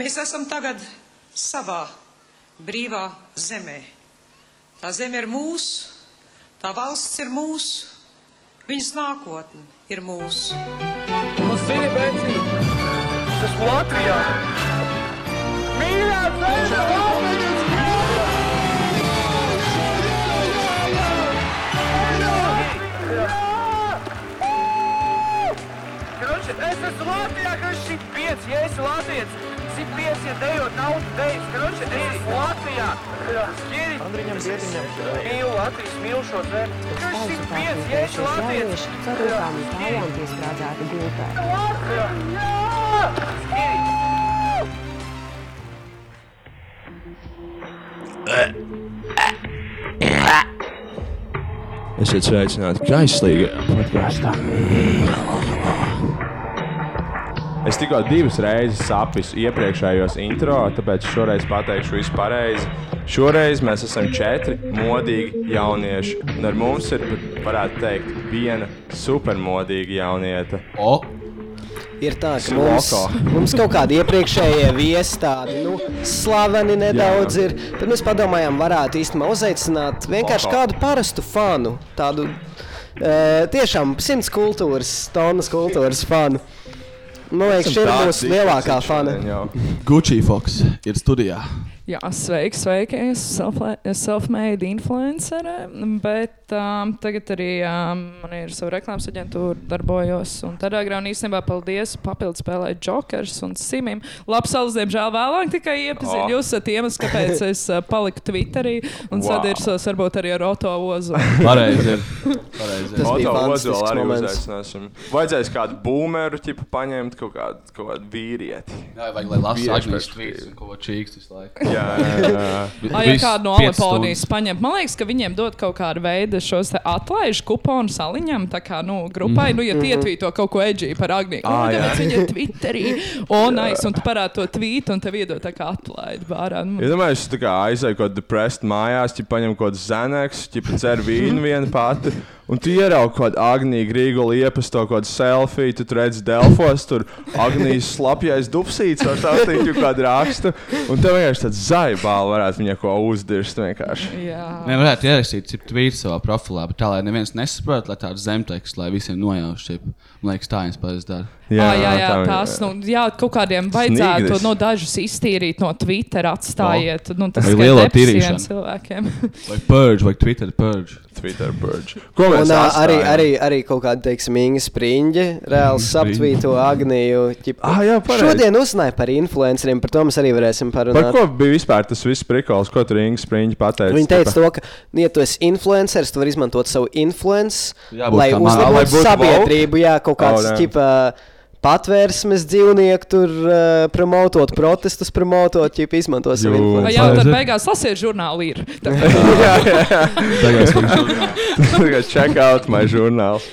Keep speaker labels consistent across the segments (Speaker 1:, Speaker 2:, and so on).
Speaker 1: Mēs esam tagad savā brīvā zemē. Tā zeme ir mūsu, tā valsts ir mūsu, viņas nākotne ir mūsu.
Speaker 2: Uz zini, Benci, tas esmu Latvijā. Mīļā, Benci, Latvijas Kroči, es esmu Latvijā, ka šī piec, ja esi Latvijas, šī piec, ja dejot naudu dejas, kroči, es esmu Latvijā. Skiri,
Speaker 3: Andriņam Ziediņam.
Speaker 2: mīlu Latvijas, mīlu šo zemi. Kroči, šī piec, ja esi Latvijas.
Speaker 4: Ceturtām stāvām piestrādāti gultā.
Speaker 2: Skiri.
Speaker 5: Esiet sveicināti kaislīgajā podkāstā.
Speaker 3: Es tikko divas reizes sapisu iepriekšējos intro, tāpēc šoreiz pateikšu visu pareizi. Šoreiz mēs esam četri modīgi jaunieši, un ar mums ir, pat varētu teikt, viena supermodīga jaunieta.
Speaker 6: O,
Speaker 7: Ir tā, ka mums,
Speaker 3: Sloko.
Speaker 7: mums kaut kādi iepriekšējie viesi tādi, nu, slaveni nedaudz
Speaker 3: Jā.
Speaker 7: ir. Tad mēs padomājām, varētu īstenībā uzaicināt vienkārši
Speaker 3: Sloko.
Speaker 7: kādu parastu fanu, tādu e, tiešām simts kultūras, tonnas kultūras fanu. Man liekas, šī ir mūsu lielākā fana.
Speaker 3: Šodien jau.
Speaker 6: Gucci Fox ir studijā.
Speaker 8: Jā, sveiki, sveiki. Es selfle- self-made influencere, bet um, tagad arī um, man ir sava reklāmas aģentūra, darbojos. Un tad agrāk un īstenībā paldies papildus spēlē Jokers un Simim. Lapsalas, diemžēl, vēlāk tikai iepazīstināja.
Speaker 3: Oh.
Speaker 8: Oh. Jūs esat iemesls, kāpēc es uh, paliku Twitterī
Speaker 3: Wow.
Speaker 8: un wow. sadirsos varbūt arī ar Oto Ozu.
Speaker 6: Pareizi. ir, Pareizi. ir.
Speaker 7: Tas
Speaker 3: Oto
Speaker 7: bija
Speaker 3: Ozola
Speaker 7: fantastisks
Speaker 3: arī
Speaker 7: moments.
Speaker 3: uzaicināsim. Vajadzēs kādu boomeru, tipu paņemt kaut kādu, kaut kādu vīrieti.
Speaker 6: Jā, vajag, lai lasu
Speaker 3: Vīriešu
Speaker 6: agnes
Speaker 3: perspektīva.
Speaker 6: tvīts un kaut ko čīkst visu laiku.
Speaker 3: Jā, jā, jā.
Speaker 8: Ai, ja kādu no Aleponijas paņemt, man liekas, ka viņiem dod kaut kādu veidu šos te atlaižu kuponu saliņam, tā kā, nu, grupai, mm. nu,
Speaker 7: Mhm.
Speaker 8: ja tie tvīto kaut ko edžī par Agniju.
Speaker 3: Mhm. Ā,
Speaker 8: Ah,
Speaker 3: jā.
Speaker 8: jā, viņa ir Twitterī, un aiz, un tu parādi to tvītu, un tev iedod tā kā atlaidu bārā. Nu,
Speaker 3: Es domāju, es tā kā aizēju kaut kādā depresijā, mājās, ja paņemu kaut kādu zenēku, ja dzer vīnu viena pati. Un tu ieraugi kaut kādu Agniju Grīgu liepas, to kaut kādu selfiju, tu tur redzi Delfos, tur Agnijas slapjais dupsīts, ar tādu tipu kādu rakstu. Un tev vienkārši tāds zaibāls varētu viņai ko uzdirst vienkārši.
Speaker 8: jā.
Speaker 6: Nē, varētu ierakstīt, cik tvīts savā profilā, bet tā, lai neviens nesaprot, lai tāds zemteksts, lai visiem nojauš šī. Man liekas, tā jums pareizi dara.
Speaker 8: Jā, jā, jā,
Speaker 3: tā-
Speaker 8: tās, nu, jā, kaut kādiem vajadzētu
Speaker 3: Snigris.
Speaker 8: no dažus iztīrīt no Twitter, atstājiet, nu, tas
Speaker 6: Vai
Speaker 8: tikai
Speaker 6: lielo
Speaker 8: depresijiem
Speaker 6: tīrīšanu?
Speaker 8: cilvēkiem.
Speaker 6: Vai purge, vai Twitter purge.
Speaker 3: Twitter burge. Ko mēs
Speaker 7: Un ā,
Speaker 3: atstājam?
Speaker 7: arī, arī, arī kaut kāda, teiksim, Inga Spriņģe, reāls
Speaker 6: Spriņģe.
Speaker 7: aptvīto Agniju. ķip-
Speaker 3: Ah, jā, pareizi.
Speaker 7: Šodien uzzināju par influenceriem, par to mēs arī varēsim parunāt.
Speaker 3: Par ko bija vispār tas viss prikals, ko tur Inga Spriņķa pateica?
Speaker 7: Viņa teica,
Speaker 3: Tāpēc-
Speaker 7: to, ka, nu, ja tu esi influenceris, tu vari izmantot savu influenci,
Speaker 6: Jābūt
Speaker 7: lai
Speaker 3: man-
Speaker 6: kā
Speaker 3: Lai
Speaker 7: uzlabotu
Speaker 3: būtu
Speaker 7: sabiedrību, jā, kaut kāds
Speaker 3: Oh, jā.
Speaker 7: tipa. Patvērsmes dzīvnieku tur uh, promotot, protestus promotot, jau izmanto savu
Speaker 3: Jū.
Speaker 8: Vai
Speaker 7: influenci.
Speaker 8: jau
Speaker 6: Pareizi.
Speaker 8: tad beigās lasiet žurnāli ir? Tā kā
Speaker 3: Jā, jā,
Speaker 6: Tagad es teikšu,
Speaker 3: jā. Check out my žurnāls.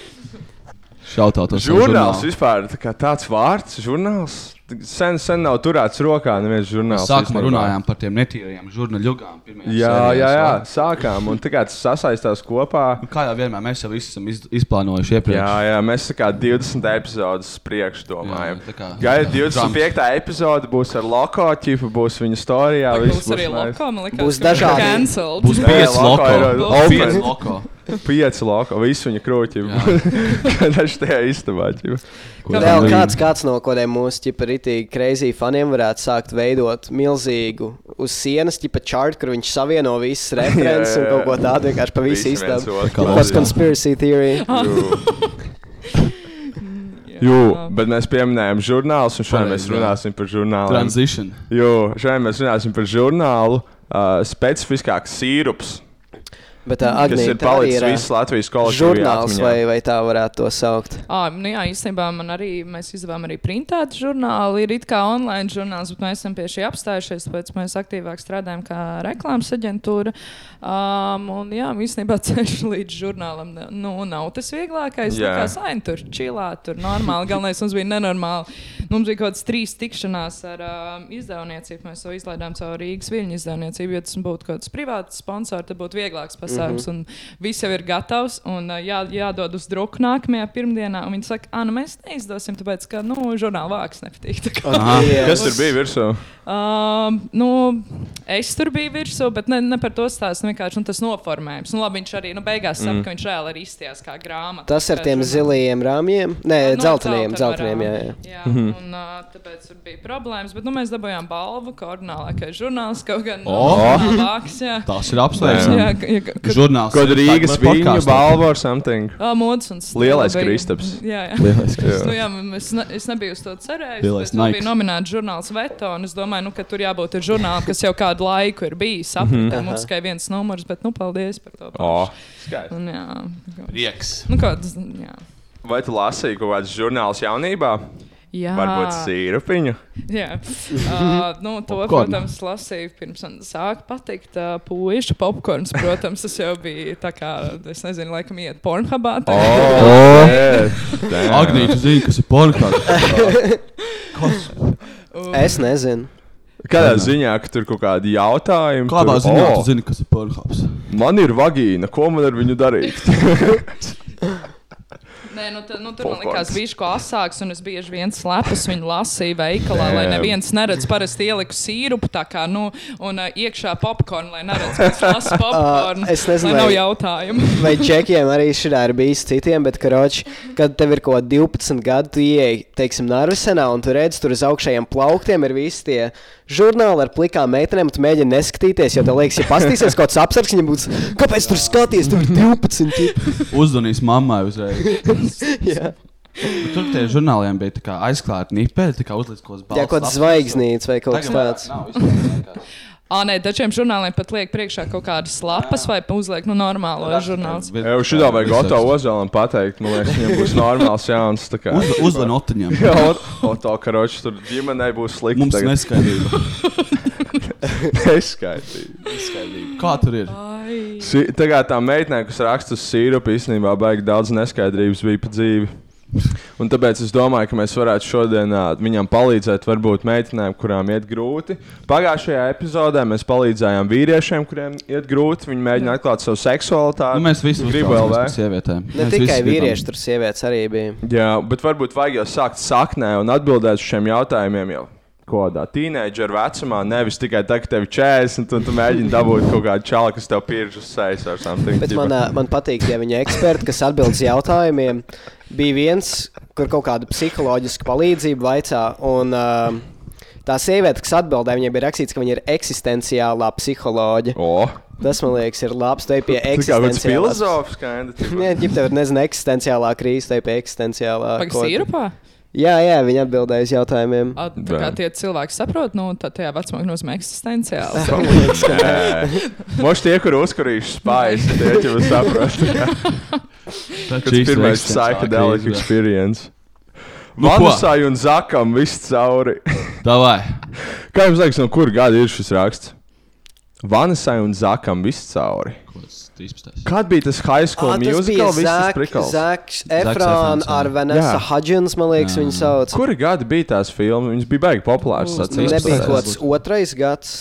Speaker 6: šautāt uz
Speaker 3: Žurnāls vispār tā kā tāds vārds, žurnāls. Sen, sen nav turēts rokā neviens žurnāls. īstenībā.
Speaker 6: Sākumā runājām par tiem netīriem žurnāļugām.
Speaker 3: Jā, jā, jā, sākām. Un tā kā tas sasaistās kopā.
Speaker 6: Kā jau vienmēr mēs jau visu esam iz- izplānojuši iepriekš.
Speaker 3: Jā, jā, mēs tā kā 20 epizodes priekš domājam.
Speaker 6: Jā, tā kā-
Speaker 3: Gaidām,
Speaker 6: tā,
Speaker 3: 25. epizode būs ar lokotipu, būs viņa storijā. viss
Speaker 8: būs
Speaker 3: būs
Speaker 8: arī
Speaker 3: nice.
Speaker 8: lokā, man liekas,
Speaker 7: Būs
Speaker 8: ka
Speaker 7: dažādi.
Speaker 8: cancelled.
Speaker 6: Būs
Speaker 3: Jā,
Speaker 6: pieci
Speaker 3: loko ir,
Speaker 6: loko.
Speaker 3: uh, open.
Speaker 6: Pieci loko.
Speaker 3: Pieci loko, visu viņa krūtību. Dažs tajā istabā. ķipa. nu
Speaker 7: Vēl kāds, kāds no kodiem mūsu ķipa ritīgi crazy faniem varētu sākt veidot milzīgu uz sienas ķipa čārtu, kur viņš savieno visas references un kaut ko tādu vienkārši pa visu
Speaker 3: Visi viens
Speaker 7: istabu.
Speaker 3: otru
Speaker 6: Kā
Speaker 7: Kāds
Speaker 6: Lobby.
Speaker 3: pazīst.
Speaker 7: conspiracy theory?
Speaker 3: Jū, bet mēs pieminējām žurnālus, un šodien mēs
Speaker 6: Pareizi, jā.
Speaker 3: runāsim par žurnāliem.
Speaker 6: Transition.
Speaker 3: Jo šodien mēs runāsim par žurnālu, uh, specifiskāks sīrups,
Speaker 7: Bet tā
Speaker 3: kas
Speaker 7: Agnija
Speaker 3: ir
Speaker 7: tā arī
Speaker 3: palicis
Speaker 7: ir ā,
Speaker 3: visas Latvijas kolekcijas
Speaker 7: žurnāls vai, vai tā varētu to saukt.
Speaker 8: Ah, nu jā, īstenībā man arī mēs izdevām arī printētu žurnālu. Ir it kā online žurnāls, bet mēs esam pie šī apstājušies, tāpēc mēs aktīvāk strādājam kā reklāmas aģentūra. Um, un jā, īstenībā ceļš līdz žurnālam ne- nu, nav tas vieglākais.
Speaker 3: Jā.
Speaker 8: Yeah. Kā sain tur čilā, tur normāli. Galvenais mums bija nenormāli. Mums bija kaut kāds trīs tikšanās ar um, izdevniecību. Mēs to izlaidām caur Rīgas viļņu izdevniecību, jo tas būtu kaut kāds privāts sponsors, tad būtu vieglāks pasākums. maksājums, mm -hmm. un viss jau ir gatavs, un ā, jā, jādod uz druku nākamajā pirmdienā. Un viņi saka, ah, nu mēs neizdosim, tāpēc, ka, nu, žurnāla vārks nepatīk. Tā kā.
Speaker 7: Jā.
Speaker 3: Kas tur bija virsū?
Speaker 8: Um, nu, es tur biju virsū, bet ne, ne par to stāstu. Vienkārši nu, tas noformējums. Nu, labi, viņš arī nu, beigās saka, mm. ka viņš reāli arī izties kā grāmata.
Speaker 7: Tas ar
Speaker 8: Kā
Speaker 7: tiem
Speaker 8: žurnāls.
Speaker 7: zilajiem rāmjiem? Nē,
Speaker 8: Nu,
Speaker 7: dzelteniem,
Speaker 8: ar
Speaker 7: dzelteniem, jā. jā.
Speaker 8: dzeltenvarām. jā.
Speaker 3: Mhm.
Speaker 8: Un, uh, tāpēc tur bija problēmas. Bet nu, mēs dabūjām balvu, ka orģinālākais žurnāls kaut gan nu,
Speaker 6: O!
Speaker 3: Oh.
Speaker 8: labāks. Jā,
Speaker 6: Tas ir apsveicami.
Speaker 8: jā, ka- jā, ka-
Speaker 6: Žurnāls.
Speaker 3: Kaut
Speaker 6: ir
Speaker 3: Rīgas
Speaker 6: tagad
Speaker 3: viņa
Speaker 6: podkastā.
Speaker 3: balva or something.
Speaker 8: Ā, modes un stila
Speaker 3: Lielais
Speaker 8: bija.
Speaker 3: Kristaps.
Speaker 8: Jā, jā.
Speaker 5: Lielais
Speaker 3: Jā.
Speaker 8: Nu, jā, m- es, ne, es nebiju uz to
Speaker 6: Lielais
Speaker 8: cerējis. Lielais bet man
Speaker 6: Nikes.
Speaker 8: bija nominēts žurnāls Veto. un Es domāju, nu, ka tur jābūt ir žurnālam, kas jau kādu laiku ir bijis. Apmēram, mums tikai viens numurs, bet nu, paldies par to.
Speaker 3: Mhm. Oh.
Speaker 8: Un, jā,
Speaker 6: Prieks.
Speaker 8: nu, kāds, jā.
Speaker 3: Vai tu lasīji kaut kādas žurnāls jaunībā?
Speaker 8: Jā,
Speaker 3: Varbūt sīrupiņu.
Speaker 8: Jā, uh, nu, to,
Speaker 6: Popcorn.
Speaker 8: protams, lasīju pirms man sāka patikt. Uh, Puisša popkorns, protams, tas jau bija tā kā, es nezinu, laikam iet pornhubā.
Speaker 7: Oh.
Speaker 8: tagad.
Speaker 6: Agnija, tu zini, kas ir pornogrāfija.
Speaker 7: Es nezinu.
Speaker 3: Kādā ziņā, ka tur kaut kādi jautājumi?
Speaker 6: Kādā
Speaker 3: tur,
Speaker 6: ziņā
Speaker 3: "O,
Speaker 6: tu zini, kas ir pornogrāfija?
Speaker 3: Man ir vagīna, ko man ar viņu darīt?
Speaker 8: Nē, nu, tā, nu, tur man
Speaker 3: Popcorns.
Speaker 8: likās, ka viņš bija asāks, un es bieži vien slēpos viņu lasīju veikalā, lai
Speaker 3: Damn.
Speaker 8: neviens neredz. Parasti ieliku sīrupu tā kā, nu, un uh, iekšā popkornu, lai neredz, kas lasa popkornu.
Speaker 7: es nezinu,
Speaker 8: lai nav
Speaker 7: vai-
Speaker 8: jautājumu.
Speaker 7: Vai čekiem arī šitā ir bijis citiem, bet, karoči, kad tev ir kaut kādi 12 gadi, tu ieej, teiksim, Narvisenā, un tu redz, tur uz augšējiem plauktiem ir visi tie žurnāli ar plikām meitenēm, tu mēģini neskatīties, jo tev liekas, ja pastīsies kaut kāds apsargs, viņam būs, kāpēc tur skaties, tur ir 12 tipi.
Speaker 6: Uzdanīs mammai uzreiz.
Speaker 7: Jā,
Speaker 6: Bet Tur tie žurnāliem bija tā kā aizklāti nipeli, tā kā uzlīdz kaut kas balts.
Speaker 7: Jā, kaut kāds zvaigznīts vai kaut kas tāds.
Speaker 8: Ā, nē, dažiem žurnāliem pat liek priekšā kaut kādas lapas, vai uzliek, nu, normālo žurnālu.
Speaker 3: Jau šitā vajag Oto Ozolam pateikt, man liekas, viņam būs normāls jauns. tā kā.
Speaker 6: Uzlīdz otiņam.
Speaker 3: Jā, Ot- Oto Karoči, tur ģimenei būs slikti.
Speaker 6: Mums
Speaker 3: tagad.
Speaker 6: neskaidrība.
Speaker 3: neskaitīja.
Speaker 6: Kā tur ir? Nu,
Speaker 8: Ai,
Speaker 3: Tā kā tā meitene, kas raksta uz sīrupu, īstenībā baigi daudz neskaidrības bija pa dzīvi. Un tāpēc es domāju, ka mēs varētu šodien ā, viņam palīdzēt, varbūt meitenēm, kurām iet grūti. Pagājušajā epizodē mēs palīdzējām vīriešiem, kuriem iet grūti. Viņi mēģina atklāt savu seksualitāti.
Speaker 6: Nu, mēs visi
Speaker 3: gribam
Speaker 6: uztraucamies par
Speaker 3: vēl.
Speaker 6: sievietēm.
Speaker 7: Ne
Speaker 6: Mēs
Speaker 7: tikai
Speaker 6: visi gribam.
Speaker 7: vīrieši, tur sievietes arī bija.
Speaker 3: Jā, bet varbūt vajag jau sākt saknē un atbildēt uz šiem jautājumiem jau kādā tīneģera vecumā. Nevis tikai tagad, kad tev ir 40, un tu mēģini dabūt kaut kādu čālu, kas tev pierž uz sejas ar something.
Speaker 7: Bet
Speaker 3: ģipa.
Speaker 7: man, ā, man patīk, ja viņa eksperti, kas atbild uz jautājumiem, bija viens, kur kaut kāda psiholoģiska palīdzība vaicā. Un, uh, tā sieviete, kas atbildēja, viņai bija rakstīts, ka viņa ir eksistenciālā psiholoģija.
Speaker 3: O,
Speaker 7: Tas, man liekas, ir labs. Te pie
Speaker 3: tas ir kaut kāds
Speaker 7: eksistenciālās.
Speaker 3: filozofs, kāda
Speaker 7: Nē, ja tev ir nezinu, eksistenciālā krīze, tai pie eksistenciālā.
Speaker 8: pagaidi,
Speaker 7: ko-
Speaker 8: sīrupā?
Speaker 7: Jā, jā, viņa atbildēja uz jautājumiem.
Speaker 8: Ā, Tā kā
Speaker 3: Bē.
Speaker 8: tie cilvēki saprot, nu, tā tajā vecumā nozīmē eksistenciāli.
Speaker 3: Moši tie, kur uzkurījuši spējas, tie jau saprot,
Speaker 6: Tas
Speaker 3: kas ir pirmais psychedelic experience.
Speaker 6: Nu, ko?
Speaker 3: Manusai un Zakam viss cauri.
Speaker 6: Davai.
Speaker 3: Kā jums liekas, no kur gada ir šis raksts? Vanasai un Zakam viss cauri.
Speaker 6: Kaut kas 13.
Speaker 3: Kad bija tas high school
Speaker 7: Ā,
Speaker 3: ah,
Speaker 7: tas
Speaker 3: musical?
Speaker 7: bija
Speaker 3: Tas bija
Speaker 7: Zaks,
Speaker 3: prikals.
Speaker 7: Zaks,
Speaker 6: Efrons,
Speaker 7: Efrons
Speaker 6: jā.
Speaker 7: ar Vanessa
Speaker 3: Jā.
Speaker 7: Hudgens, man liekas,
Speaker 6: Jā.
Speaker 7: viņu sauc.
Speaker 3: Kuri gadi bija tās filmas? Viņas bija baigi populāras.
Speaker 8: Uz-
Speaker 3: atceros.
Speaker 7: Nebija
Speaker 6: tas
Speaker 7: kaut kāds otrais gads.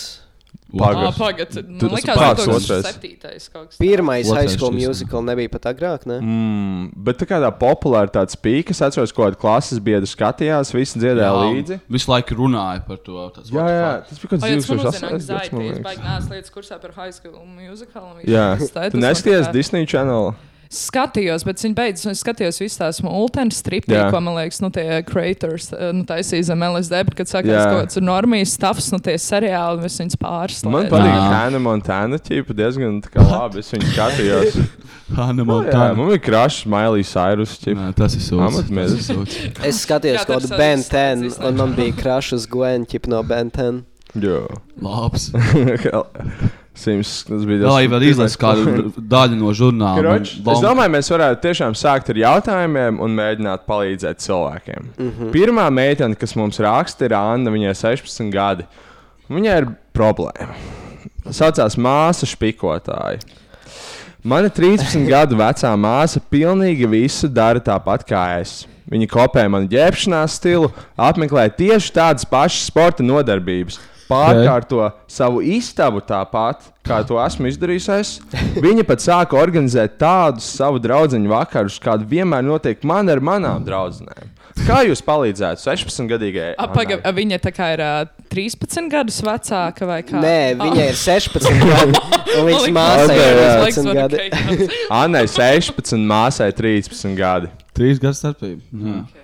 Speaker 8: Ā,
Speaker 3: Pagas.
Speaker 8: Pagaidi, man
Speaker 3: Tu- tas
Speaker 8: likās,
Speaker 3: pats
Speaker 8: ka tas ir
Speaker 3: otrais.
Speaker 8: septītais kaut kas.
Speaker 7: Pirmais
Speaker 6: Otrais
Speaker 7: high school
Speaker 6: šis, jā.
Speaker 7: musical nebija pat agrāk, ne?
Speaker 3: Mm, bet tā kā tā populāra tāds pīka, es atceros, ko kāda klases biedra skatījās, visi dziedāja līdzi.
Speaker 6: Visu laiku runāja par to. tas
Speaker 3: Jā,
Speaker 6: what the
Speaker 3: jā,
Speaker 6: fuck.
Speaker 3: tas bija kaut kas
Speaker 8: Ai, jūs man uzzināt, ka
Speaker 3: gads, man
Speaker 8: Zaitīs
Speaker 3: liekas.
Speaker 8: baigi nāc lietas kursā par high school musical. un visu
Speaker 3: Jā,
Speaker 8: tas tā, tas
Speaker 3: tu
Speaker 8: man
Speaker 3: neskaties
Speaker 8: tā kā-
Speaker 3: Disney Channel.
Speaker 8: Skatījos, bet viņi beidzas, un es skatījos visu tās multenu
Speaker 3: Jā.
Speaker 8: stripī, ko man liekas, nu tie creators, eh, nu taisīja zem LSD, bet kad
Speaker 3: Jā.
Speaker 8: sākās kaut kāds normijas stuffs, nu tie seriāli, un es viņus
Speaker 3: Man
Speaker 8: pārslēdzu.
Speaker 3: patīk
Speaker 6: Nā.
Speaker 3: Hannah Montana ķīpa diezgan tā kā labi. Es viņu skatījos. Nu,
Speaker 6: Hannah
Speaker 3: jā,
Speaker 6: Montana.
Speaker 3: man bija krāšs Miley Cyrus ķīpa.
Speaker 6: Nā, Tas ir sūds.
Speaker 3: Amatmēdz.
Speaker 6: Tas ir sūds.
Speaker 7: Es skatījos
Speaker 8: Jā,
Speaker 7: kaut kādu
Speaker 8: tur savus
Speaker 7: Ben 10,
Speaker 8: slēdzis,
Speaker 7: un man bija krāšs uz Gwen, ķip no Ben 10.
Speaker 3: Jā.
Speaker 6: Labs.
Speaker 3: Sims, tas bija
Speaker 6: Jā,
Speaker 3: tas.
Speaker 6: jau var izlasīt kādu daļu no žurnāla. man
Speaker 3: Kroč, es
Speaker 6: bomba.
Speaker 3: domāju, mēs varētu tiešām sākt ar jautājumiem un mēģināt palīdzēt cilvēkiem. Mm -hmm. Pirmā meitene, kas mums raksta, ir Anna. Viņai ir 16 gadi. Viņai ir problēma. Saucās māsa špikotāja. Mana 13 gadu vecā māsa pilnīgi visu dara tāpat kā es. Viņi kopē manu ģērbšanās stilu, apmeklē tieši tādas pašas sporta nodarbības. Pārkārto savu istabu tāpat, kā to esmu izdarījis. Es. Viņa pat sāka organizēt tādus savu draugu vakarus, kāda vienmēr notiek man ar manām draudzenēm. Kā jūs palīdzētu 16-gadīgajai?
Speaker 8: A, paga, a, viņa tā kā ir ā, 13 gadus vecāka vai kā? Ah.
Speaker 7: Nē, viņai ir 16 gadi. un Viņas māsai
Speaker 3: okay,
Speaker 7: ir
Speaker 3: jā.
Speaker 7: 16 gadi.
Speaker 3: Annai 16, māsai 13 gadi.
Speaker 6: Trīs gadu starpība.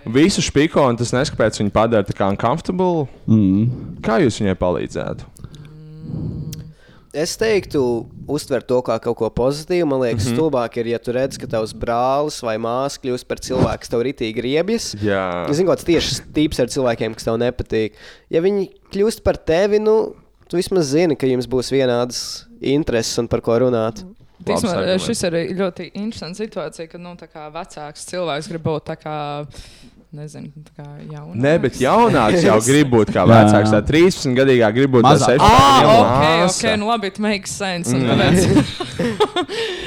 Speaker 3: Visu špiko, un tas neskaidrs, kāpēc viņa padara tā kā uncomfortable.
Speaker 6: Mm.
Speaker 3: Kā jūs viņai palīdzētu?
Speaker 7: Es teiktu, uztver to kā kaut ko pozitīvu. Man liekas, mm -hmm. stulbāk ir, ja tu redz, ka tavs brālis vai māsas kļūst par cilvēku, kas tev ritīgi riebjas.
Speaker 3: Jā,
Speaker 7: Zinu, kāds tieši tīps ar cilvēkiem, kas tev nepatīk. Ja viņi kļūst par tevi, nu, tu vismaz zini, ka jums būs vienādas intereses un par ko runāt.
Speaker 3: Labs
Speaker 8: Tīsmā,
Speaker 3: arguments.
Speaker 8: šis ir ļoti interesants situācija, kad nu, tā kā vecāks cilvēks grib būt tā kā, nezinu, tā kā jaunāks.
Speaker 3: Nē, bet jaunāks jau grib būt kā
Speaker 6: Jā,
Speaker 3: vecāks. Tā
Speaker 6: jā.
Speaker 3: 13 gadīgā grib būt
Speaker 6: Mazāk.
Speaker 3: 16.
Speaker 8: Ah,
Speaker 3: jau
Speaker 8: ok,
Speaker 3: māsa.
Speaker 8: ok, nu labi, it makes sense.
Speaker 3: Mm.
Speaker 8: un tāpēc-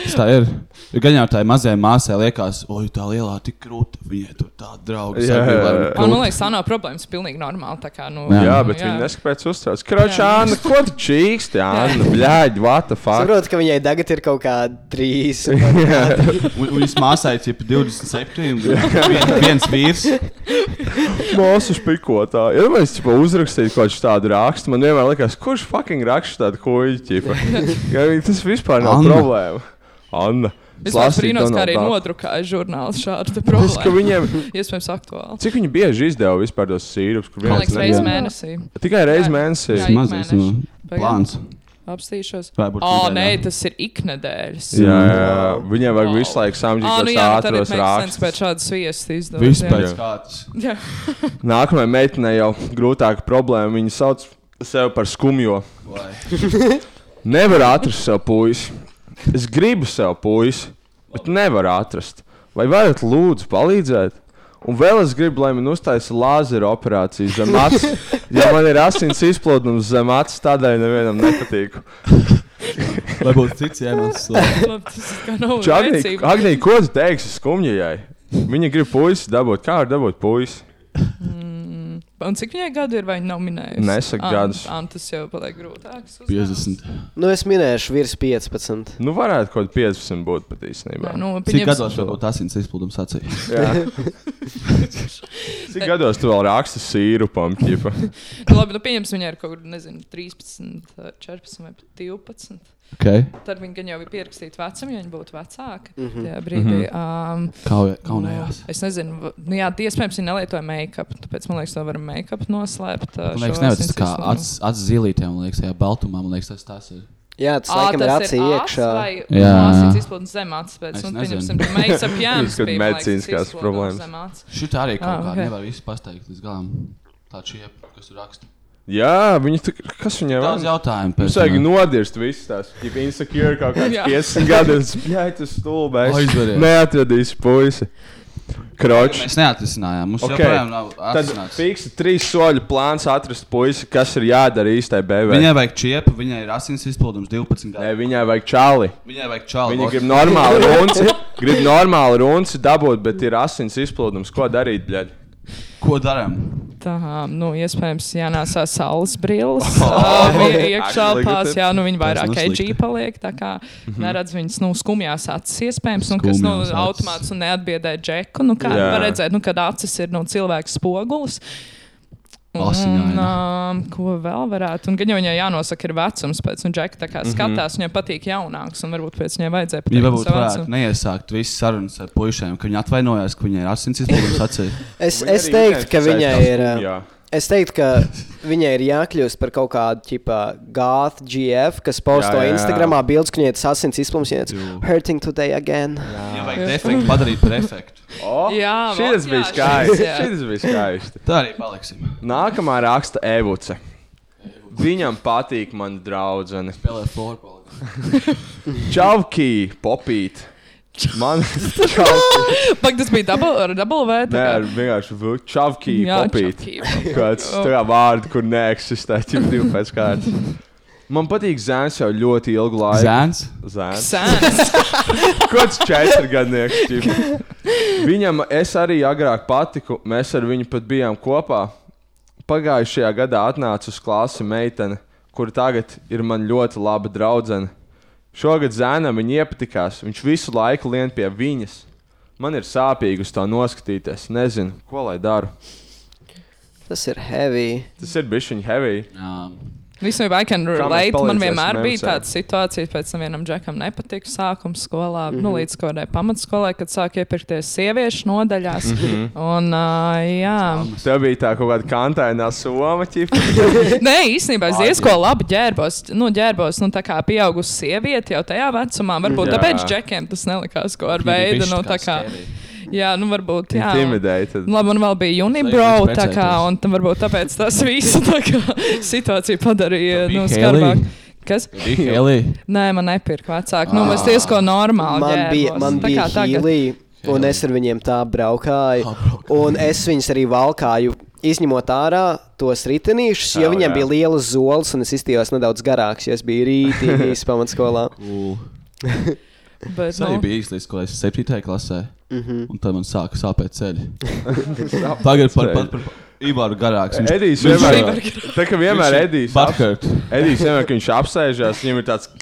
Speaker 6: Tas tā ir. Jo gan jau tā mazajai māsai liekas, oi, tā lielā tik krūta. Viņai tur tāda drauga.
Speaker 3: Jā.
Speaker 6: sabiedrība,
Speaker 8: Man
Speaker 6: krūta."
Speaker 8: liekas, tā nav problēmas, pilnīgi normāli, tā kā, nu.
Speaker 6: Jā.
Speaker 3: Jā, bet viņi neskatās uztraucās. Kročā, Anna, ko tu čīksti? Anna, bļāģi, what the fuck?
Speaker 7: Saprotu, ka viņai tagad ir kaut kāda trīs.
Speaker 6: Un, un viņas māsai ir 27, un vien, viens vīrs.
Speaker 3: Māsu špikotā. Ja man es tipa, uzrakstīju kaut kādu tādu rakstu, man vienmēr likās, kurš fucking raksta tādu kuģi? Ja, tas vispār nav
Speaker 6: Anna.
Speaker 3: problēma. Anna.
Speaker 8: Es vienkārši
Speaker 3: lasīt
Speaker 8: brīnos,
Speaker 3: to
Speaker 8: kā
Speaker 3: nav
Speaker 8: arī
Speaker 3: tā.
Speaker 8: nodrukāja žurnāls šādu te
Speaker 3: Tas, ka
Speaker 8: problēmu.
Speaker 3: viņiem,
Speaker 8: Iespējams, aktuāli.
Speaker 3: cik viņi bieži izdeva vispār tos sīrupus, kur
Speaker 8: Man
Speaker 3: viens
Speaker 8: liekas,
Speaker 3: ne-
Speaker 8: reizes
Speaker 6: Jā.
Speaker 8: mēnesī.
Speaker 3: Tikai reizi
Speaker 8: Jā.
Speaker 3: mēnesī.
Speaker 8: Jā,
Speaker 6: Tas mazais nu,
Speaker 8: mēneši.
Speaker 6: plāns.
Speaker 8: Apstīšos.
Speaker 6: Vai būtu
Speaker 8: O,
Speaker 6: nedēļā?
Speaker 8: nē, tas ir iknedēļas.
Speaker 3: Jā, jā, jā. viņiem vajag
Speaker 8: Wow.
Speaker 3: visu laiku samģīt
Speaker 8: Ah, nu
Speaker 3: tos
Speaker 8: jā, nu tad ir
Speaker 3: ātros
Speaker 8: mēģinājums pēc
Speaker 3: rākstus.
Speaker 8: šādas viesas izdomāt.
Speaker 6: Vispār
Speaker 3: Jā.
Speaker 6: kāds.
Speaker 8: Jā.
Speaker 3: Nākamajai meitenei jau grūtāka problēma. Viņa sauc sevi par skumjo. Nevar atrast sev puisi. Es gribu sev puisi, bet nevaru atrast. Vai varat lūdzu palīdzēt? Un vēl es gribu, lai man uztaisa lāzera operāciju zem acis. Ja man ir asins izplūdums zem acis, tādēļ nevienam nepatīk.
Speaker 6: Lai būtu cits iemesls. lai-
Speaker 8: Labi, tas ir kā nav
Speaker 3: Agnija,
Speaker 8: rēcība.
Speaker 3: Agnija, ko tu teiksi skumjai? Viņa grib puisi dabūt. Kā var dabūt puisi?
Speaker 8: Un cik viņai gadu ir, vai viņa nav minējusi?
Speaker 3: Nesaka
Speaker 8: Ant-
Speaker 3: gadus.
Speaker 8: Ant, tas jau paliek grūtāks. uzdevums.
Speaker 6: 50.
Speaker 7: Nu, es minēšu virs 15.
Speaker 3: Nu, varētu kaut kāda 15 būt pat
Speaker 8: Nē,
Speaker 3: īstenībā.
Speaker 8: Nu,
Speaker 6: Cik
Speaker 8: pieņems-
Speaker 6: gados vēl būtu asins izpildījums acī?
Speaker 3: Jā. Cik gados tu vēl raksti sīrupam? ķipa?
Speaker 8: nu, labi, nu, pieņemsim, viņai ir kaut kur, nezinu, 13, 14 vai pat 12.
Speaker 6: Okay.
Speaker 8: Tad viņa gan jau bija pierakstīta vecumam, ja viņa būtu vecāka. Mm -hmm. Tajā brīdī.
Speaker 3: Mhm.
Speaker 8: Mm -hmm. um,
Speaker 6: Kaujā, Mhm. kaunējās.
Speaker 8: Nu, Es nezinu, v- nu, jā, tie, iespējams, viņi nelietoja make-up, tāpēc man liekas, to varam make-up noslēpt.
Speaker 6: Man
Speaker 8: ā, šo
Speaker 6: liekas, nevis
Speaker 8: asins
Speaker 6: tas kā
Speaker 8: izslēgumu.
Speaker 6: acis acis zīlītēm, man liekas, tajā baltumā, man liekas, tas tas ir.
Speaker 7: Jā, tas
Speaker 8: Ā,
Speaker 7: laikam ir
Speaker 8: tas
Speaker 7: acī
Speaker 8: acs
Speaker 7: iekšā.
Speaker 8: vai
Speaker 6: Jā.
Speaker 8: Māsīts izpildījums zem acis pēc,
Speaker 6: Es
Speaker 8: un
Speaker 6: nezinu.
Speaker 8: pieņemsim, ka make-up
Speaker 3: Tas
Speaker 8: jams
Speaker 3: kaut
Speaker 8: bija, man liekas, tas
Speaker 3: medicīniskās
Speaker 8: izplūdums
Speaker 3: problēmas.
Speaker 8: zem acis.
Speaker 6: Šī tā arī kaut
Speaker 8: Ah,
Speaker 6: ah, kā
Speaker 8: ok.
Speaker 6: okay. nevar visu pateikt līdz galam. Tā šie, kas tur raksta.
Speaker 3: Jā, viņi tur kas viņai
Speaker 6: Daudz
Speaker 3: vēl?
Speaker 6: jautājumu
Speaker 3: Mums
Speaker 6: pēc
Speaker 3: vajag nodirst visas tās. Ja insecure kaut kāds
Speaker 8: Jā.
Speaker 3: 50 gadus, jā, tas stulbais.
Speaker 6: Aizveries.
Speaker 3: Neatradīs puisi. Kroč.
Speaker 6: Mēs neatrisinājām. Mums
Speaker 3: Ok.
Speaker 6: okay. joprojām nav
Speaker 3: Tad
Speaker 6: atrisināts.
Speaker 3: fiks trīs soļu plāns atrast puisi, kas ir jādara īstai BV.
Speaker 6: Viņai vajag čiepu, viņai ir asins izpildījums 12
Speaker 3: Nē,
Speaker 6: gadu.
Speaker 3: viņai vajag čāli.
Speaker 6: Viņai vajag čālu.
Speaker 3: Viņa grib normālu runci, grib normālu runci dabūt, bet ir asins izplūdums. Ko darīt, bļaļ?
Speaker 6: Ko darām?
Speaker 8: Tā, nu, iespējams, jānāsā saules brilles. Oh, oh, iekšā
Speaker 3: Actually,
Speaker 8: elpās,
Speaker 3: good
Speaker 8: jā, nu, viņi vairāk
Speaker 6: nav
Speaker 8: AG
Speaker 6: slikti.
Speaker 8: paliek, tā kā neredz viņas, nu, skumjās acis, iespējams, un kas, nu,
Speaker 6: Skumjās acis.
Speaker 8: automāts un neatbiedē džeku, nu, kā
Speaker 3: Jā.
Speaker 8: var redzēt, nu, kad acis ir, nu, cilvēks spogulis. Un,
Speaker 6: Asiņaina.
Speaker 8: um, ko vēl varētu? Un, gan jau viņai jānosaka, ir vecums pēc, un Džeka tā kā skatās, viņai patīk jaunāks, un varbūt pēc viņai
Speaker 6: Viņa
Speaker 8: vajadzēja pateikt
Speaker 6: varbūt
Speaker 8: savu
Speaker 6: varētu
Speaker 8: vecumu.
Speaker 6: neiesākt visas sarunas ar puišiem, ka viņa atvainojās, ka viņai ir asins izpildījums acī.
Speaker 7: Es,
Speaker 3: Viņa
Speaker 7: es
Speaker 3: arī
Speaker 7: teiktu, ka
Speaker 3: identificēs
Speaker 7: viņai
Speaker 3: tās
Speaker 7: ir. ā,
Speaker 3: skumjā.
Speaker 7: Es teiktu, ka viņai ir jākļūst par kaut kādu tipu gāzi, GF, kas
Speaker 3: Jā,
Speaker 7: posto
Speaker 3: jā, jā.
Speaker 7: Instagramā bildes, kur viņa ir asins izplūms, viņa ir
Speaker 6: Jū.
Speaker 7: hurting today again. Jā.
Speaker 6: Viņai vajag defektu padarīt par efektu.
Speaker 3: O,
Speaker 8: Jā,
Speaker 3: šis
Speaker 8: vot,
Speaker 3: bija
Speaker 8: jā,
Speaker 3: skaists.
Speaker 8: šis, jā.
Speaker 3: Šis bija skaists.
Speaker 6: Tā arī paliksim.
Speaker 3: Nākamā raksta Evuce. Viņam patīk mana draudzene.
Speaker 6: Spēlē floorbola.
Speaker 3: Čavkī, popīt. Man čavkī.
Speaker 8: Pak, tas bija double, ar double V. tā
Speaker 3: Nē,
Speaker 8: kā.
Speaker 3: ar vienkārši v- čavkī,
Speaker 8: Jā,
Speaker 3: popīt.
Speaker 8: čapkī.
Speaker 3: Kāds tā kā vārdi, kur neeksistē, jau divi pēc kārtas. Man patīk zēns jau ļoti ilgu laiku.
Speaker 6: Zēns.
Speaker 3: Zēns.
Speaker 8: Sēns.
Speaker 3: Kāds četri gadnieks. ķip. Viņam es arī agrāk patiku, mēs ar viņu pat bijām kopā. Pagājušajā gadā atnāca uz klasi meitene, kur tagad ir man ļoti laba draudzene. Šogad zēnam viņa iepatikās, viņš visu laiku lien pie viņas. Man ir sāpīgi uz to noskatīties, nezinu, ko lai daru.
Speaker 7: Tas ir heavy.
Speaker 3: Tas ir bijis viņa heavy.
Speaker 6: Jā.
Speaker 8: Visam bija, I can relate. Man
Speaker 3: palīdzēsim,
Speaker 8: vienmēr bija
Speaker 3: nevisai.
Speaker 8: tāda situācija, pēc tam vienam džekam nepatika sākuma skolā, mm
Speaker 3: Mhm.
Speaker 8: -hmm. nu, līdz kaut kādai pamatskolai, kad sāk iepirkties sieviešu nodaļās. Mm
Speaker 3: Mhm.
Speaker 8: -hmm. Un, uh, jā,
Speaker 3: Tev bija tā kaut kāda kantainā soma, ķipa.
Speaker 8: nē, īstenībā es diezko labi ģērbos. Nu, ģērbos, nu, tā kā pieaugusi sieviete jau tajā vecumā. Varbūt
Speaker 3: Jā.
Speaker 8: jā. tāpēc džekiem tas nelikās kaut ar veidu. Nu, tā kā, jā, nu, varbūt. Jā.
Speaker 3: Intimidēta.
Speaker 8: Labi, man vēl bija Unibrow,
Speaker 6: Lai viņš
Speaker 8: tā kā,
Speaker 6: precētos.
Speaker 8: un tam varbūt tāpēc tas viss tā kā situācija padarīja,
Speaker 6: Tev bija
Speaker 8: nu,
Speaker 6: Hailey?
Speaker 8: skarbāk. Kas?
Speaker 6: Helija.
Speaker 8: Nē, man nepirka vecāki. Nu, es diezgan normāli.
Speaker 7: Ah. Man bija,
Speaker 8: ģērbos.
Speaker 7: man
Speaker 8: Tā
Speaker 7: bija
Speaker 8: kā tagad.
Speaker 7: hīlī, un es ar viņiem tā braukāju. Un es viņus arī valkāju, izņemot ārā tos ritenīšus,
Speaker 3: Au,
Speaker 7: jo
Speaker 3: jā.
Speaker 7: viņiem bija lielas zoles, un es izstījos nedaudz garāks, jo es biju rītīgs pamatskolā.
Speaker 8: Bet,
Speaker 6: Es arī
Speaker 8: nu,
Speaker 6: biju īslīgs, ko es 7. klasē.
Speaker 3: Mhm.
Speaker 6: Un tad man sāka sāpēt ceļi. Tagad par, par, par, par Ivaru garāks.
Speaker 3: Edijs
Speaker 6: viņš-
Speaker 3: vienmēr, tā kā vienmēr
Speaker 6: viņš-
Speaker 3: Edijs. aps-
Speaker 6: Butthurt.
Speaker 3: Edijs vienmēr, kad viņš apsēžās, viņam ir tāds -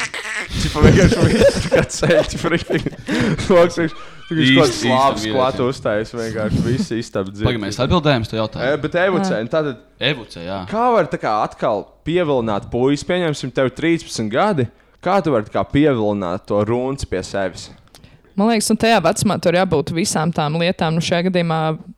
Speaker 3: vienkārši viss, kā ceļš, frikšķis. Viņš
Speaker 6: Īsti,
Speaker 3: kaut kāds
Speaker 6: īsti
Speaker 3: slāpes,
Speaker 6: vīrietis.
Speaker 3: klāt uztais, vienkārši viss īstab
Speaker 6: Pagaidām, mēs atbildējām uz to
Speaker 3: E,
Speaker 6: jautājumu.
Speaker 3: bet evucēni, tātad,
Speaker 6: Evuce, jā.
Speaker 3: kā var tā kā atkal pievilināt puisi, pieņemsim, tev ir 13 gadi, kā tu vari tā kā pievilināt to runas pie sevis?
Speaker 8: man liekas, un tajā vecumā tur jābūt visām tām lietām. Nu, šajā gadījumā,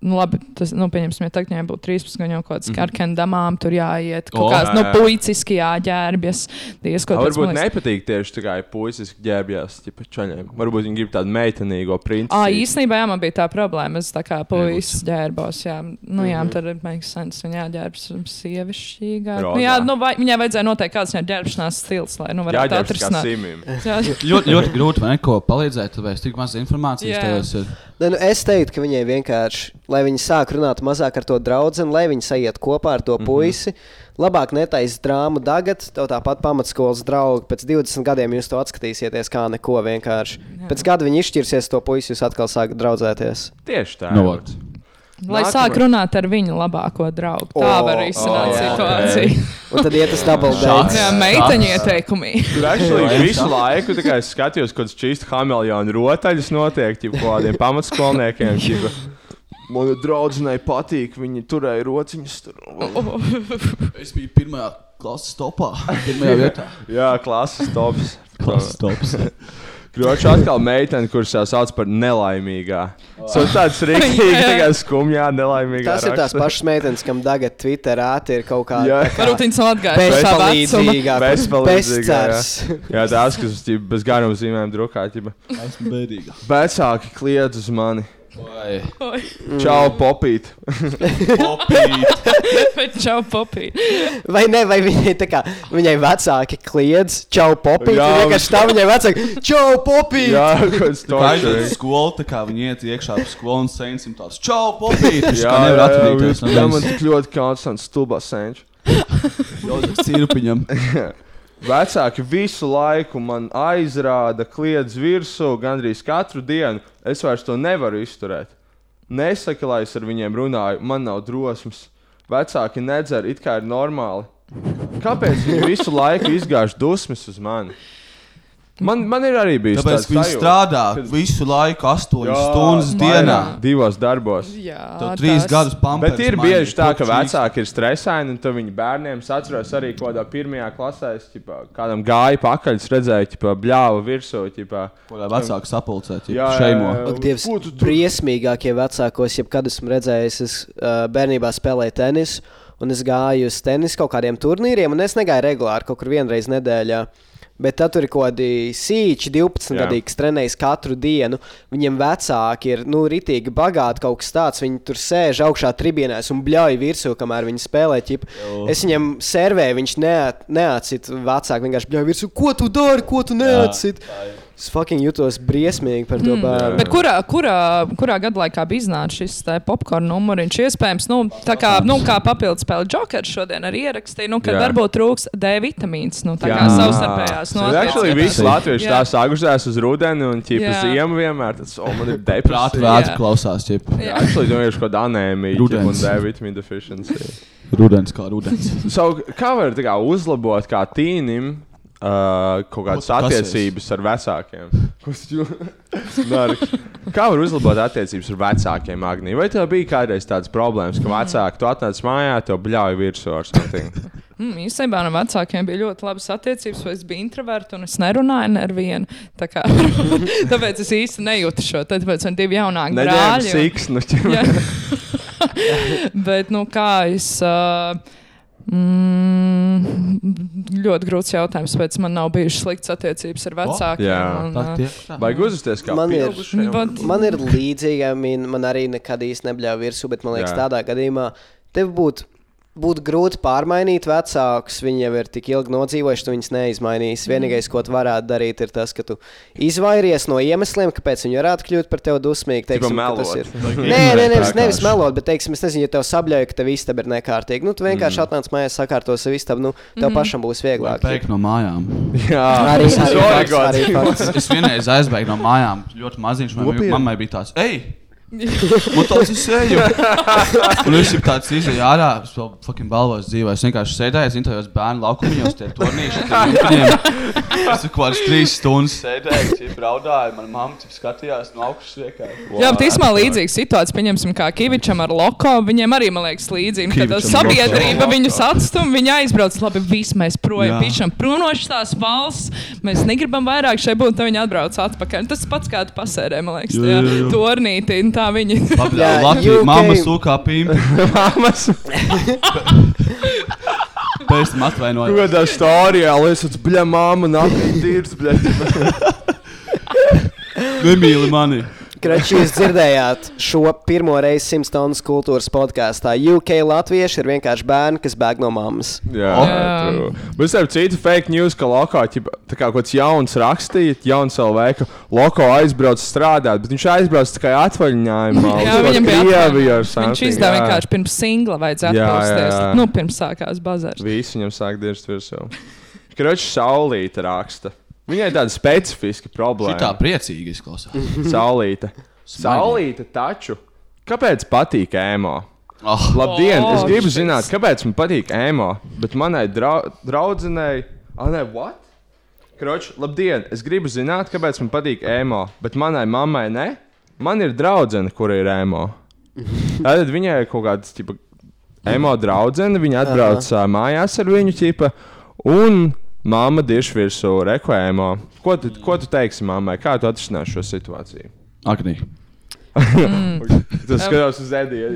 Speaker 8: nu, labi, tas, nu, pieņemsim, ja tagad viņai būtu 13, gan jau
Speaker 3: Mhm.
Speaker 8: kaut kāds karkendamām tur jāiet.
Speaker 6: O,
Speaker 8: Kaut kāds, nu,
Speaker 3: jā, jā.
Speaker 8: puiciski jāģērbjas. Diezko
Speaker 3: Tā
Speaker 8: tāds,
Speaker 3: varbūt
Speaker 8: man liekas.
Speaker 3: nepatīk tieši tā kā puisis ģērbjās, tipa čaļiem. Varbūt viņi grib tādu meitenīgo principu.
Speaker 8: Ā, īstenībā jā, man bija tā problēma. Es tā kā puisis ģērbos, jā, nu, jā,
Speaker 7: Mhm.
Speaker 8: tad it makes sense. Viņa jāģērbs sievišķīgāk. Nu, jā,
Speaker 3: Rozā.
Speaker 8: nu, vai, viņai vajadzēja noteikti kāds viņa ģērbšanās stils, lai, nu, varētu
Speaker 3: Jāģērbs kā
Speaker 8: atrisināt.
Speaker 3: simim.
Speaker 8: Jā.
Speaker 6: Ļoti, ļoti grūti man neko palīdzēt, vai es tik maz informācijas
Speaker 8: Jā.
Speaker 6: tajos ir.
Speaker 7: Ne, nu es teiktu, ka viņai vienkārši, lai viņi sāk runāt mazāk ar to draugu, lai viņi sajiet kopā ar to
Speaker 3: Mhm.
Speaker 7: puisi. Mm -hmm. Labāk netaisīt drāmu tagad, tev tāpat pamatskolas draugi. Pēc 20 gadiem jūs to atskatīsieties, kā neko vienkārši. Jā. Pēc gada viņi izšķirsies, to puisi jūs atkal sākat draudzēties.
Speaker 3: Tieši tā.
Speaker 6: Nu,
Speaker 3: Evuce.
Speaker 6: vot.
Speaker 8: Lai
Speaker 3: Nākamais.
Speaker 8: sāk runāt ar viņu labāko draugu. Tā
Speaker 7: O,
Speaker 8: var izsākt
Speaker 7: o, jā.
Speaker 8: situāciju.
Speaker 7: Un tad iet uz double
Speaker 6: Šāds.
Speaker 7: date.
Speaker 8: Jā,
Speaker 6: Tas-
Speaker 8: meiteņa ieteikumī.
Speaker 3: Tur
Speaker 6: Jā,
Speaker 3: actually
Speaker 6: jā.
Speaker 3: visu laiku tā kā es skatījos, kādas čīstas hameljonu rotaļas notiek ķip, kaut kādiem pamatskolniekiem. ķipa. Mana draudzenei patīk, viņa turēja rociņas. Tur.
Speaker 6: Es biju pirmā klases topā. Pirmajā vietā.
Speaker 3: Jā, klases tops.
Speaker 6: Klases tops.
Speaker 3: Kroča atkal meitene, kurš jau sauc par nelaimīgā. Tas ir tāds rīktīgi, tā kā skumjā, nelaimīgā.
Speaker 7: Oh. Tas ir tās pašas meitenes, kam tagad Twitter ātri ir kaut kāda
Speaker 3: Jā.
Speaker 7: tā kā
Speaker 8: Varbūt viņas nav atgājušas no tā vecuma.
Speaker 7: bezpalīdzīgāka,
Speaker 3: Bezpalīdzīgā, jā.
Speaker 7: bezcerības.
Speaker 3: Jā, tās, kas ķip, bez garām zīmēm drukā. ķipa.
Speaker 6: Esmu bēdīga.
Speaker 3: Vecāki kliedz uz mani.
Speaker 6: Vai.
Speaker 7: Mm.
Speaker 3: Čau, popīt.
Speaker 6: Popīt.
Speaker 8: Bet čau, popī.
Speaker 7: Vai ne, vai viņai, tā kā, viņai vecāki kliedz, čau, popīt.
Speaker 3: Jā,
Speaker 7: Viņa vienkārši tā viņai vecāki, čau, popīt.
Speaker 3: Jā, kaut kas
Speaker 6: Tā ir tā
Speaker 3: tāds.
Speaker 6: skola, tā kā viņi iet iekšā ap skolu un sēņcim tās. Čau, popīt! Viņš
Speaker 3: Jā,
Speaker 6: tā nevar
Speaker 3: jā,
Speaker 6: atradīties.
Speaker 3: jā, man tik ļoti konstants stulbā senčs.
Speaker 6: Jozeps Cirpiņam.
Speaker 3: Vecāki visu laiku man aizrāda, kliedz virsū gandrīz katru dienu. Es vairs to nevaru izturēt. Nesaki, lai es ar viņiem runāju, man nav drosmes. Vecāki nedzer, it kā ir normāli. Kāpēc viņi visu laiku izgāž dusmas uz mani? Man, man ir arī bijis
Speaker 6: Tāpēc, ka viņš strādā visu laiku, 8 stundas dienā.
Speaker 3: Divos darbos.
Speaker 8: Jā,
Speaker 6: Tev trīs gadus pamatā.
Speaker 3: Bet ir bieži tā, ka vecāki ir stresaini, un tad viņi bērniem es atceros arī, ko tādā pirmajā klasē, es ķipā, kādam gāja pakaļ, es redzēju, ka bļāva virsū. Ķipā,
Speaker 6: Kurā vecāki sapulcēt,
Speaker 3: Jā,
Speaker 6: ja
Speaker 3: jā, jā,
Speaker 6: šeimo.
Speaker 3: jā.
Speaker 7: Ak, Dievs,
Speaker 3: Ehm, Ko tu tur-
Speaker 7: briesmīgākie vecākos, jebkad esmu redzējis, es uh, bērnībā spēlēju tenisu, un es gāju uz tenisu kaut kādiem turnīriem, un es negāju regulāri kaut kur vienreiz nedēļā. Bet tad tur ir kaut kādi sīči, 12
Speaker 3: Jā.
Speaker 7: gadi, kas trenējas katru dienu. Viņam vecāki ir, nu, ritīgi bagāti kaut kas tāds. Viņi tur sēž augšā tribīnēs un bļauj virsū, kamēr viņi spēlē. Ķip. Es viņam servēju, viņš neat, neatsit vecāku. Vienkārši bļauj virsū, ko tu dari, ko tu neatsit. Es fucking jutos briesmīgi par to bērnu.
Speaker 8: Bet kurā, kurā, kurā gada laikā bija iznācis šis te popkorn numuriņš? Iespējams, nu, tā kā, nu, kā papildus spēle Jokers šodien arī ierakstīja, nu, ka
Speaker 3: Jā.
Speaker 8: varbūt trūks D vitamīns. Nu, tā
Speaker 3: Jā.
Speaker 8: kā savstarpējās
Speaker 3: Ir actually
Speaker 8: notiecībās.
Speaker 3: visi latvieši
Speaker 8: Jā.
Speaker 3: tā sākušās uz rudeni un ķipa
Speaker 8: Jā.
Speaker 3: ziemu vienmēr. Tas, o, man ir
Speaker 6: Prāt
Speaker 3: depresija.
Speaker 6: vētra
Speaker 8: Jā.
Speaker 6: klausās, ja
Speaker 8: Jā.
Speaker 3: Actually, domāju, ka tāda anēmija ķip, un
Speaker 6: Rudens.
Speaker 3: D vitamīna deficiency.
Speaker 6: rudens kā rudens.
Speaker 3: So, kā var tā kā, uzlabot kā tīnim uh, kaut kādas
Speaker 6: Ko tu
Speaker 3: attiecības ar vecākiem? Ko tu jū- Nāri. kā var uzlabot attiecības ar vecākiem, Agnija? Vai tev bija kādreiz tādas problēmas, ka vecāki tu atnāc mājā, tev bļauj virsū ar something?
Speaker 8: Mm, īstenībā no vecākiem bija ļoti labas attiecības, jo es biju introverts un es nerunāju ne ar vienu. Tā kā, tāpēc es īsti nejūtu šo. Tad, Tāpēc man divi jaunāki
Speaker 3: Neņēma
Speaker 8: brāļi.
Speaker 3: siks, nu, ķip.
Speaker 8: Jā. Bet, nu, kā es. Uh, Mm, ļoti grūts jautājums, pēc man nav bijušas sliktas attiecības ar vecākiem.
Speaker 3: jā.
Speaker 8: un,
Speaker 6: Tā
Speaker 8: uh,
Speaker 6: tiek tā.
Speaker 3: Vajag uzvesties kā
Speaker 7: Man ir-
Speaker 3: pieaugušajam.
Speaker 8: bet-
Speaker 7: Man ir līdzīga, min, man arī nekad īsti nebļāva virsū, bet man liekas,
Speaker 3: Jā.
Speaker 7: Jā. tādā gadījumā tev būtu būt grūti pārmainīt vecākus. Viņi jau ir tik ilgi nodzīvojuši, tu viņus neizmainīsi. Vienīgais, ko tu varētu darīt, ir tas, ka tu izvairies no iemesliem, kāpēc viņi varētu kļūt par tevi dusmīgi. Teiksim, ka tas
Speaker 3: melot.
Speaker 7: ir.
Speaker 3: Like,
Speaker 7: Nē,
Speaker 3: ignorēt
Speaker 7: nē, nevis,
Speaker 3: vienkārši.
Speaker 7: nevis melot, bet, teiksim, es nezinu, ja tev sabļauj, ka tev istaba ir nekārtīga. Nu, tu vienkārši mm. atnāc mājās, sakārto savu istabu, nu, tev mm. pašam būs vieglāk.
Speaker 6: Bēgt no mājām.
Speaker 3: Jā,
Speaker 7: Arī tas ir
Speaker 3: Sorry,
Speaker 7: fakts.
Speaker 3: God.
Speaker 7: Arī fakts.
Speaker 6: Es vienreiz aizbēgu no mājām, ļoti maziņš. Man
Speaker 3: Kopien?
Speaker 6: bija, mammai bija tāds, ej! Man tāds ir seju. Un viņš ir tāds izdevies ārā. Es vēl fucking balvos dzīvē. Es vienkārši sēdēju, es zinu, tajos bērnu laukumos, tie turnīši. tie viņiem. Es tur kaut kādas trīs stundas sēdēju, cip raudāju. Man mamma cip skatījās no augšas vienkārši.
Speaker 8: Jā, bet īstenībā līdzīga situācija, pieņemsim, kā Kavičam ar Loko. Viņiem arī, man liekas, līdzīga. Kad
Speaker 6: Kivičam
Speaker 8: tas sabiedrība
Speaker 6: Loko.
Speaker 8: viņus atstum, viņi aizbrauc, labi, viss mēs
Speaker 6: Jā.
Speaker 8: projām pišam, prom no šīs valsts. Mēs negribam vairāk šeit būt, tad viņi atbrauc atpakaļ. Tas pats kā tu pasērē, man liekas,
Speaker 6: Jā,
Speaker 8: tajā
Speaker 6: jā, jā.
Speaker 8: turnītī. un Tā viņi.
Speaker 6: Labi,
Speaker 7: Jā, UK.
Speaker 6: Latvija, mamma sūkā pīm.
Speaker 3: Māmas,
Speaker 6: Pēc tam atvainojos.
Speaker 3: kādā stārijā, lai es esmu, bļa, māma, naktī tīrs, bļa.
Speaker 6: Nemīli mani.
Speaker 7: Kračī, jūs dzirdējāt šo pirmo reizi simts tonnas kultūras podkāstā. UK latvieši ir vienkārši bērni, kas bēg no mammas.
Speaker 3: Jā,
Speaker 8: Jā.
Speaker 3: true. bet es teicu, citu fake news, ka lokā ķipa, tā kā kaut kāds jauns rakstīja, jauns LV, ka loko aizbrauc strādāt, bet viņš aizbrauc tikai atvaļinājumā.
Speaker 8: Jā, viņam bija
Speaker 3: Krievija ar
Speaker 8: atvainojums. Viņš izdeva vienkārši pirms singla vajadzēja
Speaker 3: Jā, jā,
Speaker 8: atpūsties.
Speaker 3: jā.
Speaker 8: Nu, pirms sākās bazars.
Speaker 3: Visi viņam sāk dirst virsū. Kroči saulīta raksta. Viņai tāda specifiska
Speaker 6: Šitā
Speaker 3: problēma.
Speaker 6: priecīgi izklausās.
Speaker 3: Saulīta. Saulīta taču. Kāpēc patīk ēmo?
Speaker 6: Oh,
Speaker 3: Labdien,
Speaker 8: O,
Speaker 3: oh, es gribu
Speaker 8: šis.
Speaker 3: zināt, kāpēc man patīk ēmo, bet manai drau draudzenei, Anē, what? Kroč, labdien, es gribu zināt, kāpēc man patīk ēmo, bet manai mammai ne. Man ir draudzene, kur ir ēmo. Tad viņai ir kaut kāda tipa emo draudzene, viņa atbrauc uh, mājās ar viņu tipa. Un mamma dirž virsū reklāmo. Ko, tu- ko tu teiksi mammai? Kā tu atrisinās šo situāciju?
Speaker 6: Agnī.
Speaker 3: Tas skatās uz Ediju.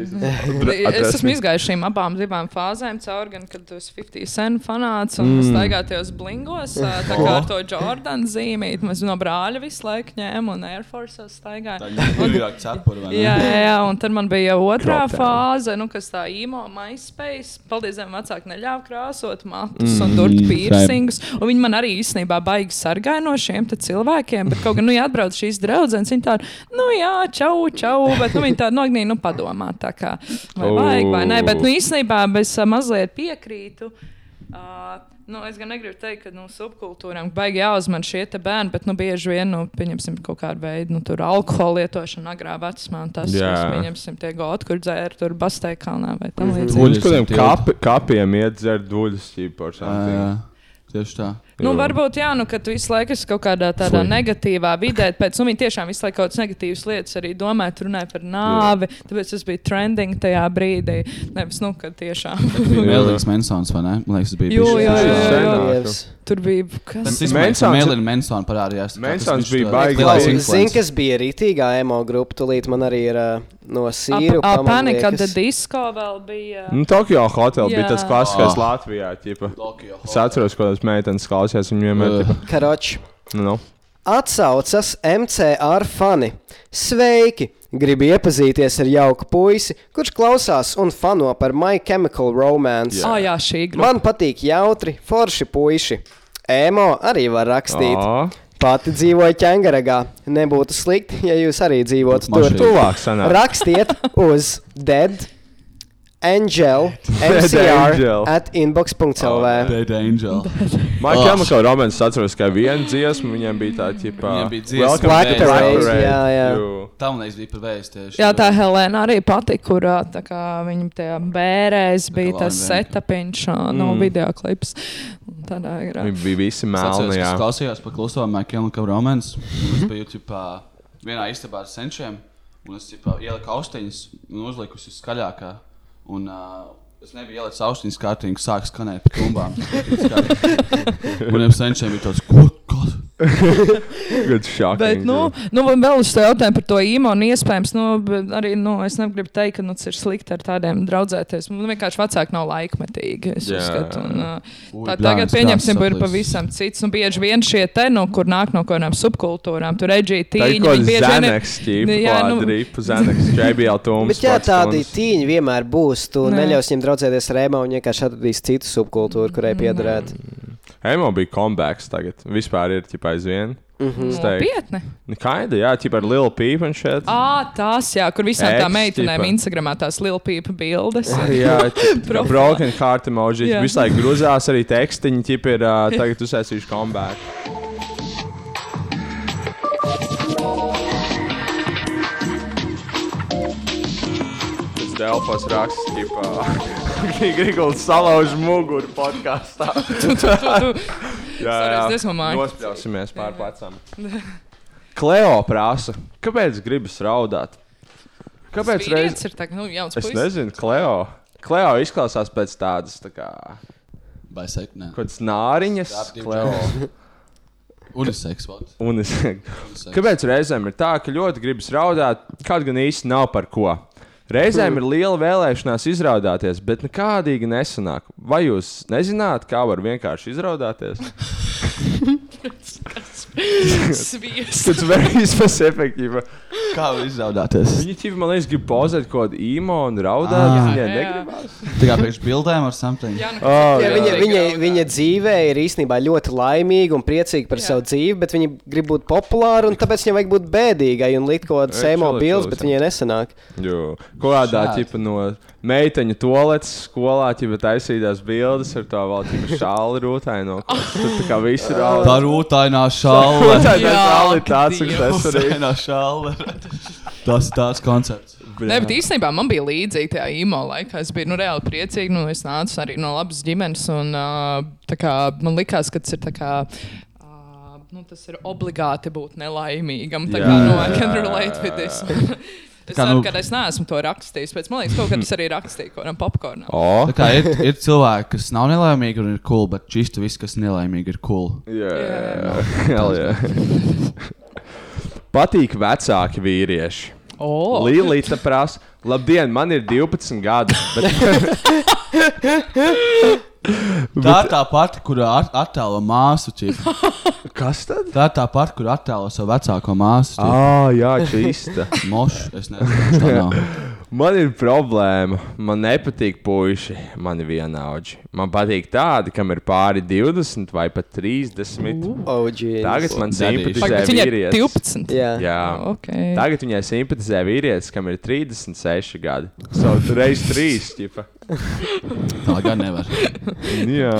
Speaker 8: Es esmu izgājis šīm abām divām fāzēm, cauri gan, kad tu esi 50 sen fanāts un mm. staigāties blingos, ā, tā kā ar to Jordānu zīmīti. Mēs no brāļa visu laiku ņēmām un Air Force staigājām.
Speaker 6: Vairāk cepuri, vai ne?
Speaker 8: Jā, jā, jā, un tad man bija otrā fāze, nu, kas tā īmo, MySpace. Paldies, man vecāki neļāva krāsot matus un durt
Speaker 6: Mm,
Speaker 8: piercingus. Un viņi man arī īstenībā baigi sargāja no šiem te cilvēkiem. Bet, kaut gan, nu, ja atbrauc šīs draudzenes, viņi tādi, nu, jā, čau, čau, bet, nu, viņi tādi nognīja, nu, padomā, tā kā, vai vajag vai nē. Bet, nu, īstenībā es ā, mazliet piekrītu. Uh, nu, es gan negribu teikt, ka nu, subkultūrām baigi jāuzmanās šie te bērni, bet nu, bieži vien, nu, pieņemsim, kaut kādu veidu, nu, tur alkohola lietošana agrā vecumā, un tas,
Speaker 3: Jā.
Speaker 8: kas, pieņemsim, tie goti, kur dzēra tur Bastei kalnā vai tam līdzīgi.
Speaker 3: Uz
Speaker 6: Guļus
Speaker 3: kādiem
Speaker 6: un tiltu.
Speaker 3: kapi, kapiem iet dzert duļus, jau tādā
Speaker 7: Ah.
Speaker 6: Ā, Tieši tā.
Speaker 8: Nu, varbūt, jā, nu, ka tu visu laiku esi kaut kādā tādā Fui. negatīvā vidē, pēc tam viņi tiešām visu laiku kaut kādas negatīvas lietas arī domāja, tur runāja par nāvi, tāpēc tas bija trending tajā brīdī. Nevis, nu, ka tiešām
Speaker 6: Bija Mēlīns Mansons, vai ne? Man liekas, tas bija
Speaker 8: Jo,
Speaker 6: bišķi-
Speaker 8: jo, jo, jo, jo.
Speaker 7: Dievs.
Speaker 8: tur bija kas.
Speaker 6: Tas izmaiņas
Speaker 3: Mansons-
Speaker 6: Mēlīna Mansona parādījās.
Speaker 3: Mansons bija baigi labs.
Speaker 7: Zini, kas bija rītīgā emo grupa, tūlīt man arī ir uh, no sīru.
Speaker 8: Panika, tad disko vēl bija.
Speaker 3: Nu, Tokijā hotelā bija
Speaker 8: Jā.
Speaker 3: tas klasiskais
Speaker 6: Ah.
Speaker 3: Latvijā. Ķipa.
Speaker 6: Tokio
Speaker 3: Es atceros, ko tas meitenes klausījās. Viņa vienmēr
Speaker 6: Ugh.
Speaker 3: bija.
Speaker 7: Karoči.
Speaker 3: Nu,
Speaker 7: Atsaucas MCR fani. Sveiki! Gribu iepazīties ar jauku puisi, kurš klausās un fano par My Chemical Romance.
Speaker 8: Ah, jā, šī
Speaker 7: E
Speaker 8: grupa.
Speaker 7: Man patīk jautri, forši puiši. Emo arī var rakstīt.
Speaker 3: Ā.
Speaker 7: Pati dzīvoja ķēngaragā. Nebūtu slikti, ja jūs arī dzīvotu
Speaker 6: Pat
Speaker 7: tur.
Speaker 6: mašīna.
Speaker 3: Tuvāk sanāk.
Speaker 7: Rakstiet uz Dead Angel
Speaker 3: Angel.
Speaker 7: MCR at inbox.lv.
Speaker 6: Dead Angel.
Speaker 3: Man
Speaker 6: Oh.
Speaker 3: kā Romanis atceros, ka viena dziesma viņiem bija tā, tipā.
Speaker 6: Viņiem bija dziesma.
Speaker 3: Welcome
Speaker 7: Black
Speaker 3: to
Speaker 7: Parade,
Speaker 3: Parade.
Speaker 7: jā, jā.
Speaker 3: Jū.
Speaker 6: Tā man liekas bija par vēju tieši.
Speaker 8: Jā, tā Helēna arī patika, kur ā, tā kā viņa tajā bērēs bija
Speaker 6: kā
Speaker 8: tas
Speaker 6: Lorenzēnka.
Speaker 8: setapiņš ā, no
Speaker 3: Mm. video
Speaker 8: videoklips. Un Tādā ir. ā.
Speaker 3: Viņi bija visi
Speaker 6: Es atceros,
Speaker 3: melni,
Speaker 6: ka
Speaker 3: jā.
Speaker 6: es klausījos par kluso Mekēnu Romans. Es biju ģipā, vienā istabā ar senčiem, un es ģipā, ieliku austiņas un uzliku uz skaļākā. Un, uh, Es nebiju ielicis austiņas kārtī, un sāk skanēt pa tumbām. Maniem senčiem bija tāds, ko? Kas?
Speaker 3: Good shock.
Speaker 8: Bet, nu, nu, un vēl uz to jautājumu par to īmonu. Iespējams, nu, bet arī nu, es negribu teikt, ka nu, tas ir slikti ar tādiem draudzēties. Nu, vienkārši vecāki nav laikmetīgi. Es
Speaker 3: Jā.
Speaker 8: uzskatu. Un, ā,
Speaker 6: Ui,
Speaker 8: tā,
Speaker 6: blāns,
Speaker 8: tagad,
Speaker 6: blāns
Speaker 8: pieņemsim, ir
Speaker 6: saplīsis.
Speaker 8: pavisam cits. Un bieži vien šie te, nu, kur nāk no kaut kādām subkultūrām, tur reģīja
Speaker 3: Tā ir
Speaker 8: tīņa.
Speaker 3: kaut
Speaker 8: viņi bieži
Speaker 3: kāda
Speaker 8: vien ir-
Speaker 3: Zenex ķīpa,
Speaker 8: Jā, nu-
Speaker 3: kvadripa, Zenex, JBL tums.
Speaker 7: Bet jā, tādi tīņi vienmēr būs. Tu
Speaker 8: Nē.
Speaker 7: neļaus viņiem draudzēties rēmā un vienkārši atradīs citu subkultūru, kurai piederētu.
Speaker 3: Emo bija comebacks tagad. Vispār ir, tipā, aizvien. Es teiktu.
Speaker 8: Nopietni.
Speaker 3: Nu, Kaida, jā, tipā ar Lil Peep un šeit.
Speaker 8: Ah, tās, jā, kur visām
Speaker 3: Eks,
Speaker 8: tām meitenēm
Speaker 3: tipa.
Speaker 8: Instagramā tās lilpīpa bildes.
Speaker 3: Jā, tā ir
Speaker 8: Profilā.
Speaker 3: broken heart emoji.
Speaker 8: Jā.
Speaker 3: Visu laiku grūzās arī tekstiņi, tipi ir uh, tagad uzsēsījuši comeback. Tas Delfos raksts, tipā, Grigls salauž muguru podkāstā. Jā,
Speaker 8: Sorry,
Speaker 3: jā.
Speaker 8: es diezgan māju.
Speaker 3: Nospļausimies pār plecam. Kleo prasa, kāpēc gribas raudāt? Kāpēc reiz?
Speaker 8: Vīrietis ir tagad, nu, jauns
Speaker 3: Es
Speaker 8: puisis.
Speaker 3: nezinu, Kleo. Kleo izklausās pēc tādas, tā kā,
Speaker 6: Vai sekt, nē.
Speaker 3: kaut kādas nāriņas.
Speaker 6: Stāp divi
Speaker 3: Kleo.
Speaker 6: Uniseks, vārds.
Speaker 3: Un es, kāpēc reizēm ir tā, ka ļoti gribas raudāt, kaut gan īsti nav par ko?
Speaker 8: Hm.
Speaker 3: Reizēm ir liela vēlēšanās izraudāties, bet nekādīgi nesanāk. Vai jūs nezināt, kā var vienkārši izraudāties?
Speaker 8: Sviests.
Speaker 3: Tas ir very specific. Jau.
Speaker 6: Kā var izraudāties?
Speaker 3: Viņa ķipa, man liekas, grib pozēt kaut kādu īmu un raudāt.
Speaker 6: Ah.
Speaker 3: Viņa
Speaker 8: Jā, jā.
Speaker 3: negribas.
Speaker 6: Tā kā priekš bildēm ar something.
Speaker 8: Jā, nu,
Speaker 3: Oh,
Speaker 7: Jā,
Speaker 3: jā.
Speaker 7: viņa, viņa,
Speaker 8: Graudā.
Speaker 7: viņa dzīvē ir īstenībā ļoti laimīga un priecīga par
Speaker 8: Jā.
Speaker 7: jā. savu dzīvi, bet viņa grib būt populāra un tāpēc viņai vajag būt bēdīgai un likt kaut kādu
Speaker 3: Ei,
Speaker 7: sēmo
Speaker 3: čalis,
Speaker 7: bildes,
Speaker 3: čalis,
Speaker 7: bet
Speaker 3: jā.
Speaker 7: viņai nesanāk.
Speaker 3: Jū. Kādā
Speaker 6: Šādi.
Speaker 3: tipa no meiteņu toaletes skolā ķipa taisītās bildes ar to vēl tipa šālu rūtāju no kuras tur tā kā viss ir
Speaker 6: Tā
Speaker 3: raudāt.
Speaker 6: rūtainā šaule.
Speaker 3: Tā ir
Speaker 8: Jā,
Speaker 3: šāli tāds,
Speaker 8: Dievs.
Speaker 3: kas tas arī.
Speaker 6: Rūtainā šaule. Tas ir tāds koncepts.
Speaker 8: Nē, bet īstenībā man bija līdzīga tajā īmo laikā. Es biju nu, reāli priecīga. Nu, es nācu arī no labas ģimenes. Un, ā, tā kā, man likās, ka tas ir. tā Kā, ā, nu, tas ir obligāti būt nelaimīgam. Tā
Speaker 3: Jā,
Speaker 8: kā no, I
Speaker 3: jā,
Speaker 8: can
Speaker 3: jā,
Speaker 8: relate
Speaker 3: jā,
Speaker 8: with this. Es
Speaker 6: Kā, nu-
Speaker 8: ceru, ka es neesmu to rakstījis. bet Man liekas, kaut kad es arī rakstīju kaut kādam popkornam.
Speaker 3: O,
Speaker 6: Tā kā ir, ir cilvēki, kas nav nelaimīgi un ir cool, bet čisto viss, kas nelaimīgi, ir cool.
Speaker 3: jā,
Speaker 8: Jā.
Speaker 3: hell jā. Patīk vecāki vīrieši.
Speaker 8: Oh,
Speaker 3: Līta prasa, labdien, man ir 12 gadi, bet
Speaker 6: Tā ir tā pati, kur at- attēlo māsu. Ķip.
Speaker 3: kas tad?
Speaker 6: Tā ir tā pati, kur attēlo savu vecāko māsu. ķip.
Speaker 3: Ah, jā, čista.
Speaker 6: Mošu, es nezinu, tā nav.
Speaker 3: Man ir problēma. Man nepatīk puiši, man ir vienaudži. Man patīk tādi, kam ir pāri 20 vai pat 30.
Speaker 7: Oh, jeez.
Speaker 3: Tagad man
Speaker 6: Dadīši.
Speaker 3: simpatizē
Speaker 8: Pagaid, bet Viņai ir
Speaker 3: vīrietis.
Speaker 8: 12.
Speaker 7: Jā.
Speaker 3: Jā.
Speaker 8: Okay.
Speaker 3: Tagad viņai simpatizē vīrietis, kam ir 36 gadi. So, reiz 3. Ķipa.
Speaker 6: Tā gan nevar.
Speaker 3: Jā,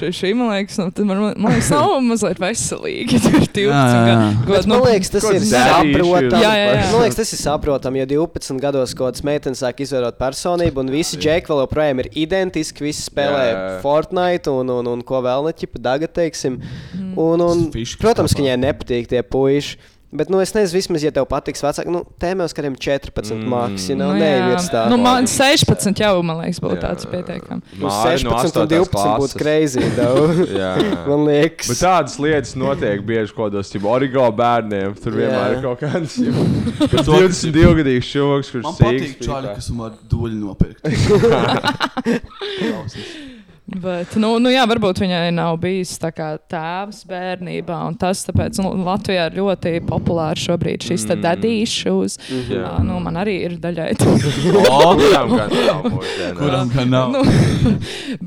Speaker 8: Šī, šī man liekas, nu, tad man, man liekas, nav mazliet veselīga. Tur ir 12
Speaker 6: Jā, jā.
Speaker 8: gadu. Nu,
Speaker 7: Bet, man liekas, tas
Speaker 3: kaut
Speaker 7: ir
Speaker 3: kāds daddy issues.
Speaker 7: saprotami.
Speaker 8: Jā, jā, jā.
Speaker 7: Man liekas, tas ir saprotami, jo 12 gados kaut kāds meitenes sāk izvērot personību, un visi džeki vēl joprojām ir identiski. Visi spēlē jā,
Speaker 3: Jā, jā.
Speaker 7: jā. Fortnite un, un, un ko vēl ne ķipa daga, teiksim.
Speaker 8: Mm.
Speaker 7: Un, un,
Speaker 6: Fiškas
Speaker 7: protams, ka
Speaker 6: labā.
Speaker 7: viņai nepatīk tie puiši. Bet, nu, es nezinu, vismaz, ja tev patiks vecāki, nu, tēmēs, kādiem 14 mm. mākslinieks, jau nav neviens tāds.
Speaker 8: nu, man 16 jau, man liekas, būtu
Speaker 3: Jā.
Speaker 8: tāds pietiekams.
Speaker 3: Māri no
Speaker 7: 16 un
Speaker 3: 8.
Speaker 7: 12
Speaker 3: klases.
Speaker 7: būtu greizi.
Speaker 3: jā.
Speaker 7: Man liekas,
Speaker 3: Bet tādas lietas notiek bieži kaut kādos tipos origo bērniem. Tur
Speaker 7: Jā.
Speaker 3: vienmēr ir kaut kāds ķipa, 22 gadīgs šoks, kurš
Speaker 6: Man
Speaker 3: sīgs
Speaker 6: patīk
Speaker 3: pīpē.
Speaker 6: čāļi, kas man var duļi nopirkt.
Speaker 8: Bet, nu, nu, jā, varbūt viņai nav bijis tā kā tēvs bērnībā, un tas tāpēc un Latvijā ir ļoti populārs šobrīd šis mm. dadīšus.
Speaker 3: Jā.
Speaker 8: Uh, nu, man arī ir daļai tā.
Speaker 3: Kuram gan nav mūsdienās?
Speaker 6: Kuram gan nav?
Speaker 8: Nu,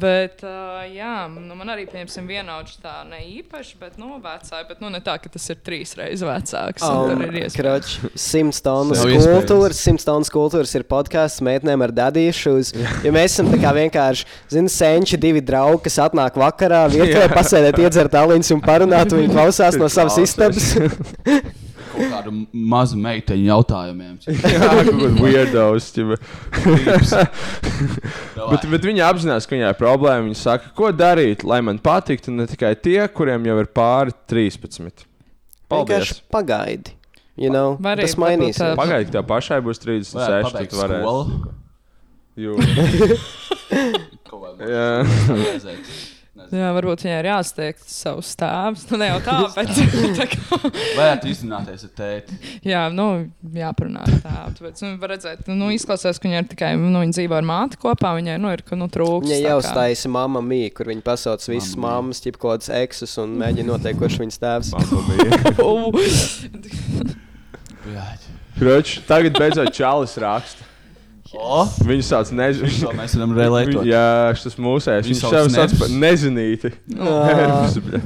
Speaker 8: bet, uh, jā, nu, man arī, piemēram, vienaudža tā ne īpaši, bet, nu, vecāka, bet, nu, ne tā, ka tas ir trīs reizes vecāks. un tur ir iespēja.
Speaker 7: Um, Krač, 100 tonnas
Speaker 6: Nav iespējas.
Speaker 7: kultūras, 100 tonnas kultūras ir podkāsts meitenēm ar dadīšus. Ja mēs esam tā kā vienkārši, zini, senči, divi draugi, kas atnāk vakarā, vietā pasēdēt, iedzert aliņus un parunāt, un viņi klausās no savas
Speaker 3: Klausās.
Speaker 7: istabas.
Speaker 6: Kaut kādu m- mazu meiteņu jautājumiem.
Speaker 3: Jā, kaut kāda weirdos. ķipa. Bet,
Speaker 6: Bet
Speaker 3: bet viņa apzinās, ka viņai ir problēma. Viņa saka, ko darīt, lai man patiktu ne tikai tie, kuriem jau ir pāri 13. Paldies!
Speaker 7: Vienkārši pagaidi. You know,
Speaker 8: Var arī
Speaker 7: tas mainīsies.
Speaker 8: varbūt
Speaker 3: Pagaid, tev pašai būs 36. Tad varēs.
Speaker 6: skolu.
Speaker 3: Jū.
Speaker 6: Kaut vai
Speaker 3: Jā.
Speaker 6: vajadzētu.
Speaker 8: Jā, varbūt viņai ir jāsteigts savus stāvus. Nu, ne jau tā, bet tā kā,
Speaker 6: Varētu izrunāties ar tēti.
Speaker 8: jā, nu, jāparunā ar tēvu. Tāpēc, nu, var redzēt, nu, izklausās, ka viņa ir tikai, nu, viņa dzīvo ar māti kopā, viņai, nu, ir, ka, nu, trūks.
Speaker 7: Viņa
Speaker 8: tā
Speaker 7: jau
Speaker 8: kā.
Speaker 7: stāsta mamma mīja, kur viņa pasauc visas mammas, ķip kaut kādas eksus un mēģina noteikt, kurš viņas tēvs.
Speaker 3: Kroč, tagad beidzot Čālis raksta.
Speaker 6: O,
Speaker 3: Viņš sauc
Speaker 6: to
Speaker 3: nezinu.
Speaker 6: mēs varam relētot.
Speaker 3: Jā, šis mūsējais.
Speaker 6: Viņš
Speaker 3: Viņš
Speaker 6: sauc
Speaker 3: sev sauc
Speaker 6: nervus.
Speaker 3: par nezinīti. Nervus, bļa.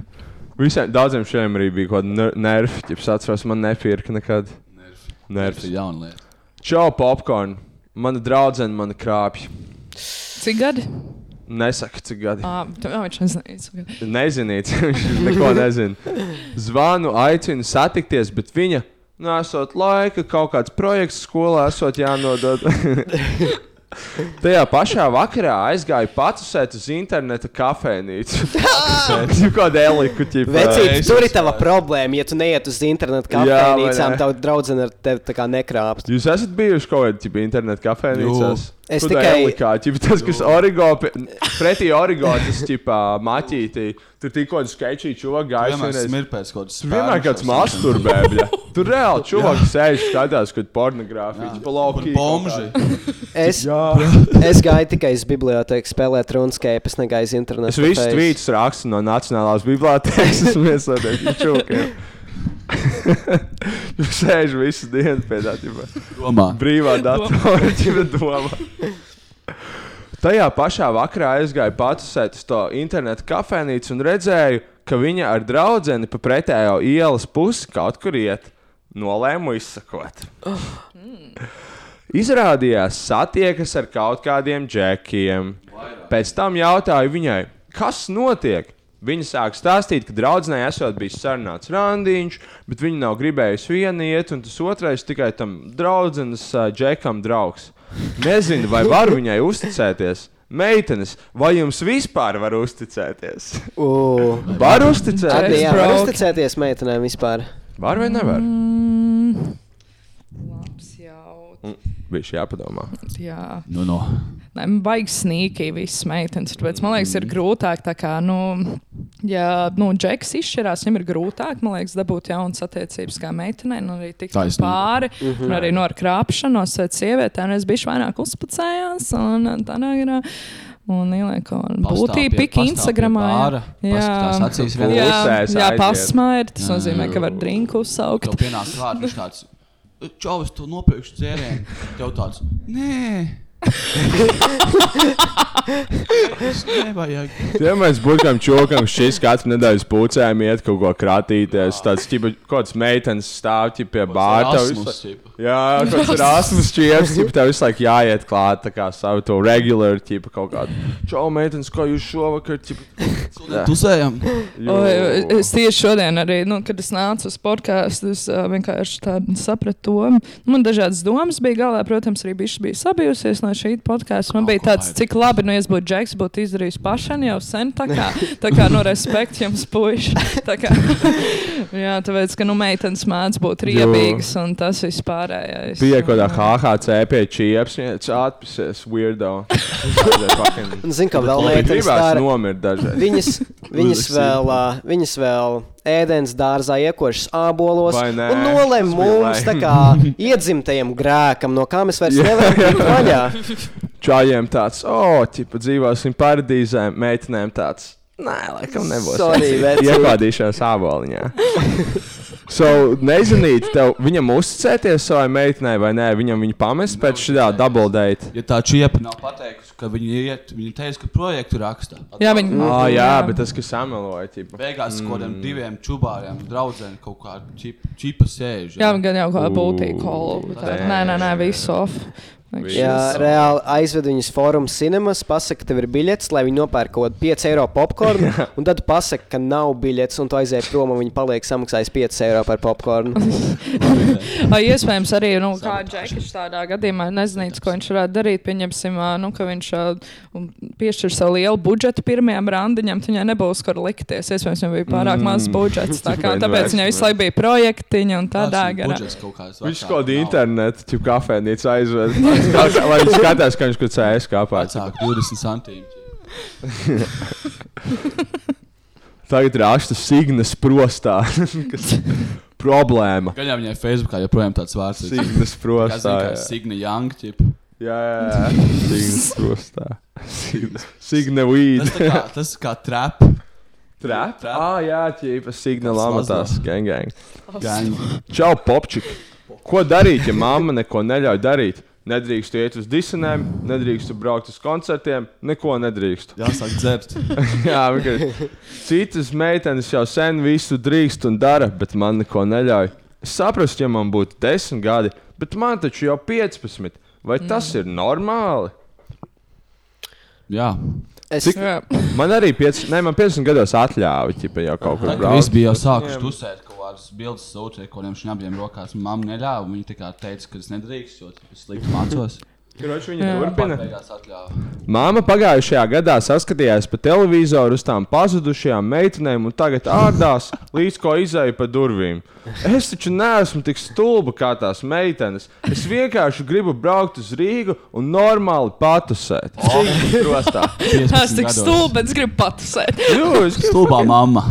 Speaker 3: Visiem daudziem šiem arī bija kaut kāda ner- nervi. Es atceros, man nepirka nekad.
Speaker 6: Tas
Speaker 3: Nervus.
Speaker 6: ir jauna lieta.
Speaker 3: Čau, popkorn. Mana draudzene man krāpja.
Speaker 8: Cik gadi?
Speaker 3: Nesaka, cik gadi.
Speaker 8: Ah, tu, jā, viņš nezināja. cik gadi.
Speaker 3: Nezinīt, viņš neko nezina. Zvanu, aicinu satikties, bet viņa nesot laika, kaut kāds projekts skolā esot jānodod. Tajā pašā vakarā aizgāju patusēt uz interneta kafejnīcu. Jau kāda eliku ķipa.
Speaker 7: Vecīt,
Speaker 6: es
Speaker 7: tur ir
Speaker 6: uzsvēru.
Speaker 7: tava problēma, ja tu neiet uz internetu
Speaker 3: Jā, vai ne?
Speaker 7: kafejnīcām, tavu draudzeni ar tevi tā kā nekrāpst.
Speaker 3: Jūs esat bijuši kaut kādā tipā internetā kafejnīcās.
Speaker 6: Jū.
Speaker 7: Es
Speaker 3: Kur tā
Speaker 7: tikai-
Speaker 3: Elikā, ķipa, tas, kas
Speaker 6: Nu.
Speaker 3: origo, pe- pretī origo, tas tipā maķītī. Tur tikko skečī čuvāk
Speaker 6: Vienmēr
Speaker 3: gājis.
Speaker 6: smirpēs kaut kāds.
Speaker 3: Vienmēr kāds masturbē, bļa. Tur reāli čūvaks sēž skatās, kad pornogrāfija palauki.
Speaker 6: Bomži.
Speaker 7: Es, es gāju tikai uz bibliotēku spēlēt RuneScape, es negāju uz internetu.
Speaker 3: Es visus tvītus rakstu no Nacionālās bibliotēkas, es mēsodēju čūkiem. Jūs sēž visu dienu pie tā, ģipa.
Speaker 6: Domā.
Speaker 3: brīvā datorā, ģipa domā. Tajā pašā vakarā aizgāju patusēt uz to internetu kafejnīcu un redzēju, ka viņa ar draudzeni pa pretējo ielas pusi kaut kur iet. Nolēmu izsakot. Izrādījās, satiekas ar kaut kādiem džekiem. Pēc tam jautāju viņai, kas notiek. Viņa sāk stāstīt, ka draudzenei esot bijis sarunāts randiņš, bet viņa nav gribējusi viena iet, un tas otrais tikai tam draudzenes ā, džekam draugs. Nezinu, vai varu viņai uzticēties. Meitenes, vai jums vispār var uzticēties?
Speaker 7: Ugh,
Speaker 3: Var uzticēties?
Speaker 7: jā, var
Speaker 8: brauki.
Speaker 7: uzticēties meitenēm vispār.
Speaker 3: Var vai nevar?
Speaker 8: Mm, labs jautājums.
Speaker 3: Bija jāpadomā.
Speaker 8: Mm. Jā.
Speaker 6: Nu, no.
Speaker 8: Nē, man baigs sīkīgi visas meitenes. Tāpēc man liekas, ir
Speaker 6: Mm.
Speaker 8: grūtāk. tā Kā, nu, ja nu, džeks izšķirās, viņam ir grūtāk man liekas, dabūt jaunas attiecības kā meitenei, un arī tikt
Speaker 6: Taisnība.
Speaker 8: pāri. Mm -hmm. Un arī no ar krāpšanos pret sievietēm es biju vairāk uzpacējās. Un tādā garā. Un ielieku kaut kādu būtību, pika Instagramā.
Speaker 6: Jā, tas
Speaker 3: Pulsēs
Speaker 6: acīs
Speaker 8: jā,
Speaker 6: vienā.
Speaker 8: jā
Speaker 3: aiziet.
Speaker 8: pasmaidi. Tas nozīmē, ka var drinku uzsaukt.
Speaker 6: Tev pienāk klāt, viņš tāds. "E, Čau, es to nopirkšu dzērienu. Tev tāds. Nē. Es nevajag.
Speaker 3: Ja mēs būtu tam čūkam, šis katru nedēļu spūcējām, iet kaut ko kratīties, tāds ķipa, kaut kāds meitenes stāvķi pie bārta.
Speaker 6: Erasmus, tipa.
Speaker 3: Jā, kaut kāds rasmus čieps, ķipa, tev visu laiku jāiet klāt, tā kā savu to regulāru ķipa kaut kādu. Čau, meitenes, ko jūs šovakar, ķipa.
Speaker 6: Tusējam.
Speaker 8: Oi, es tieši šodien, arī, nu, kad es nācu uz podkāstu, es uh, vienkārši tādu sapratu domu. Nu, Man dažādas domas bija galā, protams, arī bišķi bija sabijusies no šī podkāsta. Man bija tāds, cik labi, nu, ja es būtu Džeks, būtu izdarījis pašam jau sen. Tā kā, tā kā nu, respekts jums, puiši. Tā kā, jā, tāpēc, ka, nu, meitenes mēdz būt riebīgas un tas vispārējais.
Speaker 3: Bija kaut kādā HHC pie čieps, viņš atpisies, weirdo.
Speaker 7: Un zinu, ka vēl meitenes tā
Speaker 3: Gribēs
Speaker 7: ir.
Speaker 3: nomirt dažreiz.
Speaker 7: Viņas, viņas, vēl, ā, viņas vēl ēdienas dārzā iekošas ābolos
Speaker 3: Vai nē?
Speaker 7: un nolēma
Speaker 3: Tas bija
Speaker 7: mums tā kā iedzimtajam grēkam, no kā mēs vairs nevaram tikt vaļā.
Speaker 3: čājiem tāds, o, oh, tipa dzīvosim paradīzē, meitenēm tāds. Nē, laikam nebūs.
Speaker 7: Sorry, vecīt.
Speaker 3: Iepādīšās āboliņā. So, nezinīt, tev, viņam uzticēties savai meitenei vai nē, viņam viņa pamest pēc šādā double date.
Speaker 6: Ja tā čiepa nav pateikusi, ka viņi iet, viņi teica, ka projektu raksta.
Speaker 8: Jā, viņi
Speaker 6: Mhm.
Speaker 3: Ā, oh, jā, bet tas, kas sameloja, tipa.
Speaker 6: Beigās mm. kaut kādiem diviem čubāriem, draugiem kaut kā čip- čipa sēž.
Speaker 8: Jā, viņi gan jau kāda būtīga
Speaker 3: Ū,
Speaker 8: kolu. tā.
Speaker 3: damn.
Speaker 8: Nē, nē, nē, visu off.
Speaker 7: Jā, Uh, reāli aizved viņus fórumā, cinemas, pasakot, ka tev ir biļets, lai viņi nopērk kaut kādu 5 eiro popkornu. Un tad pasakot, ka nav biļets, un tu aizēji prom, un viņi paliek samaksājis 5 eiro par popkornu.
Speaker 8: Vai iespējams arī, nu, kā Džekišs tādā gadījumā nezinātu, ko viņš varētu darīt. Pieņemsim, ā, nu, ka viņš ā, un piešķir savu lielu budžetu pirmajam randiņam, tad viņai nebūs, kur likties. Iespējams, viņam bija pārāk mazs budžets. Tā kā,
Speaker 3: Mm. Vai
Speaker 8: tāpēc viņai visu laiku bija projektiņi un tādā garā.
Speaker 6: Budžets kaut kāds.
Speaker 3: Viņš
Speaker 6: vecāks
Speaker 3: kaut kādu
Speaker 6: nav.
Speaker 3: internetu, tipu kafejnīcu aizved. Lai viņš skatās, ka viņš kaut CS kāpā.
Speaker 6: Vecāki 20 centīmi.
Speaker 3: Tagad ir ašta signas prostā. kas Problēma.
Speaker 6: Gan jau viņai Facebookā joprojām tāds vārds ir.
Speaker 3: Signas
Speaker 6: Kā
Speaker 3: prostā.
Speaker 6: zina, kā
Speaker 3: jā.
Speaker 6: Signa Young. Tip.
Speaker 3: Jā, jā, jā. Signas prostā. Signa- Signa
Speaker 6: Tas
Speaker 3: weed.
Speaker 6: tā kā, tas kā trap.
Speaker 3: Trap?
Speaker 6: Trap.
Speaker 3: Ā, jā, ķīpa signa
Speaker 6: Tas
Speaker 3: lamatās.
Speaker 6: lazdā.
Speaker 3: Gang, gang.
Speaker 6: Gan.
Speaker 3: Čau, popčik! Ko darīt, ja mamma neko neļauj darīt? Nedrīkstu iet uz disinēm, nedrīkstu braukt uz koncertiem, neko nedrīkstu.
Speaker 6: Jāsāk dzert.
Speaker 3: Jā, vienkārši. Citas meitenes jau sen visu drīkst un dara, bet man neko neļauj. Es saprastu, ja man būtu 10 gadi, bet man taču jau 15. Vai
Speaker 6: Mm.
Speaker 3: tas ir normāli?
Speaker 6: Jā.
Speaker 7: Es
Speaker 3: Cik-
Speaker 8: Jā.
Speaker 3: Man arī 5, ne, man 50 gados atļāva ķipa, jau kaut kur
Speaker 6: Tā kā viss
Speaker 3: braukt.
Speaker 6: bija jau sākuši tusēt, kaut kādas bildes sūtīja, ko viņam abiem rokās. Mamma neļāva, viņa tā kā teica, ka es nedrīkst, jo tip, es slikti mācos.
Speaker 3: Kroči, viņa turpina.
Speaker 6: Beigās atļāva.
Speaker 3: Māma pagājušajā gadā saskatījās pa televizoru uz tām pazudušajām meitenēm un tagad ārdās, līdz ko izēja pa durvīm. Es taču neesmu tik stulba kā tās meitenes. Es vienkārši gribu braukt uz Rīgu un normāli patusēt. Krostā.
Speaker 6: 15
Speaker 8: Tas tik
Speaker 6: gados.
Speaker 8: stulbi, bet es gribu patusēt.
Speaker 3: Jūs,
Speaker 6: Stulbā mamma.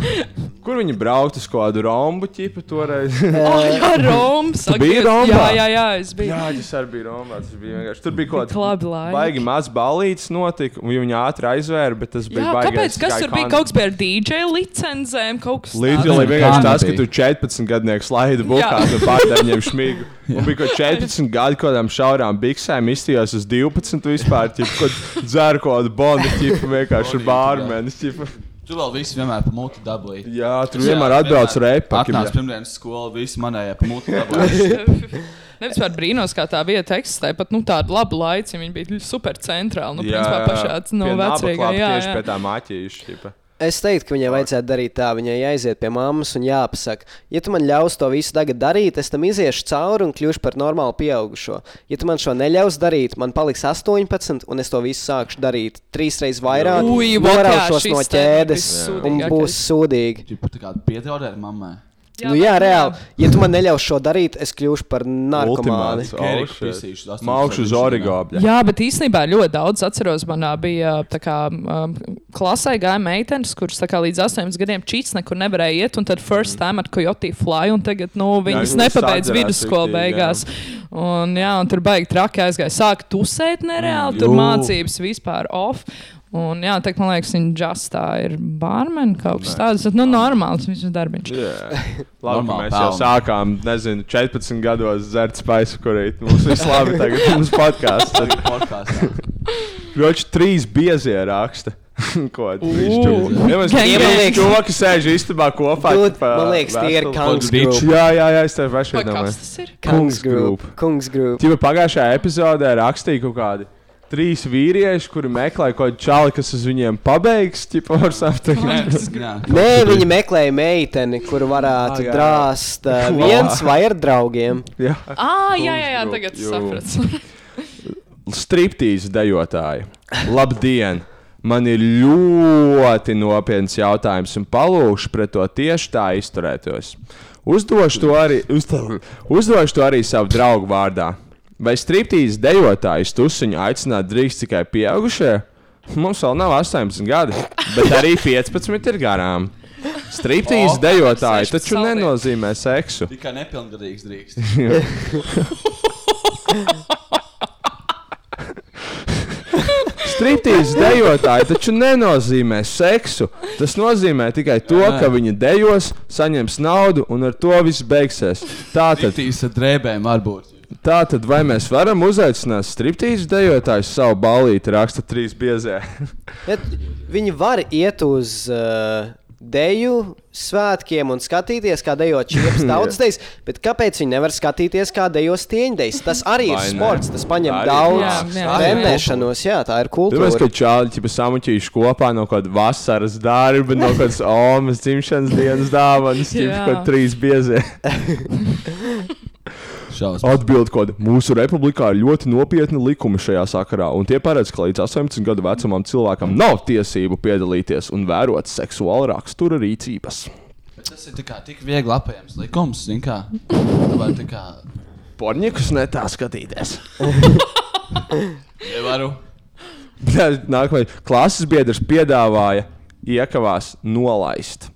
Speaker 3: kur viņi braukt uz kādu rombu ķipu toreiz?
Speaker 8: Oh, jā, Roms. ak,
Speaker 3: biji
Speaker 8: jūs-
Speaker 3: Rombā?
Speaker 8: Jā, jā, jā, es biju.
Speaker 3: Jā, tas arī bija Romas. Tas bija vienkārši. Tur bija kaut
Speaker 8: Tik labi
Speaker 3: kāda
Speaker 8: laiki.
Speaker 3: baigi maz balīts notika, un viņa ātri aizvēra, bet tas bija
Speaker 8: Jā,
Speaker 3: baigais
Speaker 8: kāpēc? Kas
Speaker 3: sky
Speaker 8: tur bija?
Speaker 3: content.
Speaker 8: Kaut kas bija ar DJ licencēm, kaut kas
Speaker 3: Līdz
Speaker 8: tāds.
Speaker 3: ar to
Speaker 6: Kāda
Speaker 3: vienkārši tas, ka
Speaker 6: bija?
Speaker 3: tu 14 gadnieks laidi bokā
Speaker 8: Jā.
Speaker 3: no pārdeņiem šmīgu. Un bija kaut 14 gadu kādām šaurām biksēm, izstījās uz 12 vispār, ķip, kaut dzēru kādu bondu, ķip, vienkārši
Speaker 6: Bonīti,
Speaker 3: bārmenis, ķip.
Speaker 6: Tu vēl visu vienmēr pa muti dabūji.
Speaker 3: Jā, tur vienmēr atbrauc repakim.
Speaker 6: Atnāc pirmdienas skola, visi manējā pa muti dabūji.
Speaker 8: Nevis par brīnos, kā tā vieta eksistē, bet nu, tāda laba laika viņa bija super centrāla. Nu,
Speaker 3: Jā,
Speaker 8: principā pašā no
Speaker 3: pie naba
Speaker 8: vecākā.
Speaker 3: klāpa
Speaker 8: Jā,
Speaker 3: tieši
Speaker 8: jā.
Speaker 3: pie tā māķīša, ķip.
Speaker 7: Es teiktu, ka viņai vajadzētu darīt tā, viņai jāiziet pie mammas un jāpasaka, ja tu man ļaus to visu tagad darīt, es tam iziešu cauri un kļūšu par normālu pieaugušo. Ja tu man šo neļaus darīt, man paliks 18, un es to visu sākšu darīt trīsreiz vairāk,
Speaker 8: Ui, vot jā,
Speaker 7: noraušos
Speaker 8: šis
Speaker 7: no
Speaker 8: te
Speaker 7: ķēdes,
Speaker 8: ir
Speaker 7: un
Speaker 8: vissūdīgākais.
Speaker 7: būs sūdīgi.
Speaker 6: Tipu tā kā piedraudē ar mammai.
Speaker 7: Jā, nu, jā, reāli. Ja tu man neļaus šo darīt, es kļūšu par narkomānu.
Speaker 3: Ultimāts. Oh,
Speaker 6: Keriku pisīšu, astoņas
Speaker 3: Maukšu uz
Speaker 6: stundas
Speaker 3: origo. bļa.
Speaker 8: Jā, bet īstenībā ļoti daudz atceros, manā bija tā kā, um, klasē gāja meitenes, kuras tā kā līdz 18 gadiem čīts nekur nevarēja iet, un tad first time ar Coyote fly, un tagad nu, viņas
Speaker 3: viņas
Speaker 8: nepabeidz
Speaker 3: atdzerās
Speaker 8: vidusskolu
Speaker 3: riktīgi,
Speaker 8: beigās. Un, jā, un tur baigi traki aizgāja, sāka tusēt nereāli, tur
Speaker 6: Jū.
Speaker 8: mācības vispār off. Un, jā, tā man liekas, viņa justā ir barmen kaut kas tāds. Nu, normāls viņa darbiņš.
Speaker 3: Jā. Labi, ka
Speaker 6: Normāli
Speaker 3: mēs jau
Speaker 6: pelna.
Speaker 3: sākām, nezinu, 14 gados dzert spaisu, kurīt mums viss labi tagad, mums podkāsts.
Speaker 6: Podkāstā.
Speaker 3: Kroķis trīs biezie raksta. Ko viņš
Speaker 8: Ū. Gang
Speaker 7: bang.
Speaker 3: Čūlaki sēž istabā kopā.
Speaker 7: Dude,
Speaker 3: tipā,
Speaker 7: man liekas, tie ir
Speaker 3: vēstuli.
Speaker 7: Kungs
Speaker 6: Biču.
Speaker 7: Group.
Speaker 3: Jā, jā, jā, es tev pašu
Speaker 8: Vai
Speaker 3: domāju.
Speaker 8: Kas tas ir?
Speaker 7: Kungs Group. Kungs Group.
Speaker 3: Tīpa pagājušajā epizodē rakstīja kaut kādi. Trīs vīrieši, kuri meklē kaut kādu čāli, kas uz viņiem pabeigs, tipā ar
Speaker 6: Nē,
Speaker 3: savu
Speaker 6: jā.
Speaker 7: Nē, viņi meklēja meiteni, kuru varētu
Speaker 3: Ah, jā.
Speaker 7: drāst uh,
Speaker 3: Wow.
Speaker 7: viens vai ar draugiem.
Speaker 8: Ah, jā, jā, jā,
Speaker 3: Kungs
Speaker 8: tagad
Speaker 3: grupa, jū.
Speaker 8: sapratu.
Speaker 3: striptīzu dejotāju. Labdien! Man ir ļoti nopietns jautājums, un palūkšu pret to tieši tā izturētos. Uzdošu to arī, uzdo- uzdošu to arī savu draugu vārdā. Vai striptīzu dejotāju stusiņu aicināt drīkst tikai pieaugušie? Mums vēl nav 18 gadi, bet arī 15 ir garām. Striptīzu
Speaker 6: O,
Speaker 3: dejotāji
Speaker 8: 16
Speaker 3: taču
Speaker 8: saldiem.
Speaker 3: nenozīmē seksu.
Speaker 6: Tikai nepilngadīgs drīkst.
Speaker 3: striptīzes dejotāji taču nenozīmē seksu. Tas nozīmē tikai to, ka viņi dejos, saņems naudu un ar to viss beigsies. Tātad,
Speaker 6: Tīs ar drēbēm varbūt.
Speaker 3: tātad vai mēs varam uzaicināt striptīzes dejotājus savu balīti, raksta trīs biezē.
Speaker 7: Bet viņi var iet uz uh, deju svētkiem un skatīties, kā dejo čips tautas daļas, bet kāpēc viņi nevar skatīties, kā dejo stieņdējas? Tas arī ir
Speaker 3: Vai ne?
Speaker 7: sports, tas paņem
Speaker 3: Tā ir-
Speaker 7: daudz
Speaker 8: Jā, jā.
Speaker 7: trendēšanos, jā, tā ir
Speaker 3: Tāpēc, ka
Speaker 7: kultūra.
Speaker 3: čāli ķipa samuķījuši kopā no kāda vasaras darba, no kādas omas dzimšanas dienas dāvanas, ķipa
Speaker 8: Jā.
Speaker 3: kaut trīs biezē.
Speaker 6: Šausmas.
Speaker 3: Atbild, ka mūsu republikā ir ļoti nopietni likumi šajā sakarā, un tie paredz, ka līdz 18 gadu vecumam cilvēkam nav tiesību piedalīties un vērot seksuāla rakstura rīcības.
Speaker 6: Bet Tas ir tā kā tik viegli apējams likums, zin kā. Tu vari tā kā.
Speaker 3: Porņikus ne tā skatīties.
Speaker 6: Nevaru.
Speaker 3: Tad Nākamais klases biedrs piedāvāja iekavās nolaist.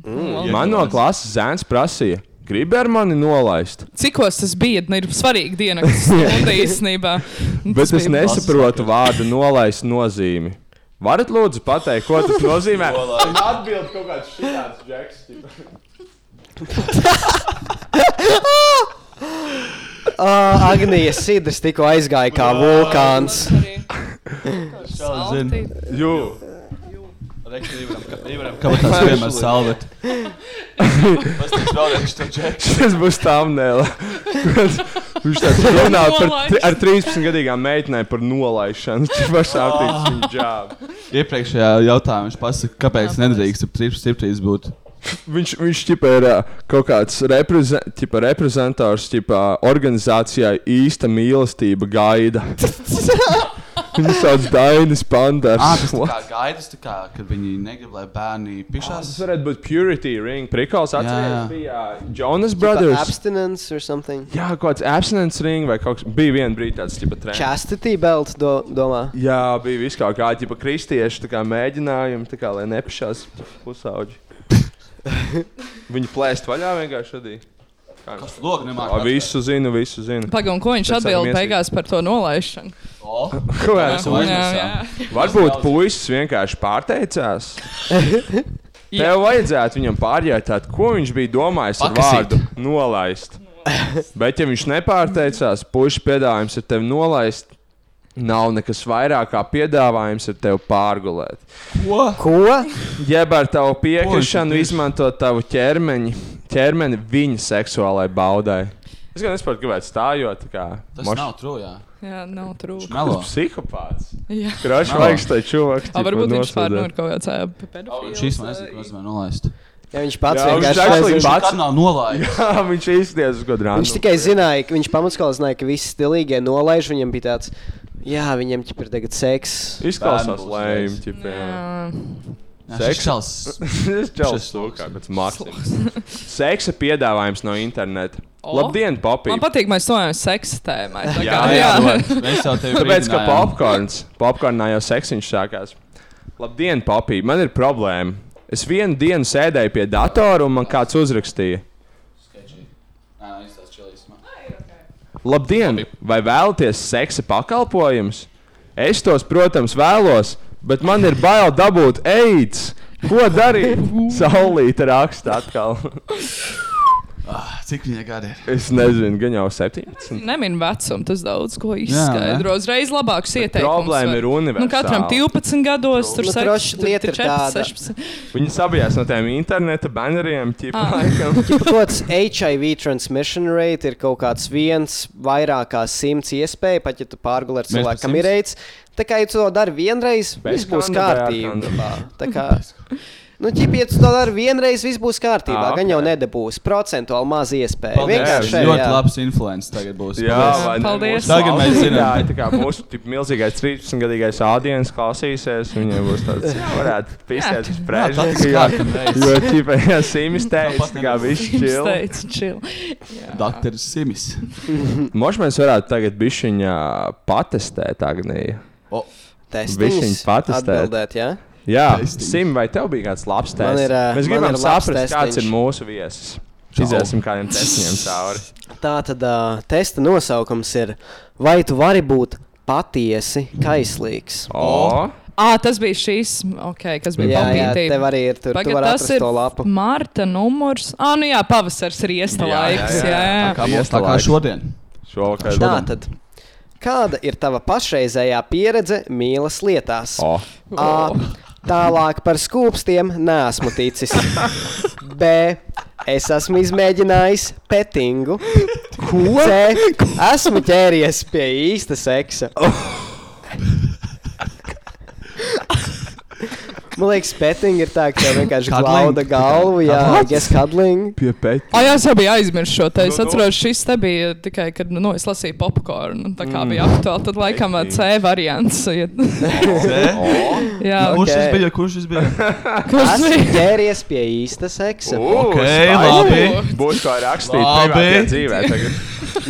Speaker 8: Mm,
Speaker 3: Man no klases zēns prasīja, gribi ar mani nolaist.
Speaker 8: Cikos tas bija? Nu, ir svarīga diena, kas stunda īstenībā. Un
Speaker 3: Bet
Speaker 8: tas
Speaker 3: es
Speaker 8: bija-
Speaker 3: nesaprotu vārdu nolaist nozīmi. Varat lūdzu pateikt, ko tas nozīmē? Atbild kaut kāds šitāds džeks.
Speaker 7: Ah, Agnija Sidrs tikko aizgāja kā vulkāns.
Speaker 6: Šausmas.
Speaker 3: Jū,
Speaker 6: Kāpēc tas vienmēr salvet? Pastāst vēlreiz to džeku.
Speaker 3: šis būs thumbnail. Viņš tāds runā par,
Speaker 8: Nolaišana.
Speaker 3: ar 13 gadīgām meitenēm par nolaišanu. Tas pašām tiks viņa džāba.
Speaker 6: Iepriekšējā jautājumā viņš pasaka, kāpēc nedrīkst ap 3-7 būt.
Speaker 3: Viņš, viņš ķipa, ir ā, kaut kāds reprezen, ķipa, reprezentārs, ķipa, organizācijai īsta mīlestība gaida. Viņš sauc Dainis Pandars.
Speaker 6: Ah, tas tā kā gaidas, tā kā, kad viņi negrib, lai bērni pišās.
Speaker 3: Tas varētu būt Purity Ring. Prikals
Speaker 6: jā.
Speaker 3: atcerieties, bija ā, Jonas Brothers.
Speaker 7: Abstinence or something.
Speaker 3: Jā, kaut kāds abstinence ring vai kaut kas bija viena brīdī tāds tipa trends.
Speaker 7: Chastity belt, do, domā.
Speaker 3: Jā, bija viss kaut kāda tipa kristiešu tā kā mēģinājumi, tā kā, lai nepašās pusauģi. Viņi plēst vaļā vienkārši šodien.
Speaker 6: Logi nemāk.
Speaker 3: Visu zinu, visu zinu.
Speaker 8: Pagaidām, ko viņš
Speaker 3: Pēc tam
Speaker 8: atbild
Speaker 3: iesīt.
Speaker 8: beigās par to nolaišanu?
Speaker 6: O,
Speaker 3: Ko
Speaker 6: mēs
Speaker 3: esam?
Speaker 6: jau
Speaker 8: Jā,
Speaker 6: aizmirsām.
Speaker 8: jā.
Speaker 3: Varbūt puisis vienkārši pārteicās.
Speaker 8: Jā.
Speaker 3: Tev vajadzētu viņam pārjautāt, ko viņš bija domājis ar
Speaker 6: Pakasīt.
Speaker 3: vārdu nolaist. Bet, ja viņš nepārteicās, puikas piedāvājums ir tevi nolaist. Nav nekas vairāk kā piedāvājums ar tevi pārgulēt.
Speaker 6: Ko?
Speaker 7: Ko?
Speaker 3: Jeb ar tavu
Speaker 6: Ko
Speaker 3: piekrišanu
Speaker 6: viņš ir
Speaker 3: izmantot tavu ķermeņi, ķermeni viņa seksuālai baudai. Es gan nesaprotu, kāpēc stājot. tā Kā,
Speaker 6: Tas
Speaker 3: moš-
Speaker 6: nav trūjā.
Speaker 8: Jā, nav trūkums.
Speaker 6: Melo.
Speaker 3: psihopāts.
Speaker 8: Jā.
Speaker 3: Krošs
Speaker 6: Nav.
Speaker 3: vajag stai čuvaks.
Speaker 8: A, varbūt viņš
Speaker 3: nosodēt.
Speaker 8: pārnūr kaut kāds ā, pedofils.
Speaker 6: Šīs man nezinu, ko nozīmē nolaist.
Speaker 7: Ja viņš pats
Speaker 3: Jā, viņš
Speaker 7: vienkārši
Speaker 3: actually nu. Viņš
Speaker 7: nezina.
Speaker 6: Viņš
Speaker 3: pats-
Speaker 6: tā nav nolaist.
Speaker 3: Jā, viņš īstenībā uz kaut kādu
Speaker 7: Viņš tikai zināja, ka viņš pamatskolā zināja, ka visi stilīgie nolaiž. Viņam bija tāds, jā, viņam ķip ir tagad seks.
Speaker 3: izklausās
Speaker 6: Bērnu būs
Speaker 3: lēmumi.
Speaker 6: reiz.
Speaker 3: Seks.
Speaker 6: Seksuāls.
Speaker 3: Tas čels
Speaker 6: Šis
Speaker 3: kaut kāds mākslinieks. Seksa piedāvājums no interneta.
Speaker 8: O.
Speaker 3: Labdien, papīri!
Speaker 8: Man patīk, mēs stojam seksa tēmai. tā
Speaker 3: Jā,
Speaker 8: kā,
Speaker 3: jā,
Speaker 6: Mēs jau tevi
Speaker 3: Tāpēc, ka
Speaker 6: brīdinājām.
Speaker 3: popkorns, popkornā jau seksiņš sākās. Labdien, papīri! Man ir problēma. Es vienu dienu sēdēju pie datora un man kāds uzrakstīja.
Speaker 6: Sketchy. Nē, nē, viņš tāds čilīs. man.
Speaker 3: Labdien, vai vēlaties seksa pakalpojumus? Es tos, protams, vēlos, bet man ir bail dabūt eids. Ko darīt? Saulīte raksta atkal.
Speaker 6: Ah, Cik viņa gada ir?
Speaker 3: Es nezinu, gan jau 17.
Speaker 8: Nemin vecumu, tas daudz ko izskaidro. Uzreiz labāks ieteikums.
Speaker 3: problēma
Speaker 8: var-
Speaker 3: ir
Speaker 8: Nu, katram
Speaker 3: universāla.
Speaker 8: 12 gados, tur
Speaker 7: Nu, droši
Speaker 8: 6,
Speaker 7: lieta ir
Speaker 8: 4,
Speaker 7: tāda.
Speaker 8: 16.
Speaker 3: Viņa sabijās no tiem interneta banneriem, ķipa, laikam.
Speaker 7: Kaut kāds HIV transmission rate ir kaut kāds viens, vairāk kā simts iespēja, pat ja tu pārgulē ar
Speaker 6: Mēs pa
Speaker 7: cilvēku, kam ir
Speaker 6: simts?
Speaker 7: reids. Tā kā, ja tu to dari vienreiz,
Speaker 3: Bez
Speaker 7: viss būs
Speaker 3: kandidāta,
Speaker 7: kārtībā. Tā kā, nu, ķip, ja tu to dari vienreiz, viss būs kārtībā.
Speaker 3: Ā,
Speaker 7: Gan jau
Speaker 3: ok.
Speaker 7: nedabūs procentuāli maz iespēju.
Speaker 6: Paldies.
Speaker 7: Vienkārši šeit,
Speaker 6: Ļoti
Speaker 7: jā.
Speaker 6: labs influence tagad būs.
Speaker 3: Jā,
Speaker 6: Paldies.
Speaker 3: vai ne?
Speaker 8: Paldies.
Speaker 3: Mūsu
Speaker 6: Tagad mēs zinām.
Speaker 3: klausītāji, Tā kā mūsu tip, milzīgais 13-gadīgais audiens klausīsies, viņiem būs tāds, jā, varētu pisties uz
Speaker 6: Jā, tas
Speaker 3: priekšu.
Speaker 6: kārtam reiz.
Speaker 3: Jo, ķipa, ja Simis teica, tā kā viss
Speaker 8: Viņš
Speaker 3: čil.
Speaker 8: teica, chill.
Speaker 6: Dakteris Simis.
Speaker 3: Moš mēs varētu tagad bišķiņā patestēt Agniju. Višķiņ
Speaker 7: Testiņus
Speaker 3: patestēt.
Speaker 7: atbildēt, jā.
Speaker 3: Jā,
Speaker 6: Testiņ.
Speaker 3: Sim, vai tev bija kāds labs
Speaker 7: Man
Speaker 3: tests?
Speaker 7: ir, ā,
Speaker 6: eh,
Speaker 3: mēs
Speaker 7: man
Speaker 3: gribam
Speaker 7: ir labs
Speaker 3: saprast, kāds
Speaker 7: testiņš.
Speaker 3: ir mūsu viesis. Iziesim kādiem testiem cauri.
Speaker 7: Tā tad uh, testa nosaukums ir, vai tu vari būt patiesi kaislīgs.
Speaker 3: O,
Speaker 8: Ah, tas bija šīs, okay, kas bija
Speaker 7: Jā, jā,
Speaker 8: papītība.
Speaker 7: tev arī ir tur. Tu vari
Speaker 8: tas
Speaker 7: atrast
Speaker 8: ir
Speaker 7: to lapu.
Speaker 8: Marta numurs. Ah, nu jā, pavasars ir iesta laiks. Jā, jā, jā.
Speaker 6: Tā kā, mums,
Speaker 3: Fiesta
Speaker 6: tā kā
Speaker 3: laiks.
Speaker 6: šodien.
Speaker 3: šovakar.
Speaker 7: Tā tad. Kāda ir tava pašreizējā pieredze mīlas lietās?
Speaker 3: O,
Speaker 7: A. Tālāk par skūpstiem neesmu ticis. B. Es esmu izmēģinājis petingu. Ko? C. Esmu ķēries pie īsta seksa. Man liekas, petinga ir tā, ka tev vienkārši
Speaker 6: Cuddling?
Speaker 7: klauda galvu, jā,
Speaker 6: What?
Speaker 7: yes, cuddling.
Speaker 3: pie pēķa.
Speaker 8: Ah, jā, es jau biju aizmirsis šo te. Es
Speaker 3: Nu, nu.
Speaker 8: atceros, šis te bija tikai, kad nu, es lasīju popkornu. Tā kā bija aktuāli, tad laikam ā, C variants. ja- jā,
Speaker 7: Nu, Ok.
Speaker 6: Kurš šis bija? Kurš šis bija?
Speaker 8: kurš
Speaker 7: Esmu
Speaker 8: bija?
Speaker 7: ķēries pie īsta seksa.
Speaker 6: Ok, labi.
Speaker 3: Būs kā rakstīt
Speaker 6: Labi.
Speaker 3: privātajā dzīvē tagad.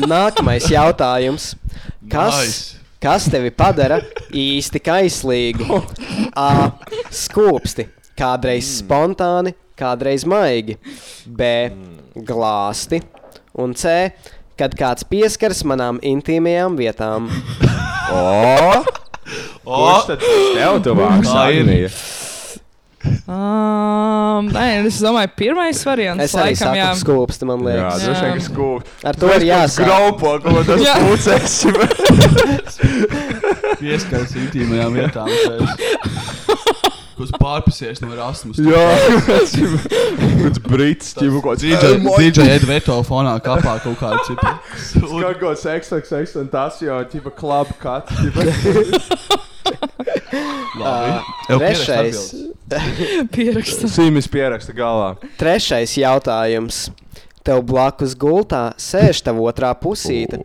Speaker 7: Nākamais jautājums. Kas,
Speaker 6: Nice.
Speaker 7: nice. kas tevi padara īsti kaislīgu? A. Skūpsti. Kādreiz spontāni, kādreiz maigi. B. Glāsti. Un C. Kad kāds pieskaras manām intīmajām vietām.
Speaker 3: O, kurš tad tev tuvāks?
Speaker 6: Tā ir.
Speaker 3: Agnija?
Speaker 8: Um, nē, es domāju, pirmais variants.
Speaker 7: Es arī
Speaker 8: laikam,
Speaker 7: saku,
Speaker 8: jā.
Speaker 7: skūpsti man
Speaker 3: Jā,
Speaker 7: liekas.
Speaker 3: droši vien,
Speaker 8: Jā.
Speaker 3: ka skūp.
Speaker 7: Ar to ir jāsaka.
Speaker 3: Graupo, ko tas
Speaker 8: Jā.
Speaker 3: pūcēs.
Speaker 6: Pieskaras intīmajām vietām. Kurš pārpasies no Erasmus?
Speaker 3: Jā, tas ir kāds brīts, ķivu kaut
Speaker 6: DJ,
Speaker 3: kāds.
Speaker 6: DJ Edveto fonā kapā kaut kāda cipa.
Speaker 3: Kaut kāds XXX un tas jau, ķiva klub kāds. ķipa.
Speaker 7: Trešais,
Speaker 8: Pierakstu.
Speaker 3: Sīmis pieraksta galā.
Speaker 7: trešais jautājums. Tev blakus gultā sēž tava otrā pusīte.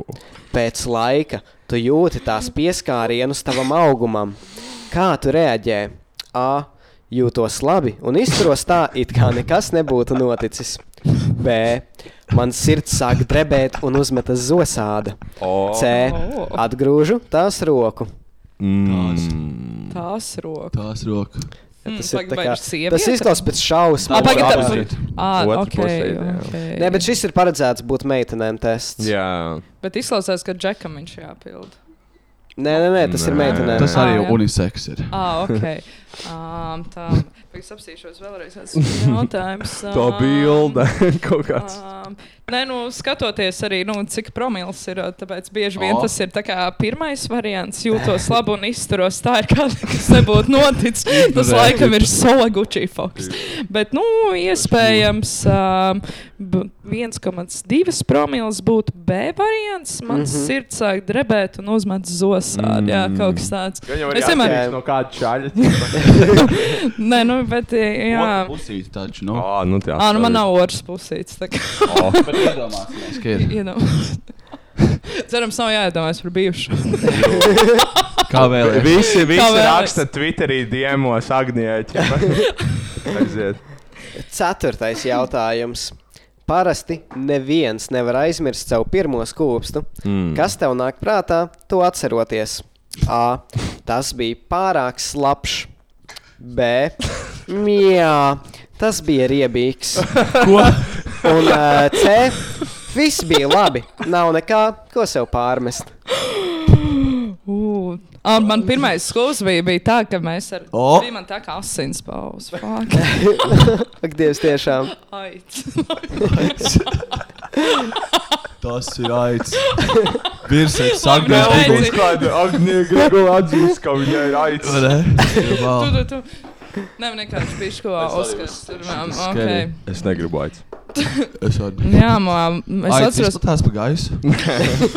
Speaker 7: Pēc laika tu jūti tās pieskārienus tavam augumam. Kā tu reaģē? A. Jūtos labi un izturos tā, it kā nekas nebūtu noticis. B. Man sirds sāk drebēt un uzmetas zosāde.
Speaker 3: O,
Speaker 7: C. Atgrūžu tās roku.
Speaker 3: mm.
Speaker 8: Tās rokas.
Speaker 6: Tās rokas.
Speaker 8: Mm,
Speaker 7: Tas, ir
Speaker 8: tagad
Speaker 7: tā kā,
Speaker 8: vairs sieviete?
Speaker 7: tas izklausās pēc
Speaker 8: Ah,
Speaker 7: šausmām.
Speaker 8: pagaid, tā-
Speaker 3: Opposite.
Speaker 8: Ah,
Speaker 3: Otra
Speaker 8: ok.
Speaker 3: pusē, jā.
Speaker 8: okay.
Speaker 7: Nē, bet šis ir paredzēts būt meitenēm tests.
Speaker 3: Jā,
Speaker 8: bet izklausās, ka džekam viņš jāpild.
Speaker 7: Nē, nē, nē, tas ir
Speaker 3: Nē.
Speaker 7: meitenēm.
Speaker 6: Tas
Speaker 8: Ā,
Speaker 6: arī
Speaker 8: jā.
Speaker 6: uniseks ir.
Speaker 8: Ah, ok. Um, tā, pagaid, apsīšos vēlreiz. Tas ir jautājums.
Speaker 3: tā
Speaker 8: Ām,
Speaker 3: bilde kaut kāds.
Speaker 8: ām, Nē, nu, skatoties arī, nu, cik promils ir, tāpēc bieži vien
Speaker 6: O.
Speaker 3: Ah.
Speaker 8: oh. tas ir tā kā pirmais variants. Jūtos labi un izturos tā, ir kā nekas nebūtu noticis. Tas laikam ir solaguči foks. Bet, nu, iespējams, um, b- 1,2 promils būtu B variants. Mans
Speaker 3: Mhm.
Speaker 8: mm -hmm. sirds sāk drebēt un uzmet zosādi. Mm. Jā, kaut kas tāds.
Speaker 3: Viņam
Speaker 8: Es
Speaker 3: ir
Speaker 8: vienmēr-
Speaker 3: jāatkarīgs no kāda čaļa. ķipa.
Speaker 8: Nē, nu, bet, jā.
Speaker 6: Pusīt taču, nu.
Speaker 3: Ā, nu tā.
Speaker 8: Ah, nu man nav otrs pusīts. tā kā,
Speaker 6: Bet iedomāsimies, ka ir.
Speaker 8: iedomā- Cerams, nav jāiedomājas par bijušo.
Speaker 6: Kā vēlēties?
Speaker 3: Visi, visi
Speaker 8: vēlas.
Speaker 3: raksta Twitterī diemos Agnijai. Aiziet.
Speaker 7: Ceturtais jautājums. Parasti neviens nevar aizmirst savu pirmo skūpstu. Mm. Kas tev nāk prātā, to atceroties? A. Tas bija pārāk slapjš. B. Mjā, tas bija riebīgs. Un uh, C. Viss bija labi. Nav nekā, ko sev pārmest.
Speaker 8: Ū, ah, Man pirmā skolas bija, bija tā, ka mēs ar
Speaker 6: O.
Speaker 8: viņu bija man tā kā asins pauze. Fuck.
Speaker 7: Ak, Dievs, tiešām.
Speaker 8: Ai,
Speaker 6: Tas ir aicis. Virsēs
Speaker 3: Nav
Speaker 8: Nē, Aici.
Speaker 6: sagriezties.
Speaker 3: bijis kāda Agnija Grigola atzīst, ka viņai ir aicis.
Speaker 8: tu, tu, tu. Nē, vienkārši bija šo Oskars. tur, man, Okay.
Speaker 3: Es negribu aicis.
Speaker 6: Es varu.
Speaker 8: Jā, man, es atceros,
Speaker 6: tās pa gaisu.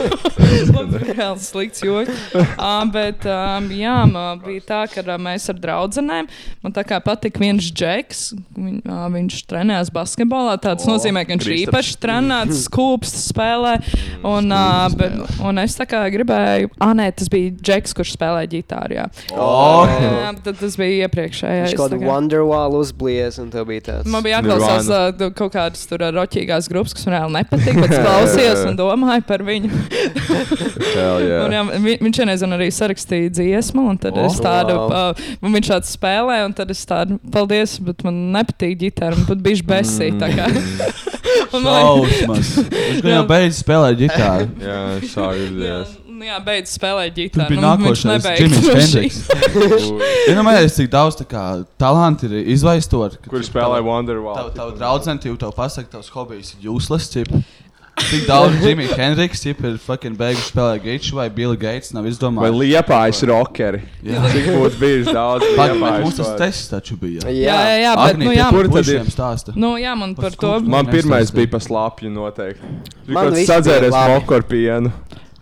Speaker 8: Vēl slikts joks. Uh, bet, um, jā, man bija tā, ka uh, mēs ar draugiem, man tā kā patika viens džeks, viņ, uh, viņš trenējās basketbolā. Tas
Speaker 3: O,
Speaker 8: nozīmē, ka viņš
Speaker 3: Kristaps.
Speaker 8: īpaši trenēts, skūps spēlē.
Speaker 3: Mm,
Speaker 8: Un, uh, bet, un es tā kā gribēju, ah, nē, tas bija džeks, kurš spēlēja ģitāru. Jā,
Speaker 6: O,
Speaker 8: Jā, tad tas bija iepriekšējais.
Speaker 7: Viņš kaut
Speaker 8: tā
Speaker 7: kādu
Speaker 8: kā.
Speaker 7: Wonderwall uzblies, un tev bija tāds.
Speaker 8: Man bija jāklausās
Speaker 3: Nirvana.
Speaker 8: uh, tu- kaut kādas tur uh, roķīgās grupas, kas man reāli nepatika, bet es klausījos un domāju par viņu.
Speaker 3: Hell yeah.
Speaker 8: Un, jā, vi, viņš vienreiz man arī sarakstīja dziesmu, un tad
Speaker 6: Oh.
Speaker 8: oh, es tādu,
Speaker 7: Wow.
Speaker 8: wow. uh, viņš tādu spēlē, un tad es tādu, paldies, bet man nepatīk ģitāra, man pat bišķi besī. tā kā. Un Oh, man liekas-
Speaker 6: Šausmas. Viņš gan jau beidz spēlēt ģitāru.
Speaker 3: Jā, sākas.
Speaker 8: Jā, nu, jā, beidz spēlēt
Speaker 6: Tas
Speaker 8: ģitāru.
Speaker 6: bija
Speaker 8: Nu, viņš
Speaker 6: nākošais.
Speaker 8: nebeidz
Speaker 6: Džimijs
Speaker 8: droši.
Speaker 6: Hendriks. Iedomājieties, nu cik daudz tā kā, talanti ir izvaistoti. ka
Speaker 3: Kur
Speaker 6: tu-
Speaker 3: spēlē
Speaker 6: Tavu,
Speaker 3: Wonderwall?
Speaker 6: tavu draudzeni, tev, tev pasaka, tavs hobijs ir useless. Cip. Cik daudz Jimmy Hendriks cip, ir fucking beiguši spēlēt Gates vai Bill Gates nav
Speaker 3: Vai
Speaker 6: izdomājis.
Speaker 3: liepājas rockeri?
Speaker 6: Jā.
Speaker 3: Cik būtu bijis daudz
Speaker 6: Pagaid, bet
Speaker 3: liepājas.
Speaker 6: Mums tas
Speaker 3: rockeri?
Speaker 6: tests taču bija.
Speaker 8: Jā, jā, jā, bet,
Speaker 6: Agnija,
Speaker 8: nu,
Speaker 6: pie
Speaker 8: jā,
Speaker 3: Kur
Speaker 6: Kur
Speaker 3: tad
Speaker 6: tad
Speaker 3: ir?
Speaker 6: ir? Stāsta.
Speaker 8: Nu, jā, man par to.
Speaker 6: skulptūra.
Speaker 3: Man
Speaker 6: Nē,
Speaker 3: pirmais
Speaker 6: tas ir.
Speaker 3: bija pa slapju noteikti.
Speaker 7: Man
Speaker 3: Man
Speaker 7: viss
Speaker 3: viss
Speaker 7: bija
Speaker 3: sadzēries
Speaker 7: labi.
Speaker 3: mokoru pienu.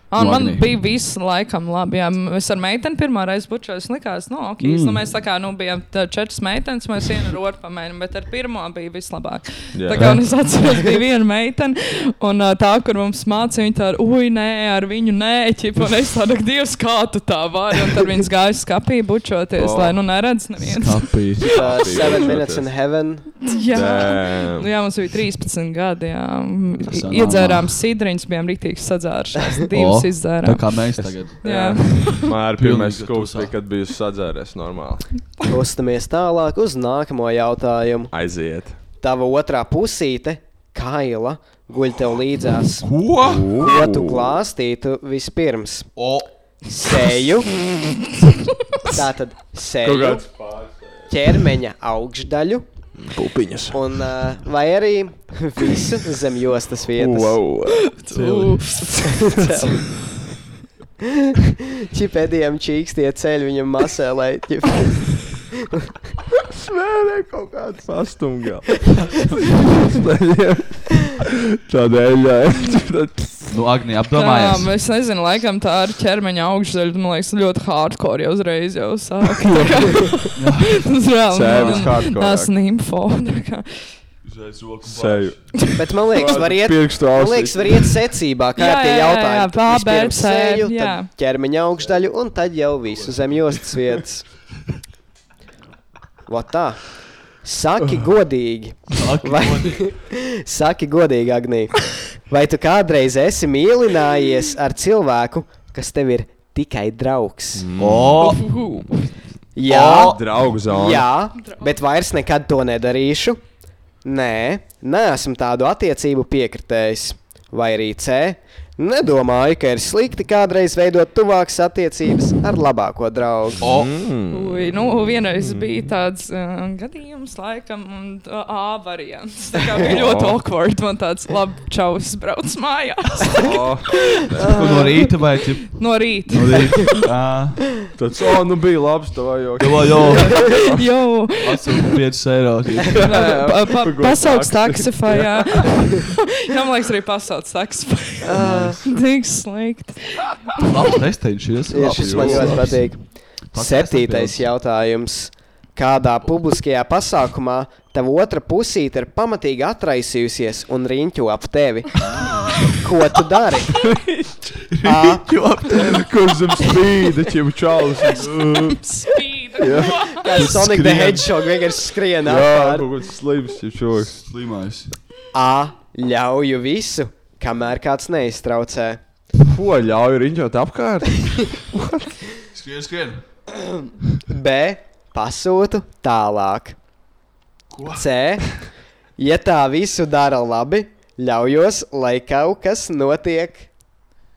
Speaker 8: Ah, Un man
Speaker 6: Lagnī.
Speaker 8: bija visu laikam labi. Jā. M- Es ar meiteni pirmā reize bučos, likās, nu, ok, mm. nu, mēs tā kā, nu, bijām tā četras meitenes, mēs vienu ar otru pamēģinām, bet ar pirmo bija vislabāk.
Speaker 3: Jā.
Speaker 8: Jā. Tā kā un es atceros, bija viena meitene, un ā, tā, kur mums mācīja, viņa tā, ar, ui, nē, ar viņu nē, ķip, un es tādu, Dievs, kā tu tā vari, un tad viņas gāja skapī bučoties,
Speaker 3: O.
Speaker 8: oh. lai, nu, neredz neviens.
Speaker 6: Kapīs.
Speaker 7: Uh, seven minutes in heaven.
Speaker 8: Jā.
Speaker 3: Damn.
Speaker 8: Nu, jā, mums bija 13 gadi. Jā.
Speaker 6: Tas ir normāli.
Speaker 8: Iedzērām sidriņus, bijām rīktīgi sadzērušies. Divas
Speaker 6: Tā
Speaker 8: izdzērām.
Speaker 6: kā mēs tagad.
Speaker 8: Jā.
Speaker 3: Man arī pirmais
Speaker 6: Pilnīgi
Speaker 3: skūps
Speaker 6: tusā.
Speaker 3: bija, kad biju sadzēries normāli.
Speaker 7: Uztamies tālāk uz nākamo jautājumu.
Speaker 3: Aiziet.
Speaker 7: Tava otrā pusīte, Kaila, guļ tev līdzās.
Speaker 6: Ko?
Speaker 7: Ko tu klāstītu vispirms?
Speaker 6: O,
Speaker 7: Seju. Tātad
Speaker 3: Kaut
Speaker 7: seju,
Speaker 3: kāds
Speaker 7: ķermeņa augšdaļu
Speaker 3: pupiņas.
Speaker 7: un uh, vai arī visu zem jostas vietas.
Speaker 3: Wow.
Speaker 7: Čipēdiem čīkstie ceļi viņam masē, lai ķip.
Speaker 3: Svērē kaut kāds pastumgāls. Tādēļ, jā.
Speaker 6: nu, Agnija,
Speaker 8: Jā,
Speaker 6: apdomājies.
Speaker 8: es nezinu, laikam tā ir ķermeņa augšdaļa. Man liekas, ļoti hardcore jau uzreiz jau sāk. Tas
Speaker 3: Sēvis
Speaker 8: reāli
Speaker 3: hardcore.
Speaker 8: Tas nimfo. tā kā.
Speaker 3: Seju.
Speaker 7: Bet man liekas, var iet.
Speaker 3: Pirkstu
Speaker 7: Man liekas, var
Speaker 3: ausīs.
Speaker 7: iet secībā, kā
Speaker 8: Jā,
Speaker 7: tie
Speaker 8: jā, jā,
Speaker 7: jautājumi.
Speaker 8: jā, tā,
Speaker 7: Vispirms
Speaker 8: bet, sēd,
Speaker 7: seju,
Speaker 8: jā.
Speaker 7: tad ķermeņa augšdaļu un tad jau visu zem jostas vietas. Vat tā.
Speaker 3: Oh.
Speaker 7: Saki godīgi. Vai, saki godīgi, Agnī. Vai tu kādreiz esi mīlinājies ar cilvēku, kas tev ir tikai draugs?
Speaker 3: Mm.
Speaker 6: O,
Speaker 7: Jā,
Speaker 3: Draugu zonu.
Speaker 7: Jā, bet vairs nekad to nedarīšu. Nē, neesmu tādu attiecību piekritējis. Vai arī C. Nedomāju, ka ir slikti kādreiz veidot tuvākas attiecības ar labāko draugu.
Speaker 6: o.
Speaker 3: Mm.
Speaker 8: Ui, nu, vienreiz bija tāds uh, gadījums, laikam, un uh, A variants. Tā kā bija ļoti awkward. Man tāds labi čaus brauc mājās
Speaker 3: O,
Speaker 6: Nu, No rīta vai ķip?
Speaker 8: no rīta.
Speaker 6: No rīta.
Speaker 3: Tad, o, nu bija labs tavā joks.
Speaker 6: Jo, jo.
Speaker 8: Jau
Speaker 6: Atsūtu 5 eiro. ķip.
Speaker 8: Pa- pa-
Speaker 3: Pagod
Speaker 8: Pasaules taksifā, jā. Jā, man liekas, arī pasaules taksifā. Tik slikti.
Speaker 6: Labs testiņš. jūs.
Speaker 7: Jā,
Speaker 6: Labs,
Speaker 7: šis man
Speaker 6: jūs.
Speaker 7: ļoti patīk.
Speaker 6: Pats
Speaker 7: Septītais
Speaker 6: aizpildījums.
Speaker 7: jautājums. Kādā publiskajā pasākumā tava otra pusīte ir pamatīgi atraisījusies un riņķo ap tevi? Ko tu dari? A.
Speaker 6: Jo,
Speaker 3: Kur zem spīda, ķim čalis.
Speaker 8: Spīd.
Speaker 7: Kā Sonic the
Speaker 6: Skrien.
Speaker 7: Hedgehog vienkārši skrien
Speaker 3: Jā,
Speaker 7: apkārt.
Speaker 3: kaut kāds slims, ķim čalis.
Speaker 6: Slimais.
Speaker 7: A. Ļauju visu, kamēr kāds neiztraucē.
Speaker 3: Ko ļauj riņķot apkārt?
Speaker 6: Skrien, skrien.
Speaker 7: B. Pasūtu tālāk. Ko? C. Ja tā visu dara labi, ļaujos, lai kaut kas notiek.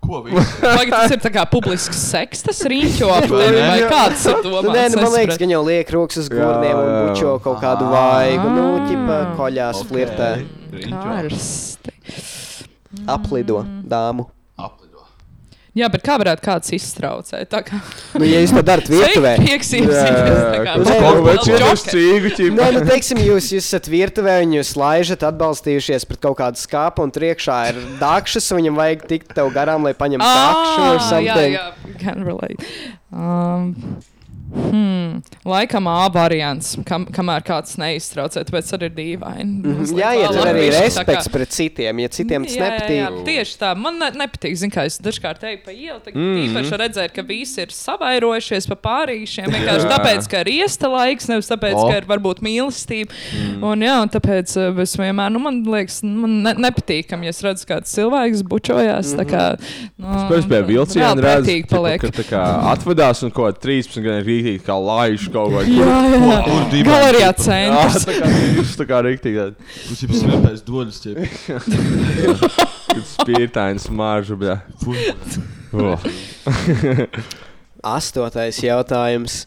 Speaker 6: Ko viņš?
Speaker 8: Tagad tas ir tā kā publisks seks, tas riņķo ap
Speaker 6: Vai
Speaker 8: tevi.
Speaker 6: ne?
Speaker 8: Vai kāds ir to
Speaker 7: Nu, nē, nu, man liekas, ka viņa liek rokas uz gurniem un
Speaker 3: jā, jā.
Speaker 7: bučo kaut kādu vaigu. Nu, ķipa koļās flirtē.
Speaker 8: Karsti.
Speaker 7: Aplido dāmu.
Speaker 6: Aplido.
Speaker 8: Jā, bet kā varētu kāds iztraucēt? Tā kā
Speaker 7: Nu, ja jūs to darat virtuvē.
Speaker 8: Prieks
Speaker 3: Uz
Speaker 7: Nē,
Speaker 3: kaut
Speaker 7: nu,
Speaker 3: vai cietos
Speaker 8: iesīsies.
Speaker 3: cīgu, ķim.
Speaker 7: Nē, nu, teiksim, jūs, jūs esat virtuvē, un jūs laižat atbalstījušies pret kaut kādu skāpu, un tur iekšā ir dakšas, un viņam vajag tikt tev garām, lai paņemtu dakšu or
Speaker 8: Ah, jā,
Speaker 7: something.
Speaker 8: jā, can relate. Um, hmm, laikam A variants, kam, kamēr kāds neiztraucē, tāpēc arī ir dīvaini.
Speaker 7: Mhm,
Speaker 8: Mazliet
Speaker 7: Jā, ja
Speaker 8: tā
Speaker 7: tur arī ir
Speaker 8: latvieši tā kā-
Speaker 7: respekts pret citiem, ja citiem tas
Speaker 8: Jā, jā, jā,
Speaker 7: nepatīk.
Speaker 8: Tieši tā, man ne, nepatīk. Zinu, kā es dažkārt eju pa ielu, tad mm.
Speaker 3: Mhm.
Speaker 8: īpaši redzēju, ka visi ir savairojušies pa pārīšiem.
Speaker 3: Jā.
Speaker 8: Vienkārši jā. tāpēc, ka ir iesta laiks, nevis tāpēc,
Speaker 6: O.
Speaker 8: oh. ka ir varbūt mīlestība.
Speaker 3: Mhm.
Speaker 8: Mm. Un, jā, un tāpēc eh, es vienmēr, nu, man liekas, nu, man ne, nepatīkam, ja es redzu, kāds cilvēks bučojās. Mm -hmm.
Speaker 3: Mhm. Pēc pie vilciena
Speaker 8: redzu.
Speaker 3: redzu,
Speaker 8: Patīk
Speaker 3: ķipa,
Speaker 8: paliek.
Speaker 3: ka tā kā atvadās un kaut kā 13 gadu rītīgi kā laišu kaut vai.
Speaker 8: Jā, jā, jā.
Speaker 6: Kur divi?
Speaker 8: Galerijā
Speaker 3: Jā,
Speaker 8: centrs.
Speaker 3: tā kā viņš tā kā rītīgi tāds.
Speaker 6: Kurš jau smēpēs dodas?
Speaker 3: Spīrtains maržu, bļā.
Speaker 6: Fuck.
Speaker 3: Oh.
Speaker 7: Astotais jautājums.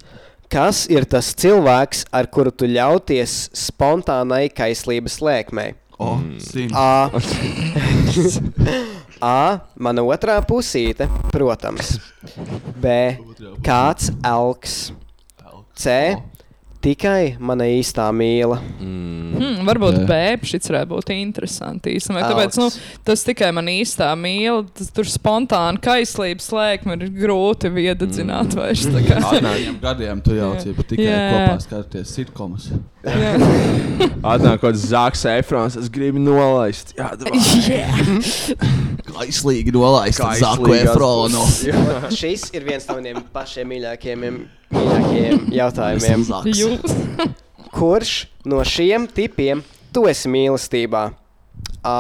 Speaker 7: Kas ir tas cilvēks, ar kuru tu ļauties spontānai kaislības lēkmei?
Speaker 6: O, simt.
Speaker 7: A. A. Mana otrā pusīte, protams. B. Kāds elks. Oh. C. Tikai mana īstā mīla.
Speaker 8: Hmm, varbūt
Speaker 6: Jā.
Speaker 8: bēbis šis varētu būt interesants. īstenībā. Tāpēc nu,
Speaker 7: Augs.
Speaker 8: tas tikai man īstā mīl. Tas, tur spontāni kaislības slēgme ir grūti viedzināt. Vairs, tā kā.
Speaker 6: Atnākajiem gadiem tu jau
Speaker 8: Jā.
Speaker 6: cipa tikai
Speaker 8: Jā.
Speaker 6: kopā skaties sitkomus.
Speaker 3: Atnākot Zaks Efrons, es gribu nolaist. Jā,
Speaker 6: Kaislīgi nolaist ar Zaku
Speaker 3: Kaislīgās
Speaker 6: Efronu.
Speaker 7: Šis ir viens no maniem pašiem mīļākajiem, mīļākajiem jautājumiem.
Speaker 6: Zaks.
Speaker 8: Jūs
Speaker 7: Kurš no šiem tipiem tu esi mīlestībā? A.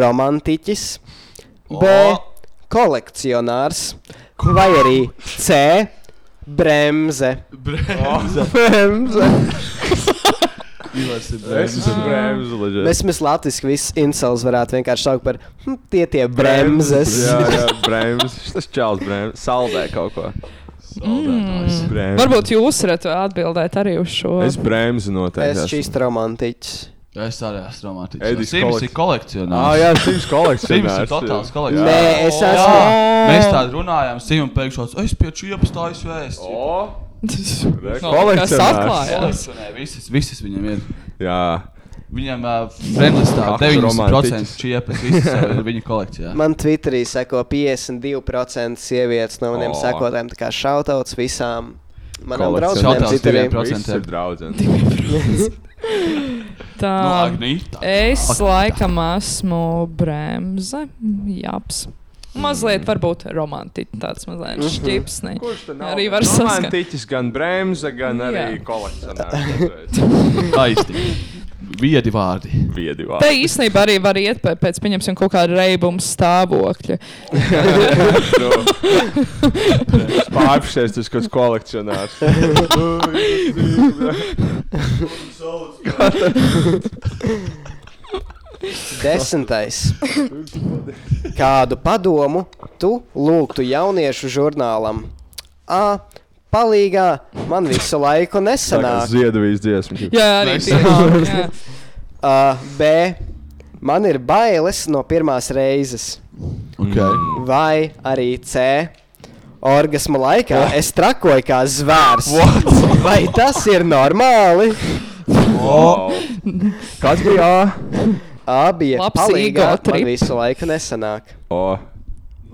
Speaker 7: Romantiķis, B. Kolekcionārs, vai arī C. Bremze.
Speaker 3: Bremze.
Speaker 6: Ivars ir
Speaker 3: Es
Speaker 6: brēns.
Speaker 3: esmu bremze, leģiski.
Speaker 7: Mēs mēs latviešu visus incels varētu vienkārši saukt par hm, tie tie bremzes.
Speaker 3: Jā, jā, bremze. Tas čels bremze. Saldē kaut ko.
Speaker 6: Saldētājs.
Speaker 3: Bremze.
Speaker 8: varbūt jūs varat atbildēt arī uz šo.
Speaker 3: Es nu, bremzi
Speaker 7: Es
Speaker 3: noteikti.
Speaker 7: šīs romantiķis.
Speaker 6: Mm. Es arī esmu romantiķis.
Speaker 3: Edis
Speaker 6: Sims ir
Speaker 3: kolekc- Ah,
Speaker 6: kolekcionārs.
Speaker 3: jā, Sims
Speaker 6: Sims ir
Speaker 3: kolekcionārs.
Speaker 6: totāls
Speaker 7: Nē,
Speaker 6: kolekcionārs.
Speaker 7: es
Speaker 6: Jā,
Speaker 7: esmu.
Speaker 6: Mēs tā runājām, Sims pēkšņi šāds, es pie čiepas stāju vēstu.
Speaker 3: O, re,
Speaker 8: Kas
Speaker 3: Kolekcionārs.
Speaker 8: atklāja?
Speaker 6: Kolekcionē visas, visas viņam ir.
Speaker 3: Jā.
Speaker 6: Viņam brendlistā
Speaker 3: Ak,
Speaker 6: 90%
Speaker 3: romantiķis.
Speaker 6: čiepas, visas jau ir viņa kolekcijā.
Speaker 7: Man Twitterī seko 52% sievietes no maniem
Speaker 3: O.
Speaker 7: oh. sekotājiem. Tā kā šautauts visām manām
Speaker 3: Kolekcionārs.
Speaker 7: draugiem
Speaker 6: Shoutouts
Speaker 7: Twitterī.
Speaker 6: diviem pro- Procentiem.
Speaker 3: Viss ir draudzene.
Speaker 8: Tā,
Speaker 6: Nu, Agnīta.
Speaker 8: es
Speaker 6: Agnīta.
Speaker 8: laikam esmu bremze. Jāps. Mazliet, varbūt romantiski tāds mazliet šķips. ne? Arī var saskatīt.
Speaker 3: Romantiķis gan bremze, gan arī
Speaker 8: Jā.
Speaker 3: kolekcionārs.
Speaker 6: Aizti. Viedi vārdi.
Speaker 3: Viedi
Speaker 8: Te
Speaker 3: vārdi.
Speaker 8: īstenībā arī var iet pēc, pēc pieņemsim, kaut kāda reibuma stāvokļa.
Speaker 3: Nu, es Pārpusēs tas kaut kāds kolekcionārs.
Speaker 7: Desmitais. Kādu padomu tu lūgtu jauniešu žurnālam? A. Palīgā man visu
Speaker 3: Tā
Speaker 7: laiku
Speaker 3: kā
Speaker 7: nesanāk.
Speaker 3: Ziedavijas dziesma.
Speaker 8: Jā, arī
Speaker 6: Mēs-
Speaker 8: tādā.
Speaker 7: A, B. Man ir bailes no pirmās reizes.
Speaker 6: Okay.
Speaker 3: Mm.
Speaker 7: Vai arī C. Orgasma laikā es trakoju kā zvērs. Vai tas ir normāli?
Speaker 3: Wow. Kāds bija? ā?
Speaker 7: A bija
Speaker 8: Labs
Speaker 7: palīga.
Speaker 8: ego trip.
Speaker 7: Man visu laiku nesanāk.
Speaker 3: O,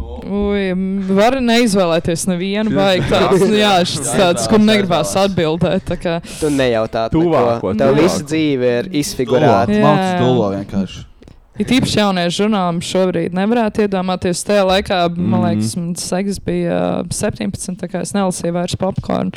Speaker 8: Ui, var neizvēlēties nevienu, vai tāds, nu jā, šis tāds, kur negribās atbildēt. tā kā.
Speaker 7: Tu nejautā
Speaker 3: Tuvāko,
Speaker 7: neko. Tev
Speaker 3: tuvāko.
Speaker 7: visa dzīve ir izfigurēta.
Speaker 8: Jā.
Speaker 6: Mākslinieks dullo vienkārši.
Speaker 8: Ir īpaši jauniešu žurnālam šobrīd nevarētu iedomāties. Tajā laikā, man liekas, man seks bija 17, tā kā es nelasīju vairs popkornu.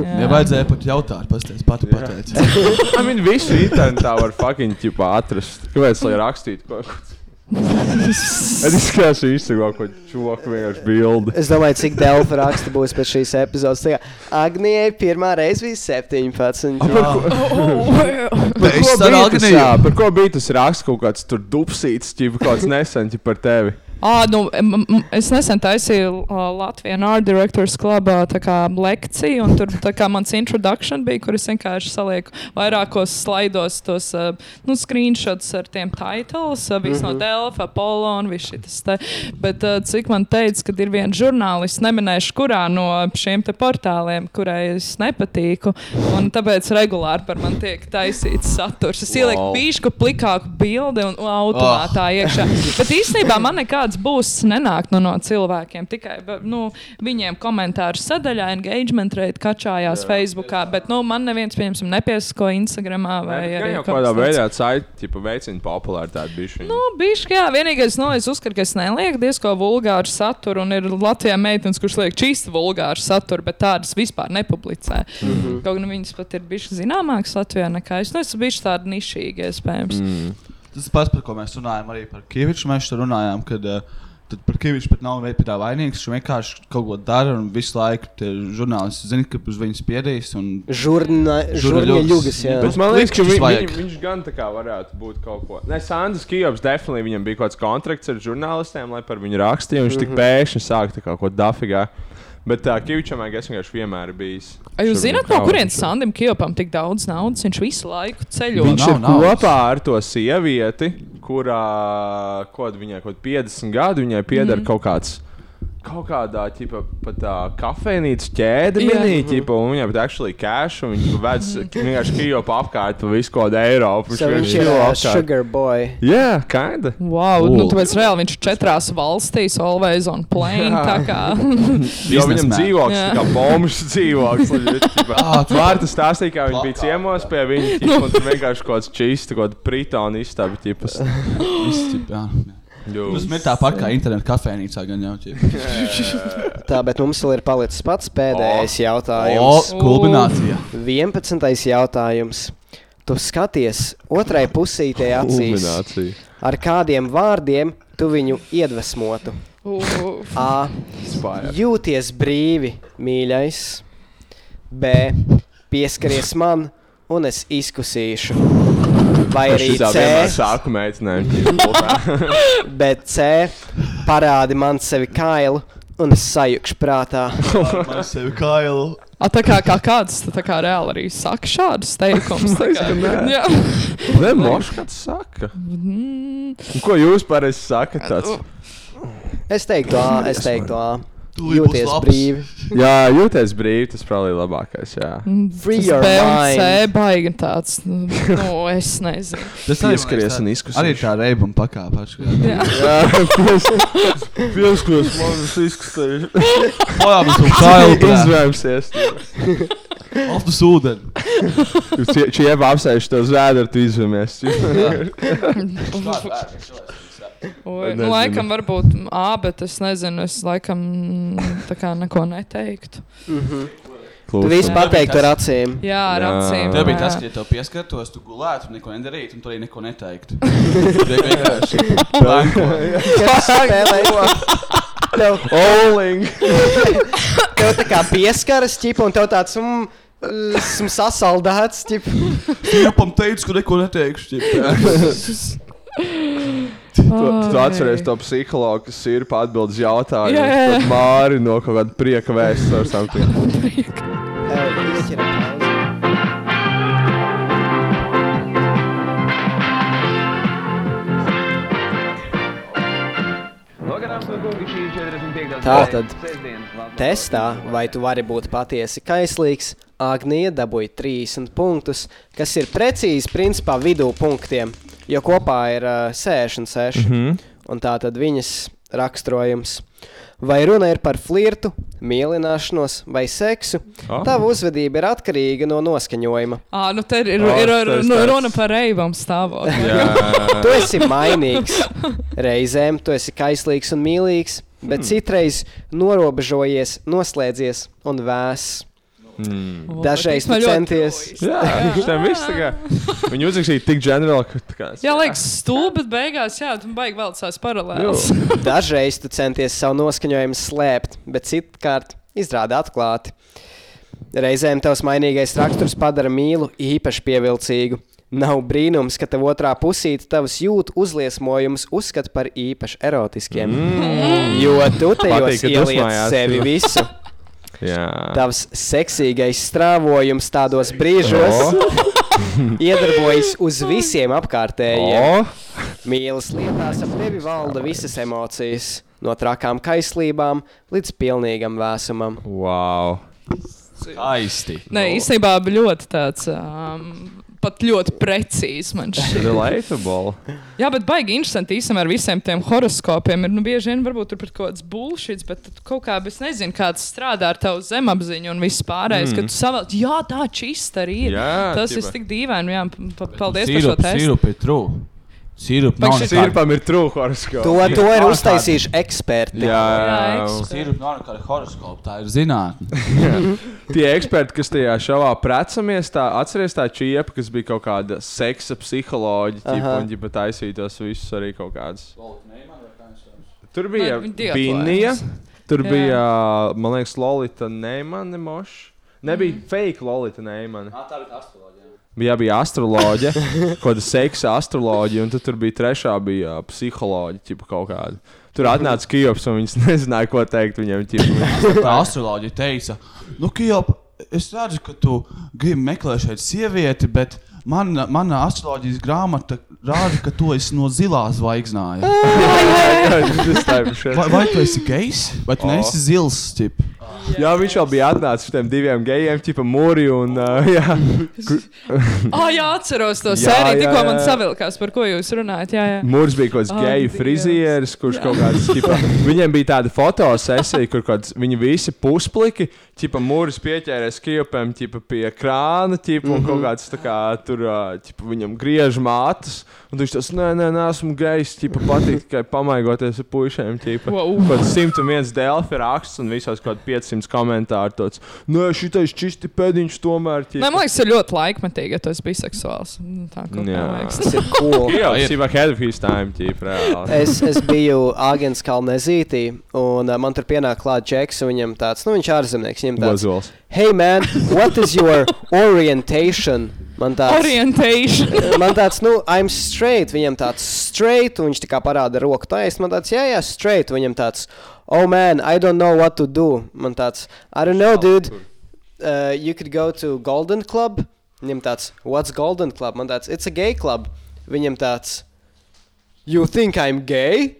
Speaker 6: Ja vajadzēja pat jautāt, pastāstiet, pati pateici.
Speaker 3: I mean, visu internetā var fucking ķipā atrast. Kāpēc lai rakstītu kaut ko? Es izskatījos īsti kaut ko čoku vienkārši bildi.
Speaker 7: Es domāju, cik Delfa raksta būs pēc šīs epizodes. Tā kā Agnijai pirmā reize bija 17.
Speaker 8: Oh.
Speaker 3: Par ko
Speaker 6: Es ar
Speaker 3: bija tas,
Speaker 6: Agniju.
Speaker 3: jā, Par ko bija tas raksts kaut kāds tur dupsīts, ķipa kaut kāds nesenķi par tevi?
Speaker 8: Ah, nu, m- m- es nesen taisīju uh, Latvijas Art Directors klubā tā kā lekciju, un tur tā kā mans introduction bija, kur es vienkārši salieku vairākos slaidos tos uh, nu, screenshots ar tiem titles, uh, viss mm -hmm. no Delfa, Apollo un viss šis te. Bet uh, cik man teica, kad ir viens žurnālists, neminēšu kurā no šiem te portāliem, kurai es nepatīku, un tāpēc regulāri par mani tiek taisīts saturs. Es ielieku
Speaker 3: Wow.
Speaker 8: pīšku plikāku bildi un automātā tā iekšā. Bet īstenībā man nekāds būs nenāk nu, no cilvēkiem. Tikai ba- nu, viņiem komentāru sadaļā, engagement rate kačājās jā, Facebookā. Jā. Bet nu, man neviens, pieņemsim, nepiesko Instagramā vai
Speaker 3: Nē, bet gan
Speaker 8: arī
Speaker 3: jau kādā
Speaker 8: tāds.
Speaker 3: veidā saiti veicina popularitāti. bišķiņ.
Speaker 8: Nu, bišķi, jā, vienīgais, no es uzskatu, ka es nelieku diezko vulgāru saturu, un ir Latvijā meitenes, kurš liek čīstu vulgāru saturu, bet tādas vispār nepublicē. Mm -hmm. Kaut gan viņas pat ir bijušas zināmākas Latvijā nekā es. Nu, es esmu bijuši tāda nišīga, iespējams. Mm.
Speaker 6: Tas pats, par ko mēs runājām, arī par Kīviču. Mēs tur runājām, kad, eh, Tad par Krieviju viņš pat nav vai- pie tā vainīgs. Viņš vienkārši kaut ko dara un visu laiku tie žurnālisti zina, ka uz viņas piedīs. Un...
Speaker 7: Žurna, žurna
Speaker 6: Žurnaļugs.
Speaker 7: ļugas, jā.
Speaker 3: Bet man liekas, ka
Speaker 6: Likšķis
Speaker 3: vi,
Speaker 6: vajag.
Speaker 3: viņ, viņš gan tā kā varētu būt kaut ko. Nē, Sandis Kjovs definitīvi viņam bija kaut kāds kontrakts ar žurnālistiem, lai par viņu rakstītu. Viņš mm
Speaker 6: Mhm.
Speaker 3: -hmm. tik pēkšņi sāka tā kā kaut ko dafigā. Bet tā Kjovčam es vienkārši vienmēr bijis.
Speaker 8: Ai, Jūs
Speaker 3: Šur un
Speaker 8: zināt, no
Speaker 3: kaut
Speaker 8: kurienes
Speaker 3: kur.
Speaker 8: Sandim Kijopam tik daudz naudas? Viņš visu laiku ceļo.
Speaker 3: Viņš
Speaker 6: nav
Speaker 3: ir
Speaker 6: naudas.
Speaker 3: kopā ar to sievieti, kurā kaut viņai kaut 50 gadu viņai pieder
Speaker 7: Mhm.
Speaker 3: mm -hmm. kaut kāds. Kaut kādā tipa, pat tā kafejnīcas ķēde
Speaker 8: Jā.
Speaker 3: minīte, un viņa pat actually cash, un viņa vec vienkārši kijo pa apkārt pa visu kaut Eiropu.
Speaker 7: Mhm. So viņš
Speaker 3: vienkārši
Speaker 7: ir
Speaker 3: kļuva
Speaker 7: uh,
Speaker 3: apkārt.
Speaker 7: sugar boy.
Speaker 3: Jā, kinda.
Speaker 8: Wow, nu,
Speaker 6: Lūdzu.
Speaker 8: tāpēc reāli viņš ir četrās valstīs, always on plane.
Speaker 3: Jā.
Speaker 8: Tā kā
Speaker 3: Jo viņam
Speaker 6: Biznesmeni.
Speaker 3: dzīvoklis
Speaker 8: Jā.
Speaker 3: ir kā bombas dzīvoklis.
Speaker 6: Ā, Ah, tu-
Speaker 3: Vārta stāstīja, kā viņi bija
Speaker 6: Plakāta.
Speaker 3: ciemos pie viņa, ķip,
Speaker 7: Nu.
Speaker 3: un tur vienkārši kaut kāds čīsts, kaut kāda pritona izstāba tipas.
Speaker 6: Viss, ķip, jā, jā. Tas ir tāpat kā internetā kafejnīcā. gan jau, ķip.
Speaker 7: Tā, bet mums vēl ir palicis pats pēdējais
Speaker 6: O,
Speaker 7: jautājums.
Speaker 6: kulminācija.
Speaker 7: 11. jautājums. Tu skaties otrai pusītē acīs.
Speaker 3: Kulminācija.
Speaker 7: Ar kādiem vārdiem tu viņu iedvesmotu?
Speaker 8: Uf.
Speaker 7: A. Jūties brīvi, mīļais. B. Pieskaries man, un es izkusīšu. Vai arī
Speaker 3: Šis tā vienmēr
Speaker 7: C.
Speaker 3: sāku mēģinājumu.
Speaker 7: Bet C. Parādi man sevi kailu, un es sajukšu prātā.
Speaker 6: Man sevi kailu.
Speaker 8: A, tā kā, kā kāds tā kā reāli arī saka šādus teikumus. tā kā- Jā.
Speaker 3: Nē, moš, kāds saka. Mm. Un Ko jūs parasti sakat? Tāds?
Speaker 7: Es teiktu, A. Es teiktu, A.
Speaker 6: Tu
Speaker 7: Jūties brīvi.
Speaker 3: Jā, jūties brīvi, tas probably ir labākais. Jā.
Speaker 7: Free
Speaker 8: Tas
Speaker 7: your
Speaker 8: B un C
Speaker 7: mind.
Speaker 8: baigi tāds. Nu, nu, es nezinu.
Speaker 6: Tas
Speaker 3: Pieskaries un izkusīšu.
Speaker 6: Arī tā reibuma pakāpe.
Speaker 8: Jā.
Speaker 3: Pieskaries, man tas izskatās.
Speaker 6: Pojām uz to kailu. brāl.
Speaker 3: Izvēmsies.
Speaker 6: Off uz ūdeni.
Speaker 3: Šie jau apsēž to zēdu, tu izvēmies.
Speaker 8: Mhm. Oi,
Speaker 3: Nezinu.
Speaker 8: Nu, laikam varbūt A, bet es nezinu, es laikam mm, tā kā neko neteiktu.
Speaker 7: Tu visu
Speaker 8: Jā.
Speaker 7: pateiktu ar acīm.
Speaker 8: Jā, ar
Speaker 3: Jā.
Speaker 8: acīm.
Speaker 6: Tev bija
Speaker 8: jā.
Speaker 6: tas, ka ja tev pieskartos, tu gulētu, neko nedarītu, un tu arī neko neteiktu. Tikai vienkārši blanko.
Speaker 7: Kas spēlē? Tev
Speaker 3: Oling!
Speaker 7: Oh. tev tā kā pieskaras, ķipa, un tev tāds mm, esmu sasaldēts. Ķipa.
Speaker 6: Jupam teicu, ka neko neteikšu.
Speaker 3: Tu
Speaker 8: Ai.
Speaker 3: atceries to psihologu, kas ir pārbildījis jautājumu.
Speaker 8: Jā,
Speaker 3: Jā,
Speaker 8: jā,
Speaker 3: jā.
Speaker 8: jā.
Speaker 3: Māri no kaut kāda prieka vēstures ar something.
Speaker 7: Ej, ieķeram pauzi. Tātad. Testā, vai tu vari būt patiesi kaislīgs, Agnija dabūja 30 punktus, kas ir precīzi principā vidū punktiem, jo kopā ir uh, 66.
Speaker 3: Mhm.
Speaker 7: Mm -hmm. Un tā tad viņas raksturojums. Vai runa ir par flirtu, mīlināšanos vai seksu?
Speaker 3: Ah.
Speaker 7: Oh. Tava uzvedība ir atkarīga no noskaņojuma.
Speaker 8: Ā, nu te ir, ir,
Speaker 3: O,
Speaker 8: ir,
Speaker 3: tas
Speaker 8: ir nu,
Speaker 3: tāds.
Speaker 8: runa par reivam stāvokli.
Speaker 7: Tu esi mainīgs. Reizēm tu esi kaislīgs un mīlīgs, bet hmm. citreiz norobežojies, noslēdzies un vēss.
Speaker 8: O,
Speaker 7: Dažreiz
Speaker 8: bet
Speaker 7: tu
Speaker 8: man ļoti
Speaker 7: centies.
Speaker 8: rojas.
Speaker 3: Jā, viņš tam viss tā kā. Viņa uzrakstīja tik ģenerāli, ka tā kā.
Speaker 8: Jā, liekas, stulbi, bet beigās, jā, tu baigi vēl tās paralēlas.
Speaker 7: Dažreiz tu centies savu noskaņojumu slēpt, bet citkārt izrādi atklāti. Reizēm tavs mainīgais raksturs padara mīlu īpaši pievilcīgu. Nav brīnums, ka tev otrā pusīte tavas jūtu uzliesmojumus uzskata par īpaši erotiskiem. Mm. Jo tu
Speaker 3: Patīk,
Speaker 7: tajos
Speaker 3: ka
Speaker 7: ieliec
Speaker 3: dusmājās.
Speaker 7: sevi visu.
Speaker 3: Jā.
Speaker 7: Tavs seksīgais strāvojums tādos brīžos iedarbojas uz visiem apkārtējiem.
Speaker 3: O,
Speaker 7: Mīlas lietās ap tevi valda visas emocijas, no trakām kaislībām līdz pilnīgam vēsumam.
Speaker 3: wow.
Speaker 6: Aisti.
Speaker 8: Nē, īstenībā bija ļoti tāds. Um, Pat ļoti precīzi man šķiet.
Speaker 3: Relatable.
Speaker 8: Jā, bet baigi interesanti īstenībā ar visiem tiem horoskopiem. Ir nu, bieži vien varbūt tur pat kaut kāds bullshit, bet tad kaut kā es nezinu, kāds strādā ar tavu zemapziņu un viss pārējais. Mm. Kad tu savāc, jā, tā čista arī ir.
Speaker 3: Jā,
Speaker 8: Tas
Speaker 3: tipa.
Speaker 8: ir tik dīvaini. Jā, pa- pa- paldies par šo
Speaker 6: Sīrup,
Speaker 8: testu.
Speaker 6: sīrup ir true. Sīrup
Speaker 8: Vai
Speaker 6: nav
Speaker 8: šis-
Speaker 6: nekāda.
Speaker 3: Sirpam ir trūkums.
Speaker 7: To, to ir uztaisījuši eksperti.
Speaker 3: Jā,
Speaker 8: Jā,
Speaker 3: jā.
Speaker 8: eks-
Speaker 6: Sīrup nav nekāda horoskopa, tā ir zinātne.
Speaker 3: Tie eksperti, kas tajā šovā precamies, tā, atceries tā čiepa, kas bija kaut kāda seksa psiholoģija,
Speaker 7: Aha.
Speaker 3: un viņa taisīja tos visus arī kaut kādas. Tur bija
Speaker 8: Vai Nu, viņi
Speaker 3: Binija,
Speaker 8: dietlainas?
Speaker 3: tur
Speaker 8: Jā.
Speaker 3: bija, man liekas, Lolita Neimana Moša. Nebija
Speaker 8: Mhm.
Speaker 3: mm. fake Lolita Neimana.
Speaker 6: Tā bija astroloģija.
Speaker 3: Jā, bija astroloģija, kaut kāda seksa astroloģija, un tad tur bija trešā bija uh, psiholoģija ķipa, kaut kāda. Tur atnāca Kijovs, un viņš nezināja, ko teikt viņam. ķipa.
Speaker 6: Tā astroloģija teica, nu, Kijop, es redzu, ka tu gribi meklēt šeit sievieti, bet man, mana astroloģijas grāmata rāda, ka tu esi no zilās zvaigznājas.
Speaker 3: Tas tā ir šeit.
Speaker 6: Vai, vai tu esi gejs, vai tu
Speaker 3: O.
Speaker 8: Oh.
Speaker 6: neesi zils? Tip?
Speaker 3: Jā, viņš jau bija atnācis ar tiem diviem gejiem, tipa mūri un. Uh, jā.
Speaker 8: Ah, jā, atceros to
Speaker 3: Jā,
Speaker 8: sēriju,
Speaker 3: jā,
Speaker 8: tikko man
Speaker 3: jā.
Speaker 8: savilkās, par ko jūs runājat. Jā, jā.
Speaker 3: Mūrs bija kaut kāds
Speaker 8: Ak,
Speaker 3: oh, geju
Speaker 8: Dievs.
Speaker 3: frizieris, kurš kaut kāds. Ķipa, viņiem bija tāda fotosesija, kur kāds, viņi visi puspliki, tipā mūris pieķērās kijupiem, tipā pie krāna, tipā mm -hmm.
Speaker 8: Mhm.
Speaker 3: kaut kāds tā kā tur, tipā viņam griež mātas. Un viņš tas, nē, nē, nē esmu gejs, tipā patīk tikai pamaigoties ar puišiem, tipā.
Speaker 8: Wow.
Speaker 3: Kaut kāds 101 delfi raksts un visos kaut kāds 500 komentāru tāds, nē, šitais čisti pēdiņš tomēr,
Speaker 8: Nē, man
Speaker 3: tipā.
Speaker 8: liekas, ir ļoti laikmatīgi, ja tu esi biseksuāls. Nu, Tā kā
Speaker 3: Jā.
Speaker 8: liekas.
Speaker 7: Tas ir cool.
Speaker 3: Jā, tas ir ahead of his time, tipā.
Speaker 7: Es, es biju Agnēs Kalnezītī, un uh, man tur pienāk klāts Džeks, un viņam tāds, nu viņš ārzemnieks, viņam tāds,
Speaker 3: Bazols.
Speaker 7: hei, man, what is your orientation? Man tāds,
Speaker 8: Orientation.
Speaker 7: man tāds, nu, I'm straight, viņam tāds straight, un viņš tā kā parāda roku taisnu, man tāds, jā, jā, straight, un viņam tāds, oh man, I don't know what to do, man tāds, I don't know, dude, uh, you could go to Golden Club, viņam tāds, what's Golden Club, man tāds, it's a gay club, viņam tāds, you think I'm gay?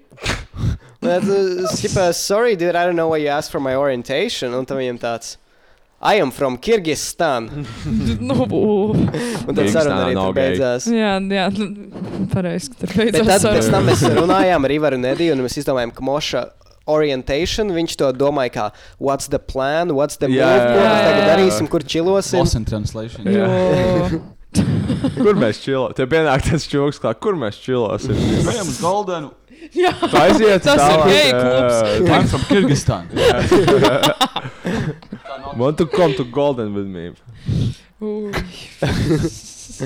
Speaker 7: Man tāds, tipa, sorry, dude, I don't know why you asked for my orientation, un tam viņam tāds, I am from Kyrgyzstan,
Speaker 8: nu, u.
Speaker 7: un tad
Speaker 3: Kyrgyzstāna
Speaker 7: saruna arī
Speaker 3: nav
Speaker 7: tur
Speaker 3: gay.
Speaker 7: beidzās.
Speaker 8: jā, jā, nu, pareizi, ka tur
Speaker 7: Bet
Speaker 8: beidzās
Speaker 7: tad, pēc
Speaker 8: saruna.
Speaker 7: tam mēs runājām ar Ivaru Nediju, un mēs izdomājām, ka Moša orientation, viņš to domāja, kā what's the plan, what's the
Speaker 3: Jā,
Speaker 7: move, ko
Speaker 8: jā,
Speaker 7: mēs
Speaker 8: jā,
Speaker 7: tagad
Speaker 8: jā.
Speaker 7: darīsim, kur čilosim.
Speaker 6: Lost in translation.
Speaker 3: Jā.
Speaker 8: Jo.
Speaker 3: Kur mēs čilojam? Tev pienāk tas čūlis, kā kur mēs čilosim.
Speaker 6: Viņam uz Goldenu.
Speaker 8: Jā.
Speaker 3: Tu aiziet,
Speaker 8: Tas ir
Speaker 3: tālāk,
Speaker 8: gay
Speaker 3: ē,
Speaker 8: klubs.
Speaker 6: I'm from Kyrgyzstan.
Speaker 3: Want to come to Golden with me?
Speaker 8: Ui.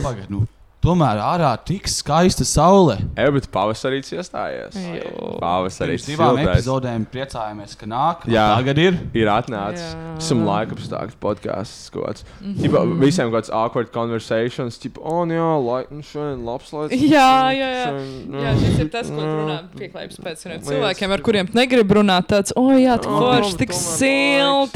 Speaker 6: Pagad, nu. Tomēr ārā tik skaista saule.
Speaker 3: Jā, bet pavasarīts iestājies.
Speaker 8: Jo.
Speaker 6: Pirms
Speaker 3: Pavasarīts
Speaker 6: divām
Speaker 3: siltais.
Speaker 6: epizodēm priecājāmies, ka nāk. Nu,
Speaker 3: Jā.
Speaker 6: Tagad ir.
Speaker 3: Ir atnācis.
Speaker 8: Jā. Mhm.
Speaker 3: Esam laika apstākļu podkāsts. Mm -hmm. Visiem kaut kāds awkward conversations. Tipo, oh, jā, lai, nu, šodien labs laiks.
Speaker 8: Jā, jā, jā.
Speaker 3: šodien, nu,
Speaker 8: Jā, šis ir tas, ko tu runā pieklājības pēc vieniem cilvēkiem, ar kuriem tu negrib runāt. Tāds, o, jā, tik
Speaker 3: O,
Speaker 8: forši, tik
Speaker 3: tomēr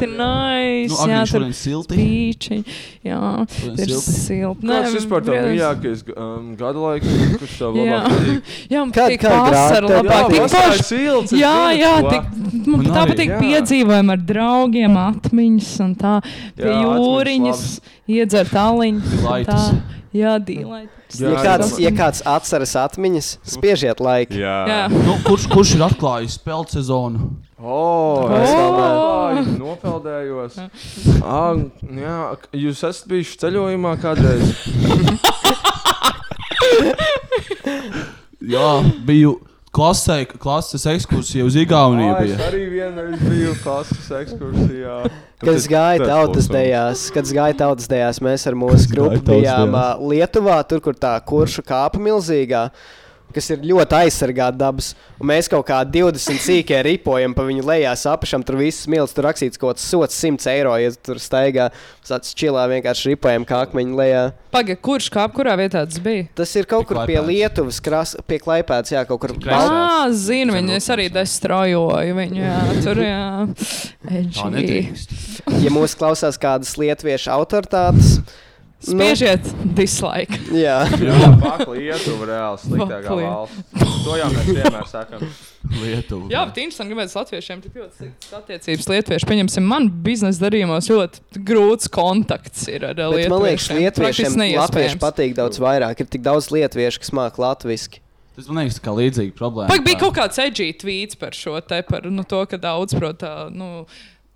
Speaker 8: silti, nais.
Speaker 6: Nu,
Speaker 8: Jā,
Speaker 6: Agnija
Speaker 8: tur
Speaker 6: šodien silti.
Speaker 8: pīči. Jā,
Speaker 6: Šodien
Speaker 8: ir
Speaker 6: silti.
Speaker 8: silti.
Speaker 3: Nu. Kāds vispār tā
Speaker 8: brīnums.
Speaker 3: mīļākais um, gada laiks, kurš tev
Speaker 8: Jā.
Speaker 3: labāk patīk?
Speaker 8: Jā, man
Speaker 7: Kad-
Speaker 8: patīk
Speaker 7: kad
Speaker 8: vasara,
Speaker 7: grāmatā-
Speaker 8: labāk, tik
Speaker 3: vasarā ir
Speaker 8: forši.
Speaker 3: silts, es
Speaker 8: Jā,
Speaker 3: zinu,
Speaker 8: jā,
Speaker 3: ko.
Speaker 8: tik, man
Speaker 6: Man
Speaker 8: tā
Speaker 6: arī,
Speaker 8: patīk
Speaker 3: jā.
Speaker 8: piedzīvojumi ar draugiem, atmiņas un tā, pie
Speaker 3: Jā, atmiņas
Speaker 8: jūriņas, iedzert aliņu.
Speaker 6: Dilaitis.
Speaker 8: tā. Jā, dīlaitis.
Speaker 3: Jā,
Speaker 7: Ja kāds,
Speaker 3: jā.
Speaker 7: ja kāds atceras atmiņas, spiežiet laiku.
Speaker 8: Jā.
Speaker 6: Nu, kurš, kurš ir atklājis spēļu sezonu?
Speaker 3: Oh, es atklāju, nopeldējos. Ah, jā, k- jūs esat bijuši ceļojumā kādreiz.
Speaker 6: Jā, biju klasē, klases ekskursija uz Igauniju.
Speaker 3: Ah, es
Speaker 6: bija.
Speaker 3: arī vienreiz biju klases ekskursijā.
Speaker 7: Kad es gāju
Speaker 3: Tas
Speaker 7: tautas
Speaker 3: klausās.
Speaker 7: dejās, kad es gāju tautas dejās, mēs ar mūsu grupu bijām ā, Lietuvā, tur, kur tā kuršu kāpa milzīgā, kas ir ļoti aizsargāta dabas. Un mēs kaut kā 20 sīkē ripojam pa viņu lejā, apakšam tur viss smilts, tur rakstīts kaut kas sots 100 eiro, ja tu tur staigā. Mēs tāds čilā vienkārši ripojam kā akmeņu lejā.
Speaker 8: Pagaid, kurš kāp, kurā vietā tas bija?
Speaker 7: Tas ir kaut
Speaker 6: Pie
Speaker 7: kur pie
Speaker 6: Klaipēdas.
Speaker 7: Lietuvas, kras, pie Klaipēdas, jā, kaut kur.
Speaker 6: Kreisā.
Speaker 7: Bal-
Speaker 8: Ā, Ah, zinu viņu, es arī destrojoju viņu, jā, tur, jā.
Speaker 6: Tā
Speaker 8: Edgy.
Speaker 6: nedrīkst.
Speaker 7: Ja mūs klausās kādas lietuviešu autoritātes, Nu.
Speaker 8: Spiežiet dislike.
Speaker 7: jā.
Speaker 3: Jā, pak Lietuva reāli sliktākā
Speaker 8: Pak Lietuva.
Speaker 3: valsts. To jau mēs vienmēr sakam.
Speaker 6: Lietuva.
Speaker 8: Jā, bet interesanti, kāpēc latviešiem tik ļoti sliktas attiecības lietuviešu. Pieņemsim, man biznesa darījumos ļoti grūts kontakts ir ar
Speaker 7: Bet,
Speaker 8: lietuviešiem.
Speaker 7: man liekas,
Speaker 8: Praktiski
Speaker 7: Lietuviešiem latviešu
Speaker 8: neiespējams.
Speaker 7: patīk daudz vairāk. Ir tik daudz lietuviešu, kas māca latviešu.
Speaker 6: Tas man liekas, tā kā līdzīga problēma.
Speaker 8: Pag, bija kaut kāds edžīts tvīts par šo te, par nu, to, ka daudz, protams, nu,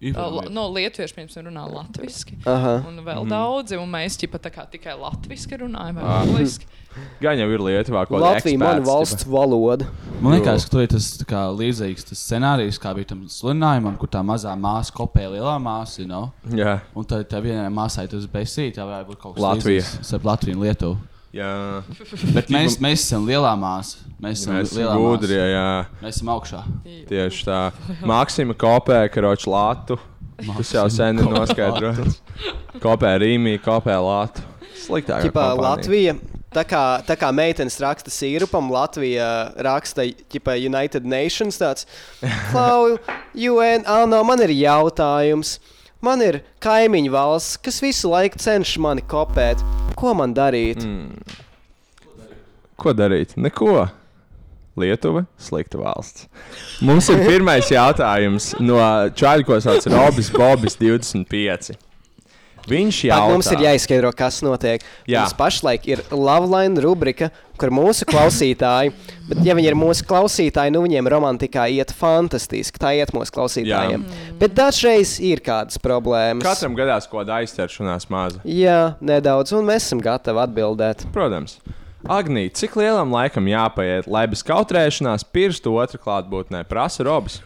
Speaker 8: la-
Speaker 6: Informēt.
Speaker 8: no lietuviešu piemēram runā latviski.
Speaker 7: Aha.
Speaker 8: Un vēl mm. daudzi, un mēs ķipa, tā kā tikai latviešu runājam, vai latviešu.
Speaker 3: Gan jau ir Lietuvā, ko
Speaker 7: Latvija ir mana valsts valoda.
Speaker 6: Man liekas, ka tur ir tas tā kā, līdzīgs tas scenārijs, kā bija tam slinājumam, kur tā mazā māsa kopēja lielā māsu. You know?
Speaker 3: Jā,
Speaker 6: Un tad tā vienai māsai tas bija besīt, tā varētu būt kaut kas
Speaker 3: Latvija.
Speaker 6: līdzīgs starp Latviju un Lietuvu.
Speaker 3: Jā,
Speaker 6: Bet mēs, mēs esam lielā māsā. Mēs esam
Speaker 3: mēs esam
Speaker 6: lielā
Speaker 3: gudri.
Speaker 6: māsā.
Speaker 3: Jā,
Speaker 6: Mēs esam augšā.
Speaker 3: tieši tā. Mākslinieks kopē karoču lātu. Tas jau sen ir noskaidrots. Kopē rīmī, kopē lātu. Sliktāk.
Speaker 7: Ķipā, Latvija, tā kā, tā kā meitenes raksta sīrupam, Latvija raksta ķipā, United Nations. Tāds, Klau, UN, Anna, man ir jautājums. Man ir kaimiņu valsts, kas visu laiku cenšas mani kopēt. Ko man darīt? Mm.
Speaker 3: Ko darīt? Neko. Lietuva - slikta valsts. Mums ir pirmais jautājums no Čāļa, ko sauc Robis Bobis 25. Viņš jau
Speaker 7: Pat mums ir jāizskaidro, kas notiek.
Speaker 3: Jā.
Speaker 7: Jā. Mums pašlaik ir Lavlaina rubrika, kur mūsu klausītāji, bet ja viņi ir mūsu klausītāji, nu viņiem romantikā iet fantastiski, tā iet mūsu klausītājiem. Jā. Bet dažreiz ir kādas problēmas.
Speaker 3: Katram gadās kaut kāda aizķeršanās maza.
Speaker 7: Jā, nedaudz, un mēs esam gatavi atbildēt.
Speaker 3: Protams. Agnī, cik lielam laikam jāpaiet, lai bez kautrēšanās pirkstu otra klātbūtnē prasa Robis?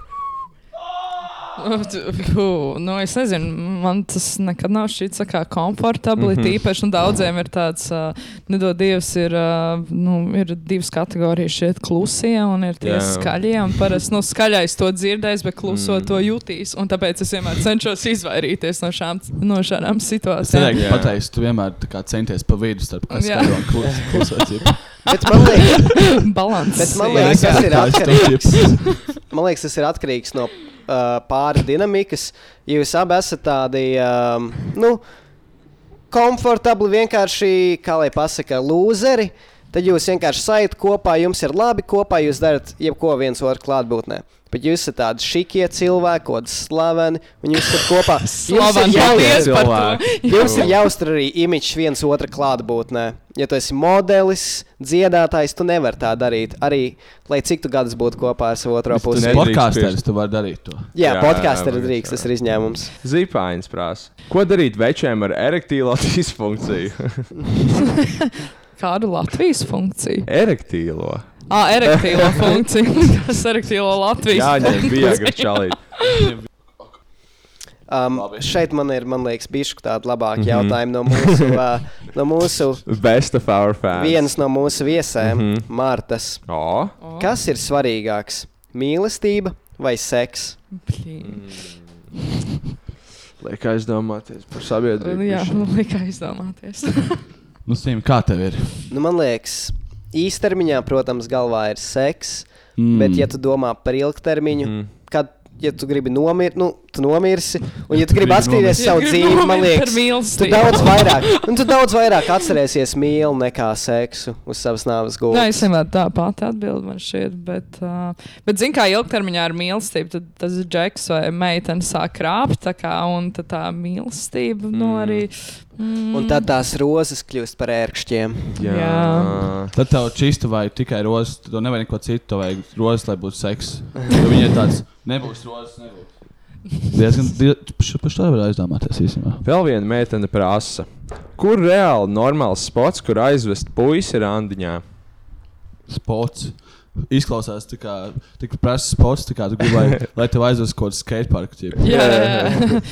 Speaker 8: Jū, nu, es nezinu, man tas nekad nav šķīts tā kā komfortabli.
Speaker 7: Mhm.
Speaker 8: Mm -hmm. Tīpaši nu, daudziem ir tāds, uh, nedod Dievs, ir, uh, nu, ir divas kategorijas šeit - klusie un ir
Speaker 3: Jā.
Speaker 8: tie skaļie. un Parasti nu, skaļais to dzirdēs, bet kluso mm. to jutīs. un Tāpēc es vienmēr cenšos izvairīties no, šām, no šādām situācijām.
Speaker 3: Jā.
Speaker 6: Cilvēki pateiks, tu vienmēr tā kā centies pa vidu starp
Speaker 8: Jā.
Speaker 6: skaļo un kluso- kluso ķipu.
Speaker 7: Bet man liekas,
Speaker 8: Balans.
Speaker 7: bet man
Speaker 8: ir.
Speaker 7: liekas tas ir
Speaker 6: Kā es to
Speaker 7: atkarīgs.
Speaker 6: ķipu?
Speaker 7: Man liekas, tas ir atkarīgs no uh, pāra dinamikas. Ja jūs abi esat tādi, um, nu, komfortabli, vienkārši, kā lai pasakā, lūzeri, tad jūs vienkārši sajat kopā, jums ir labi kopā, jūs darat jebko viens otru klātbūtnē. Bet jūs esat tādi šikie cilvēki, kaut kādi slaveni, un jūs esat kopā. Jums
Speaker 8: Slaveni,
Speaker 7: ir jāliek-
Speaker 8: paldies par to.
Speaker 3: Cilvēki.
Speaker 7: Jums ir jāuztur arī imidžs viens otra klātbūtnē. Ja tu esi modelis, dziedātājs, tu nevari tā darīt. Arī lai cik tu gadus būtu kopā ar savu otro
Speaker 6: Tu
Speaker 3: nedrīkst
Speaker 7: pusi.
Speaker 6: esi podkāsteris,
Speaker 3: pirkstu.
Speaker 6: tu vari darīt to.
Speaker 7: Jā,
Speaker 3: Jā,
Speaker 7: podkāstā arī
Speaker 3: jā,
Speaker 7: drīkst, tas ir izņēmums.
Speaker 3: Zīpains prasa. Ko darīt večiem ar erektīlo disfunkciju?
Speaker 8: Kādu Latvijas funkciju?
Speaker 3: erektīlo.
Speaker 8: Ah, erektīlo funkciju. Kas erektīlo Latvijas
Speaker 3: Jā, ņem
Speaker 8: funkciju?
Speaker 3: bija grāmatā.
Speaker 7: Um,
Speaker 6: Labi.
Speaker 7: šeit man ir, man liekas, bijuši tādi
Speaker 3: Mhm.
Speaker 7: labāki mm -hmm. jautājumi no mūsu, uh, no mūsu
Speaker 3: Best of our fans.
Speaker 7: vienas no mūsu viesēm,
Speaker 3: Mhm.
Speaker 7: mm -hmm. Mārtas.
Speaker 3: O,
Speaker 8: O,
Speaker 7: Kas ir svarīgāks? Mīlestība vai seks?
Speaker 8: blīn.
Speaker 3: Mm. liek aizdomāties par sabiedrību.
Speaker 8: Nu Jā,
Speaker 3: bišķiņ.
Speaker 8: man liekas aizdomāties.
Speaker 6: Nu, Sīm, kā tev ir?
Speaker 7: Nu, man liekas, īstermiņā, protams, galvā ir seks, mm. bet, ja tu domā par ilgtermiņu, mm. kad ja tu gribi nomirt, nu, tu nomirsi. Un, ja tu gribi
Speaker 6: gribi
Speaker 7: atskatīties
Speaker 8: Ja
Speaker 7: savu
Speaker 8: gribi
Speaker 7: dzīvi, man
Speaker 8: nomirt par
Speaker 7: liekas, tu
Speaker 8: mīlestību.
Speaker 7: daudz vairāk, un tu daudz vairāk atcerēsies mīlestību nekā seksu uz savas nāves gultas.
Speaker 8: Nē, Nu, es vienmēr tā pati atbildu man šeit, bet, uh, bet zinu, kā ilgtermiņā ar mīlestību, tad tas ir džeks vai meitene sāk krāpt, tā kā, un tad tā mīlestība, mm. nu, arī. Mm,
Speaker 7: Un tad tās rozes kļūst par ērkšķiem.
Speaker 3: Jā.
Speaker 8: Jā.
Speaker 6: Tad tev čista vai tikai rozes, tu nevari neko citu, tev vajag rozes, lai būtu seks. Jo Viņa ir tāds, nebūs rozes, nebūs. Diezgan, pašu tā var aizdomāties īstenībā.
Speaker 3: Vēl viena meitene prasa. Kur reāli normāls spots, kur aizvest puisi randiņā?
Speaker 6: Sports. Izklausās, tā kā tik prasa sports, tā kā tu gribi, lai, lai tev aizvestu kaut kādu skateparku. ķipu.
Speaker 8: Jā, jā, jā.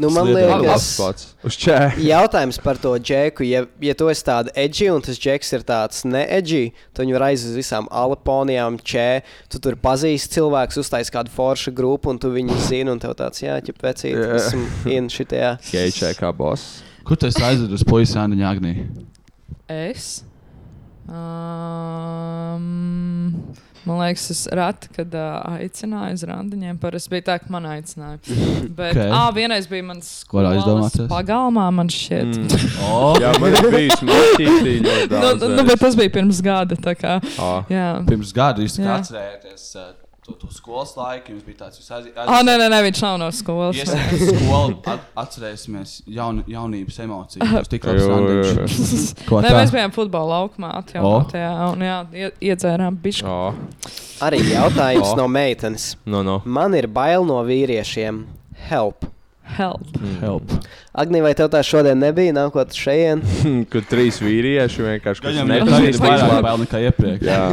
Speaker 7: Nu, man
Speaker 6: Sliedēm.
Speaker 7: liekas,
Speaker 3: Labs spots. Uz čē.
Speaker 7: Jautājums par to džeku. Ja, ja tu esi tāds edži un tas džeks ir tāds needži, tad viņi var aiziet uz visām alaponijām, čē. Tu tur pazīsti cilvēkus, uztais kādu foršu grupu, un tu viņu zini, un tev tāds jāķip vecīt,
Speaker 3: Jā.
Speaker 7: esam in šitajā.
Speaker 3: Geičē kā boss.
Speaker 6: Kur tu esi aizvedu uz puisāniņa Agnī?
Speaker 8: Es. Um, man liekas, es reti, kad uh, aicināju uz randiņiem, parasti bija tā, ka man aicināja. Bet
Speaker 6: Ok.
Speaker 8: okay. à, vienreiz bija mans
Speaker 6: Ko varētu
Speaker 8: skolas
Speaker 6: izdomāties?
Speaker 8: pagalmā, man šķiet. Mm.
Speaker 6: Oh,
Speaker 3: Jā, man ir bijis mākslinieks.
Speaker 8: Nu, nu, nu, bet tas bija pirms gada. tā kā,
Speaker 3: bija.
Speaker 8: Jā,
Speaker 6: pirms gada jūs tā kā
Speaker 8: Jā.
Speaker 6: atcerējāties uh, to, to skolas laiku, jums bija tāds, jūs
Speaker 8: ah,
Speaker 6: aizvedu.
Speaker 8: nē, nē, nē, viņš nav no skolas.
Speaker 6: Iesim skolu, at, atcerēsimies jaun, jaunības emocijas. Tas tik labs
Speaker 3: Jā, jā, jā.
Speaker 6: randiņš. Ko
Speaker 8: Nē,
Speaker 6: tā?
Speaker 8: mēs bijām futbola laukumā, atjaunotajā, un jā, ie- iedzērām bišķi.
Speaker 3: O,
Speaker 7: Arī jautājums
Speaker 3: O.
Speaker 7: no meitenes.
Speaker 3: no, no.
Speaker 7: Man ir bail no vīriešiem. Help!
Speaker 8: Help.
Speaker 3: Mm.
Speaker 6: Help.
Speaker 7: Agnī, vai tev tā šodien nebija? Nākot šeit,
Speaker 3: Kur trīs vīrieši vienkārši
Speaker 6: Viņam
Speaker 3: nepazīst
Speaker 6: ir
Speaker 3: vislabāk.
Speaker 6: vairāk bail nekā iepriekš.
Speaker 3: Jā,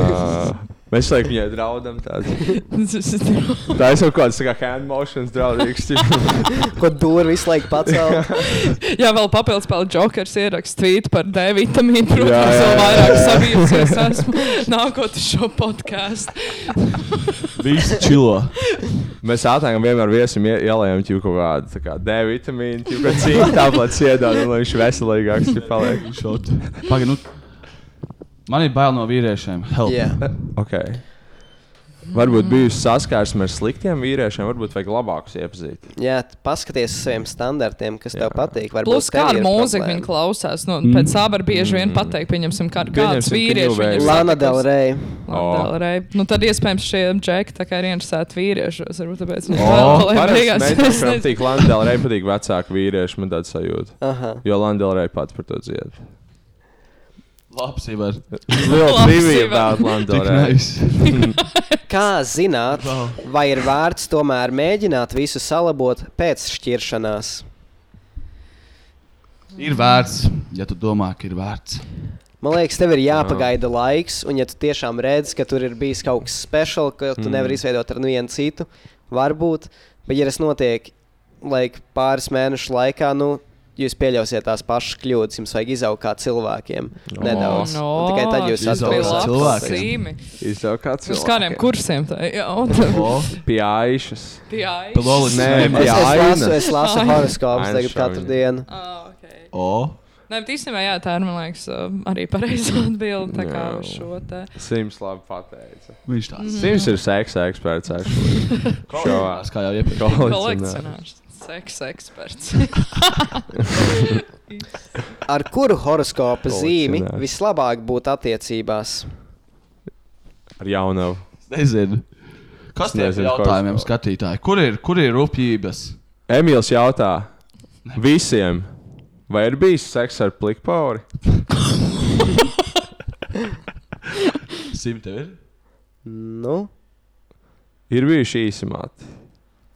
Speaker 3: Mēs laikam viņai draudam tādu.
Speaker 8: Tas
Speaker 3: Tā ir kaut kāds tā kā hand motions draudīgs. tipā.
Speaker 7: Ko dūri visu laiku pacēlīja?
Speaker 8: Jā, vēl papildus spēlē Jokers ieraksts tvītu par D vitamīnu. Protams,
Speaker 3: Jā, jā,
Speaker 8: vēl
Speaker 3: jā.
Speaker 8: vairāk sabijusies esmu nākot uz šo podkāstu.
Speaker 6: Viss čilo.
Speaker 3: Mēs ātrāk vienmēr viesim ie- ielējam ķipu kaut kādu tā kā D vitamīnu, ķipu kā cīņu tāpat iedod, lai viņš veselīgāks ķipu paliek.
Speaker 6: Pagaid, nu. Man ir bail no vīriešiem. Help.
Speaker 7: Jā.
Speaker 3: Okay. Varbūt bijusi saskarsme ar sliktiem vīriešiem, varbūt vajag labākus iepazīt.
Speaker 7: Jā, t- paskaties uz saviem standartiem, kas tev
Speaker 3: Jā.
Speaker 7: patīk. varbūt
Speaker 8: Plus,
Speaker 7: tev
Speaker 8: kāda
Speaker 7: ir
Speaker 8: mūzika
Speaker 7: problēma.
Speaker 8: viņa klausās. Nu, mm. Pēc sāpēm bieži vien pateikt, pieņemsim, kā, kāds
Speaker 3: Pieņemsim, Kanye
Speaker 8: vīrietis
Speaker 3: West.
Speaker 8: viņam
Speaker 7: Lana Del Rey.
Speaker 3: O.
Speaker 8: Rey. Nu, tad iespējams šie džeki tā kā ir interesēti vīriešos. Varbūt tāpēc viņi
Speaker 3: Oh,
Speaker 8: vēl paliek brīvās. Es
Speaker 3: man
Speaker 8: nezinu.
Speaker 3: patīk Landela Rei, patīk vecāku vīriešu, man tāds sajūta.
Speaker 7: Aha.
Speaker 3: Jo Landela Rei pats par to dzied.
Speaker 6: Labs, Ivar.
Speaker 3: Little
Speaker 8: Labs,
Speaker 3: trivia
Speaker 8: Ivan.
Speaker 3: about Landela
Speaker 6: Tik
Speaker 3: Rei.
Speaker 6: nice.
Speaker 7: Kā zināt, vai ir vērts tomēr mēģināt visu salabot pēc šķiršanās?
Speaker 6: Ir vērts, ja tu domā, ka ir vērts.
Speaker 7: Man liekas, tev ir jāpagaida laiks, un ja tu tiešām redz, ka tur ir bijis kaut kas speciāls, ko tu mm. nevari izveidot ar vienu citu, varbūt, bet ja tas notiek laik, pāris mēnešu laikā, nu, jūs pieļausiet tās pašas kļūdas, jums vajag izaugt kā cilvēkiem.
Speaker 3: No.
Speaker 7: Nedaudz.
Speaker 8: No,
Speaker 7: Un tikai tad jūs
Speaker 8: tas bija
Speaker 6: Izaugt kā
Speaker 7: atbildēsiet.
Speaker 8: labs
Speaker 6: cilvēki.
Speaker 8: zīme.
Speaker 3: Jūs jau kāds
Speaker 8: Uz kādiem kursiem tā ir?
Speaker 6: O,
Speaker 3: Pie Aišas.
Speaker 8: Jā,
Speaker 6: Palolis
Speaker 3: Nē,
Speaker 6: nē,
Speaker 3: pie
Speaker 7: Es, es
Speaker 3: Ainas.
Speaker 7: lasu, es lasu
Speaker 8: Aina.
Speaker 7: horoskopus
Speaker 3: Aina
Speaker 7: tagad katru
Speaker 3: šaujiņa.
Speaker 7: dienu.
Speaker 8: Ah, ok.
Speaker 6: O,
Speaker 8: Nē, Nu, bet īstenībā jā, tā ir man liekas, um, arī pareizā atbilde. Tā kā
Speaker 3: Jā.
Speaker 8: uz šo te.
Speaker 3: Sims labi pateica.
Speaker 6: viņš
Speaker 8: Mm.
Speaker 6: tāds.
Speaker 3: Sims ir seksa eksperts. actually. Šovā.
Speaker 6: Kā jau iepriekš.
Speaker 3: Kolekcionārs.
Speaker 8: Kolekcionārs, seksa eksperts.
Speaker 7: Ar kuru horoskopa zīmi
Speaker 3: Kolekcionēs.
Speaker 7: vislabāk būtu attiecībās?
Speaker 3: Ar jaunu.
Speaker 6: Nezinu. Kas tie ir
Speaker 3: Nezinu, ko-
Speaker 6: jautājumiem skatītāji? Kur ir, kur ir rūpības?
Speaker 3: Emīls jautā visiem, vai ir bijis seks ar plikpauri?
Speaker 6: Simt tev ir?
Speaker 7: Nu,
Speaker 3: Ir bijuši īsi mati,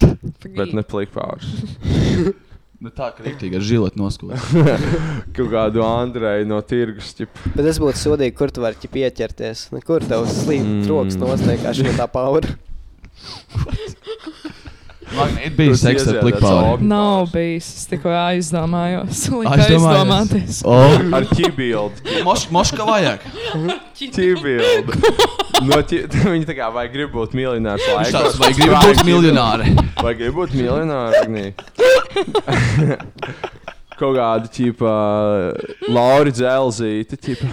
Speaker 3: bet ne
Speaker 8: Pagaid.
Speaker 3: plikpauri.
Speaker 6: Nu tā, ka rīktīgi ar žiletu noskūpst.
Speaker 3: Kaut kādu Andreju no tirgus. Ķip.
Speaker 7: Bet es būtu sodīgi, kur tu vari ķip pieķerties. Nu, kur tev slīd rokas nostiekāši no tā paura?
Speaker 6: Labi, ir
Speaker 3: Tas
Speaker 6: bijis seks ar
Speaker 3: ieziedēts
Speaker 6: plikpāru.
Speaker 3: obi.
Speaker 8: Nav bijis. Es tikko aizdomājos. Lika
Speaker 6: Aizdomājies.
Speaker 8: aizdomāties.
Speaker 6: O,
Speaker 3: Ar ķibildu.
Speaker 6: moš- moška vajag.
Speaker 3: Ķibildu. No ķi... Viņa tā kā vai grib būt miljonārs
Speaker 6: Viņš
Speaker 3: laikos.
Speaker 6: tāds, vai gribi būt miljonāri?
Speaker 3: Vai grib būt miljonārs? Agnī? Kaut kāda tipa Laura Zelzīta, tipa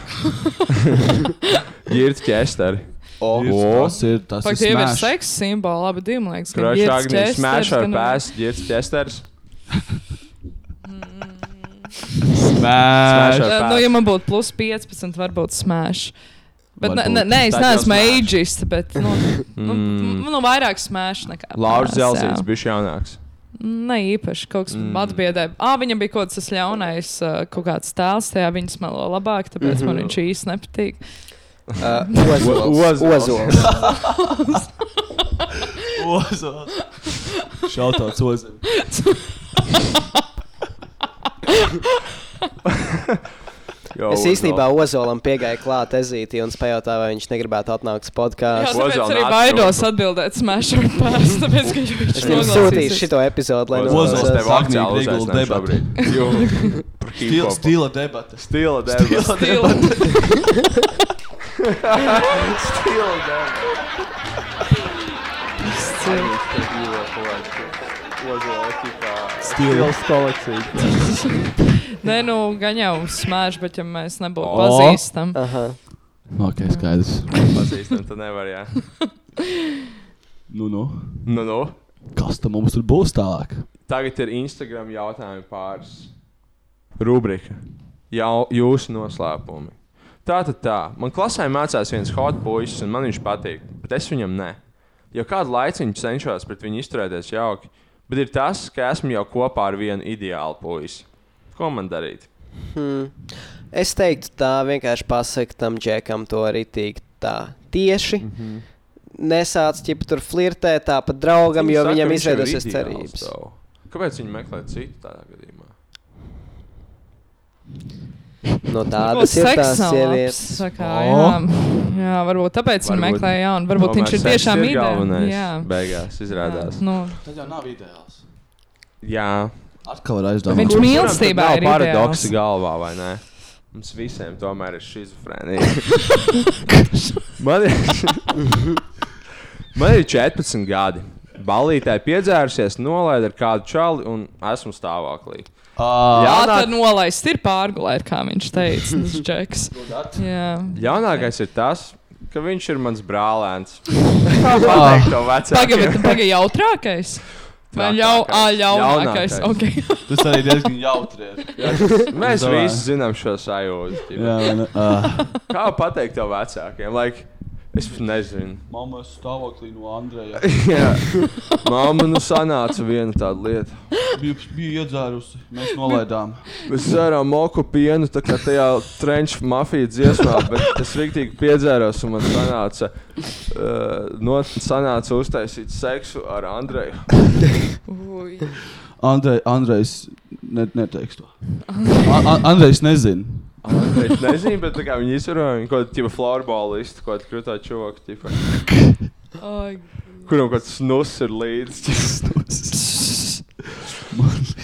Speaker 3: Girta Kesteri. Oh,
Speaker 6: Tas ir tas,
Speaker 8: Faktiski,
Speaker 6: kas
Speaker 8: tie
Speaker 6: ir
Speaker 8: jau ir
Speaker 6: smash.
Speaker 8: seksa simboli. Abi divi liekas, ka
Speaker 3: Krāšņā Agnija smēķē ar pēstu, Girta Kesteris.
Speaker 6: Smash.
Speaker 3: ar
Speaker 8: Nu,
Speaker 3: pēstu.
Speaker 8: ja man būtu plus 15, varbūt smēš. Bet ne,
Speaker 6: Varbūt.
Speaker 8: ne, ne, es
Speaker 6: Tad jau
Speaker 8: neesmu
Speaker 6: smash.
Speaker 8: aģists, bet nu, nu, mm. nu, vairāk smēš nekā.
Speaker 3: Laura
Speaker 8: pēsts,
Speaker 3: Zelzīts
Speaker 8: jā.
Speaker 3: bija jaunāks.
Speaker 8: Ne īpaši kaut kas mm. atbiedēja. Ah, viņam bija kaut kas tāds ļaunais, uh, kaut kāds tēls, tajā viņa smelo labāk, tāpēc mm -hmm. man viņš īsti nepatīk.
Speaker 7: Uh,
Speaker 3: Ozols.
Speaker 7: ozols. ozols.
Speaker 6: Šautauts ozim.
Speaker 3: Jo,
Speaker 7: Es
Speaker 3: Ozols.
Speaker 7: īstenībā ozolam piegāju klāt ezīti un spējautāju, vai viņš negribētu atnākt uz
Speaker 8: Jā,
Speaker 7: podkāstu.
Speaker 3: Ozola
Speaker 8: tāpēc arī
Speaker 3: nāca
Speaker 8: baidos
Speaker 3: jau.
Speaker 8: atbildēt smēšu ar pēstu, tāpēc, ka viņš
Speaker 7: Es jums sūtīšu šo episodu, lai
Speaker 3: Ozols
Speaker 6: Ozols
Speaker 3: tev
Speaker 7: noklausās.
Speaker 6: Agnija
Speaker 3: akcijā
Speaker 6: Grigula
Speaker 3: uzaicināja
Speaker 6: debata.
Speaker 3: šobrīd. Jo, par
Speaker 6: Stila,
Speaker 3: hip-hopu.
Speaker 6: stila debatas.
Speaker 3: Stila debata.
Speaker 8: Stilu.
Speaker 3: Stils kolekcija.
Speaker 8: Nē, nu, gan jau smēš, bet ja mēs nebūtu
Speaker 3: O.
Speaker 8: pazīstami.
Speaker 7: Aha.
Speaker 6: Ok, skaidrs.
Speaker 3: Pazīstam, tad nevar, jā.
Speaker 6: Nu, nu.
Speaker 3: Nu, nu.
Speaker 6: Kas tam mums tur būs tālāk?
Speaker 3: Tagad ir Instagram jautājumi pāris. Rubrika. Jau, jūsu noslēpumi. Tā tad tā. Man klasē mācās viens hot puisis, un man viņš patīk, bet es viņam ne. Jau kādu laiku viņš cenšas pret viņu izturēties jauki, bet ir tas, ka esmu jau kopā ar vienu ideālu puisi. Ko man darīt?
Speaker 7: Es teiktu, tā vienkārši pasakot tam džekam, to arī tīk tā tieši. Mm
Speaker 3: Mhm.
Speaker 7: -hmm. Nesāc ķip tur flirtēt, tāpat draugam, jo
Speaker 3: Saka,
Speaker 7: viņam
Speaker 3: viņš jau ir
Speaker 7: izveidosies
Speaker 3: ideāls
Speaker 7: cerības.
Speaker 3: tev. Kāpēc viņi meklē citu tādā gadījumā?
Speaker 7: No tādas ir tās sievietes.
Speaker 8: Sakā,
Speaker 3: O.
Speaker 8: jā, jā, varbūt tāpēc
Speaker 3: Varbūt-
Speaker 8: viņa meklēja jaunu. Varbūt viņš ir
Speaker 3: Tomēr seks
Speaker 8: tiešām
Speaker 3: ir galvenais.
Speaker 8: Jā,
Speaker 3: Beigās izrādās.
Speaker 8: jā, nu,
Speaker 6: Tas jau nav ideāls.
Speaker 3: Jā.
Speaker 6: Atkal ir
Speaker 8: Viņš
Speaker 6: aizdomāts.
Speaker 8: mi- mīlestībā
Speaker 3: Kuram tad
Speaker 8: ir
Speaker 3: nav paradoksa
Speaker 8: ideāls.
Speaker 3: galvā, vai ne? Mums visiem tomēr ir schizofrēnija. Man ir, man ir 14 gadi. Balītē piedzērusies, nolaida ar kādu čali un esmu stāvoklī.
Speaker 6: Ā,
Speaker 8: tā
Speaker 3: Ļaunā,
Speaker 8: tad nu- nolaist ir pārgulēt, kā viņš teica. Tas džeks. Jā.
Speaker 3: ļaunākais ir tas, ka viņš ir mans brālēns. Pateikt to
Speaker 8: Pagaid,
Speaker 3: vecākiem.
Speaker 8: pagaid, jautrākais. Vai jau ah,
Speaker 3: Trakākais.
Speaker 8: tā ļaunākais?
Speaker 3: Ļaunākais.
Speaker 8: Okay.
Speaker 6: Tas arī diezgan jautri. ir.
Speaker 3: Mēs
Speaker 6: Domāju.
Speaker 3: visi zinām šo sajūtu. ķipa.
Speaker 6: Jā, man, uh,
Speaker 3: Kā pateikt to vecākiem? Like, es nezinu.
Speaker 6: mamma stāvoklī no Andreja.
Speaker 3: Jā, māma, nu sanāca viena tāda lieta.
Speaker 6: Bija, bija iedzērusi, mēs nolaidām.
Speaker 3: Mēs dzērām moku pienu, tā kā tajā trenča mafijas dziesmā, bet es rīktīgi piedzēros un man sanāca, uh, no, sanāca uztaisīt seksu ar Andreju.
Speaker 8: Ui.
Speaker 6: Andrej, Andrejs ne, neteiks to. A- A- Andrejs nezina.
Speaker 3: Es nezinu, bet tā kā viņi izsveroja, viņi kaut kāda florbolisti, kaut kāda krutā čoka, tipa,
Speaker 8: Ai,
Speaker 3: kuram kaut kāds snus ir līdzi.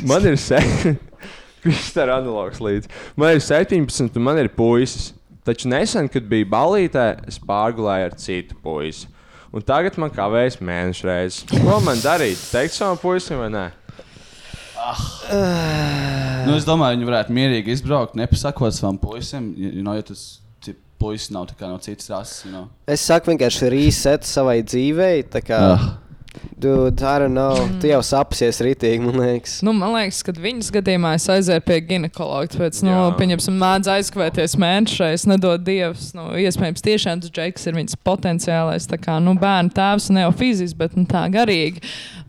Speaker 3: Man ir se- Kristaps ir analogs līdzi. Man ir 17, un man ir puisis. Taču nesen, kad biju balītē, es pārgulēju ar citu puisi. Un tagad man kavējas mēnešu reizes. Ko man darīt? Teikt savam puisim vai nē?
Speaker 6: Nu, es domāju, viņi varētu mierīgi izbraukt, nepasakot savam puisim. You know, ja tas tip, puisis nav tā kā no citas rases. You know.
Speaker 7: Es saku, vienkārši reset savai dzīvei. Tā kā,
Speaker 6: Ah.
Speaker 7: dude, I don't know. Tu jau sapsies rītīgi, man liekas.
Speaker 8: Nu, man liekas, ka viņas gadījumā es aizēju pie ginekologa. Tāpēc, nu,
Speaker 3: Jā.
Speaker 8: pieņemsim, mēdz aizkavēties mēnešreiz, nedod dievs. Nu, iespējams, tiešām tas džeks ir viņas potenciālais tā kā, nu, bērnu tēvs, ne jau fizisks, bet nu, tā garīgi.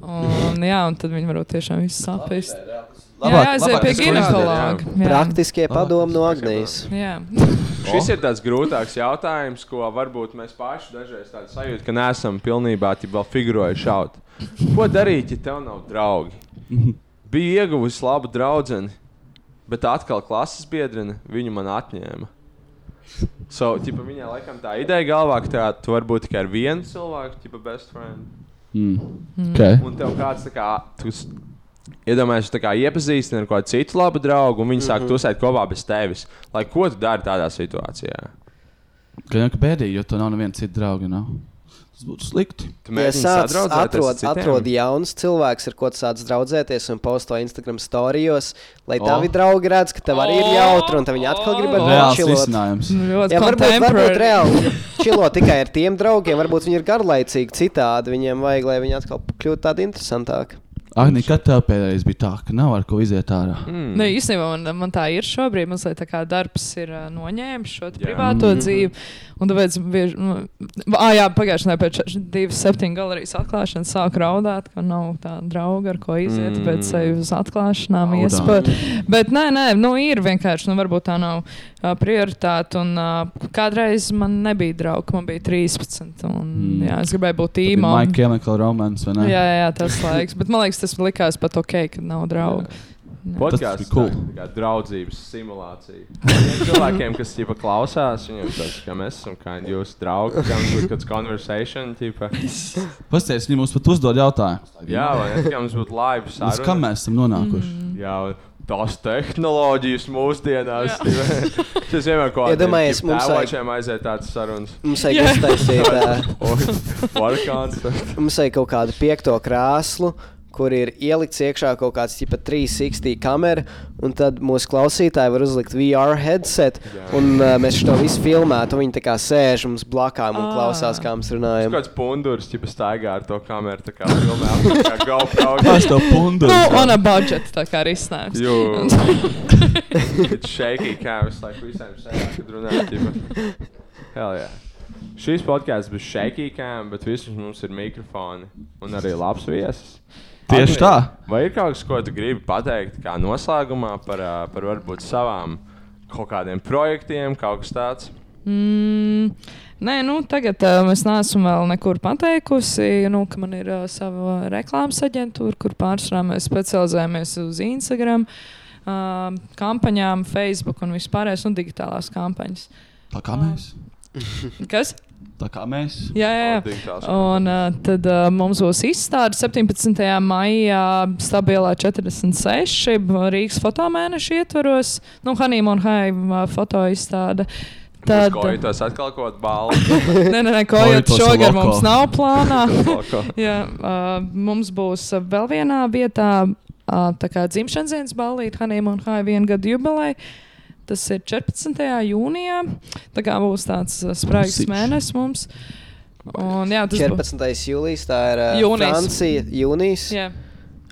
Speaker 8: Un, jā, un tad viņi varbūt tiešām viss saprast. Jā,
Speaker 6: Labāk-
Speaker 8: aiziet
Speaker 6: labāk
Speaker 8: pie
Speaker 6: tas, ko
Speaker 3: izdarīt,
Speaker 8: ginekologa. Jā.
Speaker 7: Praktiskie padomi no Agnijas.
Speaker 8: Jā.
Speaker 3: Šis ir tāds grūtāks jautājums, ko varbūt mēs paši dažreiz tādu sajūtu, ka neesam pilnībā tip, vēl figurējuši šaut. Ko darīt, ja tev nav draugi? Biju ieguvusi labu draugu, bet atkal klases biedrina viņu man atņēma. So, tipa, viņai laikam tā ideja galvā, ka tā, tu vari būt tikai ar vienu cilvēku, tipa best friend.
Speaker 6: Mm.
Speaker 8: Mm.
Speaker 6: Okay.
Speaker 3: Un tev kāds tā kā, tu s- iedomājies, tā kā iepazīstina ar kādu citu labu draugu, un viņi sāk tusēt kopā bez tevis. Lai ko tu dari tādā situācijā?
Speaker 6: Gan jau ka bēdīgi, jo tu nav neviena cita drauga. Nav. Tas būtu slikti.
Speaker 3: Tu
Speaker 7: Ja
Speaker 3: mēģini
Speaker 7: sāc
Speaker 3: sadraudzēties
Speaker 7: atrod,
Speaker 3: ar citiem?
Speaker 7: atrod jauns cilvēks, ar ko tu sāc draudzēties un post to Instagram storijos, lai
Speaker 6: O.
Speaker 7: tavi draugi redz, ka tev arī ir jautri un tev viņi atkal grib
Speaker 8: O.
Speaker 6: Reāls
Speaker 7: atšķilot.
Speaker 6: risinājums.
Speaker 8: Nu, Ļoti
Speaker 7: Jā, varbūt, varbūt
Speaker 8: kontemporāri.
Speaker 7: reāli čilo tikai ar tiem draugiem, varbūt viņi ir garlaicīgi citādi, viņiem vajag, lai viņi atkal kļūtu tādi interesantāki.
Speaker 6: Agni, kad tev pēdējais bija tā, ka nav ar ko iziet ārā?
Speaker 3: Hmm.
Speaker 8: Nē, Nu, īstenībā man, man tā ir šobrīd. Man liekas, ka darbs ir ā, noņēmis šo te
Speaker 3: Jā.
Speaker 8: privāto
Speaker 6: Mhm.
Speaker 8: dzīvi. Un tāpēc, bieži, nu, ah, jā, pagājušajā nedēļā pēc ša- divas, septiņu galerijas atklāšanas sāku raudāt, ka nav tā drauga, ar ko iziet
Speaker 3: Mm.
Speaker 8: mm. pēc sevis atklāšanām.
Speaker 6: Raudāt.
Speaker 8: iespēju. Bet nē, nē, nu, ir vienkārši, nu, varbūt tā nav uh, prioritāte. Un, uh, kādreiz man nebija draugi, man bija 13.
Speaker 6: Mm.
Speaker 8: Un, mm. jā, es gribēju būt
Speaker 6: Bija My
Speaker 8: īmā.
Speaker 6: Chemical Romance, vai ne?
Speaker 8: Jā, jā, tas laiks. Bet man liekas, tas likās pat ok, ka nav draugu.
Speaker 6: Tas
Speaker 3: Podkāsts
Speaker 6: bija cool.
Speaker 3: tā kā draudzības simulācija. Tiem cilvēkiem, kas tipa, klausās, viņiem tas ir, ka mēs esam kā jūsu draugi, kā mums būtu kāds konversācija, tipa.
Speaker 6: Pastāstiet, viņi mums pat uzdod jautājumu.
Speaker 3: Jā, vai ne? Kā mums būtu live
Speaker 6: Uz kā
Speaker 3: saruna.
Speaker 6: mēs esam nonākuši?
Speaker 8: Mm.
Speaker 3: Jā, un tās tehnoloģijas mūsdienās. tipa. Tas vienmēr kaut kādā
Speaker 7: Iedomājies, mums vajag-
Speaker 3: Tēvočiem aiziet tādas sarunas.
Speaker 7: Mums vajag iztaisīt. ā,
Speaker 3: Varkāns.
Speaker 7: Mums ir kaut kāda piekto krāslu, kur ir ielikts iekšā kaut kāds tipa 360 kamera, un tad mūsu klausītāji var uzlikt VR headset, un uh, mēs to visu filmētu. un Viņi tā kā sēž mums blakām un
Speaker 8: Ā.
Speaker 7: klausās, kā mēs runājam.
Speaker 3: Kāds pundurs, tipa, staigā ar to kameru, tā kā filmē, kā GoPro.
Speaker 6: Kas tev pundu?
Speaker 8: Nu, on a budget, tā kā arī snēps.
Speaker 3: Jū. It's shaky cameras, like visiem sēžam, runājot. Tipa. Hell yeah. Šīs podkāsts bija shaky cam, bet vismaz mums ir mikrofoni un arī labs viesis.
Speaker 6: Tieši tā.
Speaker 3: Vai ir kaut kas, ko tu gribi pateikt, kā noslēgumā par, ā, par varbūt savām kaut kādiem projektiem, kaut kas tāds?
Speaker 8: Mm, nē, nu, tagad uh, es neesmu vēl nekur pateikusi, nu, ka man ir uh, sava reklāmas aģentūra, kur pārsvarā mēs specializējamies uz Instagram. um, kampaņām, Facebook un vispārējais, un digitālās kampaņas.
Speaker 6: Tā kā mēs.
Speaker 8: Kas?
Speaker 6: Tā kā mēs.
Speaker 8: Jā, jā, jā. Un uh, tad uh, mums būs izstāde 17. maijā, stabilā 46. Rīgas fotomēneša ietvaros, nu, Hanīma un Haima fotoizstāde.
Speaker 3: Tad...
Speaker 8: Tad,
Speaker 3: Ko jūs tas atkal kaut kādā
Speaker 8: nē, nē, nē, ko jau
Speaker 6: Kojotos
Speaker 8: šogad
Speaker 6: loko.
Speaker 8: mums nav plānā.
Speaker 3: balā?
Speaker 8: Jā, uh, mums būs uh, vēl vienā vietā, uh, tā kā dzimšanas dienas ballīte, Hanīma un Hāja viena gada jubilei. Tas ir 14. jūnijā. Tā kā būs tāds uh, spraigs
Speaker 6: Masīvs.
Speaker 8: mēnesis mums. Un, jā, tas būs.
Speaker 7: 14. jūlijas, tā ir uh,
Speaker 8: Jūnijs.
Speaker 7: Francija. Jūnijas.
Speaker 8: Jā.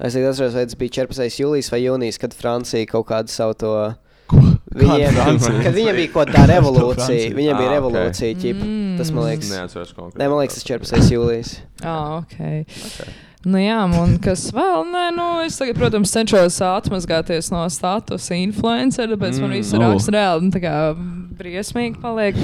Speaker 7: Es tikai atceros, vai tas bija 14. jūlijas vai jūnijas, kad Francija kaut kādu savu to. Viņiem,
Speaker 6: Francija?
Speaker 7: kad viņiem bija kaut kāda revolūcija,
Speaker 6: Francija.
Speaker 7: viņiem bija
Speaker 3: Ah, ok.
Speaker 7: revolūcija. ķip. Tas
Speaker 8: Mm.
Speaker 7: man liekas,
Speaker 3: Neatceros konkrēti.
Speaker 7: ne, man liekas, tas 14. jūlijas.
Speaker 8: Ah, okay. Nu, jā, un kas vēl? Nē, nu, es tagad, protams, cenšos atmazgāties no statusa influencera, bet mm, man
Speaker 3: Mm,
Speaker 8: viss ir
Speaker 6: nu.
Speaker 8: rāks reāli. Nu, tā kā briesmīgi paliek.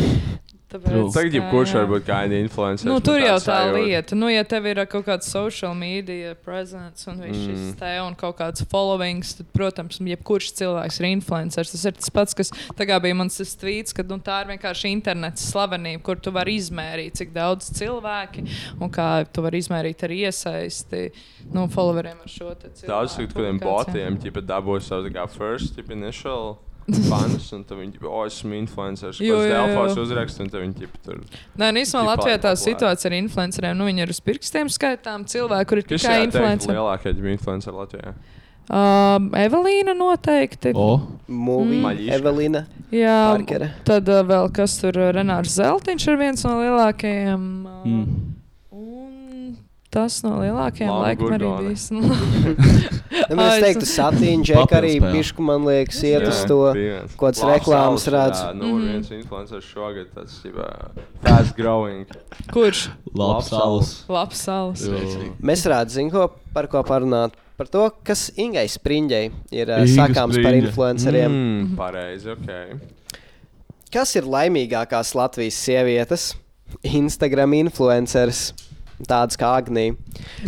Speaker 8: Tāpēc,
Speaker 3: Tagad
Speaker 8: jā,
Speaker 3: jau kurš
Speaker 8: jā.
Speaker 3: var būt kaini influencer.
Speaker 8: Nu, tur jau tā lieta, nu, ja tev ir ā, kaut kāda social media presence un viss šis mm. te un kaut kāds followings, tad, protams, jebkurš cilvēks ir influenceris. Tas ir tas pats, kas tagad bija mans tas tvīts, ka nu, tā ir vienkārši interneta slavenība, kur tu vari izmērīt, cik daudz cilvēki un kā tu vari izmērīt arī iesaisti nu, followeriem ar šo te cilvēku.
Speaker 3: Daudz cilvēku kādiem
Speaker 8: publikācijām.
Speaker 3: botiem, tipa dabūja savu tā kā first, tipa initial. Fans, un tad viņi ir awesome influencers.
Speaker 8: Jo,
Speaker 3: Jūs
Speaker 8: jo, jo.
Speaker 3: Delfos uzrakstāt, un tad viņi ķip tur.
Speaker 8: Nē, nu, īstenībā
Speaker 3: Tipa
Speaker 8: Latvijā tā
Speaker 3: populāri.
Speaker 8: situācija ar influenceriem, nu, viņi ir uz pirkstiem skaitām cilvēku, kur ir
Speaker 3: Kas
Speaker 8: tikai
Speaker 3: ir
Speaker 8: influenceri.
Speaker 3: lielākā ģimenes influencer Latvijā?
Speaker 8: Um, Evelīna noteikti.
Speaker 6: O,
Speaker 7: Mūvija,
Speaker 3: Maļīška.
Speaker 7: Evelīna.
Speaker 8: Jā,
Speaker 7: Parkere.
Speaker 8: tad uh, vēl kas tur ir Renārs Zeltiņš, ir viens no lielākajiem. Uh, mm.
Speaker 6: mm.
Speaker 8: Un tas no lielākajiem
Speaker 3: Laura
Speaker 8: laikam arī
Speaker 3: Gurgone.
Speaker 8: bijis.
Speaker 7: Nu, bet
Speaker 8: Ai,
Speaker 7: Es teiktu,
Speaker 8: es-
Speaker 7: Satīna, Džek arī
Speaker 6: Papildspēle.
Speaker 7: pišku, man liekas, iet uz to. kāds reklāmas redz.
Speaker 3: Nu, mm. viens influencer šogad, tas ir fast growing.
Speaker 8: Kurš?
Speaker 6: Labs alus.
Speaker 8: Labs salas.
Speaker 7: Mēs varētu zināt, ko par ko parunāt. Par to, kas Ingai Springei ir ā,
Speaker 6: Inga
Speaker 7: sakāms par
Speaker 6: Springļa.
Speaker 7: influenceriem. Mm.
Speaker 3: Mm, pareizi, ok.
Speaker 7: Kas ir laimīgākās Latvijas sievietes? Instagram influenceris, tāds kā Agnija.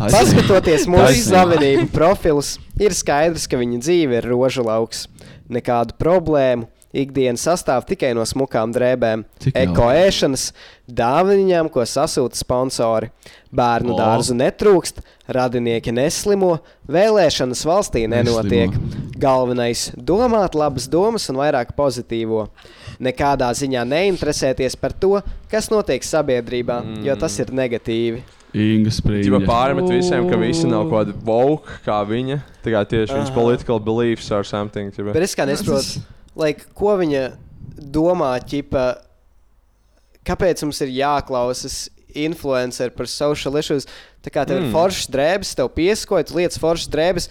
Speaker 7: Paskatoties mūsu
Speaker 6: Taisnība.
Speaker 7: slavenību profilus, ir skaidrs, ka viņa dzīve ir rožu lauks. Nekādu problēmu. Ikdiena sastāv tikai no smukām drēbēm,
Speaker 6: Cik jauki.
Speaker 7: ekoēšanas, dāvinām, ko sasūta sponsori. Bērnu
Speaker 6: O.
Speaker 7: oh. dārzu netrūkst, radinieki neslimo, vēlēšanas valstī nenotiek. Galvenais - domāt labas domas un vairāk pozitīvo. Nekādā ziņā neinteresēties par to, kas notiek sabiedrībā, mm. jo tas ir negatīvi.
Speaker 6: Inga
Speaker 3: Ģipa
Speaker 6: sprīga.
Speaker 3: pārmet visiem, ka visi nav
Speaker 8: Ooh.
Speaker 3: kaut kādi woke, kā viņa. Tā kā tieši viņas political beliefs or something. Ģipa.
Speaker 7: Bet es kā nesaprotu, like, ko viņa domā, ķipa, kāpēc mums ir jāklausās influenceri par social issues. Tā kā tev mm. ir
Speaker 3: Mm.
Speaker 7: foršas drēbes, tev pieskojas lietas, foršas drēbes.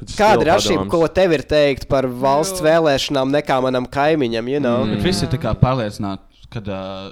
Speaker 3: Kad stila
Speaker 7: Kāda ir atšķirība,
Speaker 3: padoms.
Speaker 7: ko tev ir teikt par valsts
Speaker 8: Jo.
Speaker 7: vēlēšanām, nekā manam kaimiņam? You
Speaker 3: Hmm.
Speaker 8: Mm.
Speaker 7: know?
Speaker 6: Bet visi ir tā kā pārliecināti, ka uh,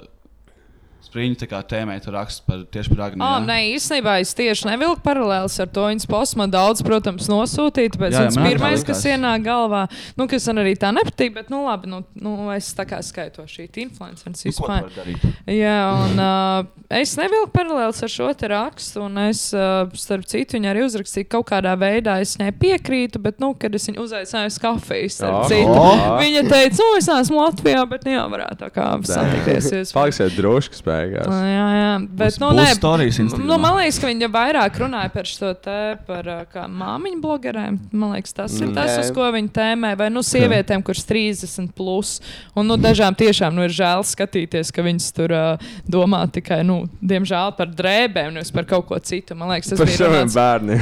Speaker 6: sprīga tā kā tēmē tur raksts par tieši par Agniju.
Speaker 8: Oh,
Speaker 6: jā?
Speaker 8: nē, īstenībā es tieši nevilku paralēlus ar to. Viņas posmu man daudz, protams, nosūtīja. Tāpēc
Speaker 6: Jā, jā,
Speaker 8: tas
Speaker 6: man arī tā
Speaker 8: pirmais, kas
Speaker 6: likās.
Speaker 8: ienāk galvā, nu, kas man arī tā nepatīk, bet nu, labi, nu, nu, es tā kā skaito šī influenceris.
Speaker 6: Nu, ko tu vari darīt?
Speaker 8: Jā, un uh, es nevilku paralēlus ar šo te rakstu, un es, uh, starp citu, viņu arī uzrakstīju kaut kādā veidā. Es viņai piekrītu, bet, nu, kad es viņu uzaicināju uz kafiju, starp
Speaker 3: Ah.
Speaker 8: citu,
Speaker 3: Ah.
Speaker 8: viņa teica, nu, es neesmu Latvijā, bet, nu, jā, varētu tā kā satikties. Es-
Speaker 3: Paliksiet droši, ka spējīgās.
Speaker 8: Jā, jā, bet,
Speaker 6: Būs-
Speaker 8: nu,
Speaker 6: būs
Speaker 8: nē,
Speaker 6: stories Instagramā.
Speaker 8: nu, man liekas, ka viņa vairāk runāja par šo te, par ā, kā māmiņu blogeriem. Man liekas, tas ir tas,
Speaker 7: Jā.
Speaker 8: uz ko viņa tēmē, vai nu sievietēm, kuras 30 plus. Un, nu, dažām tiešām nu, ir žēl skatīties, ka viņas tur uh, domā tikai, nu, diemžēl par drēbēm, nevis par kaut ko citu. Man liekas, tas
Speaker 3: Par
Speaker 8: bija
Speaker 3: saviem
Speaker 8: runāts.
Speaker 3: bērniem.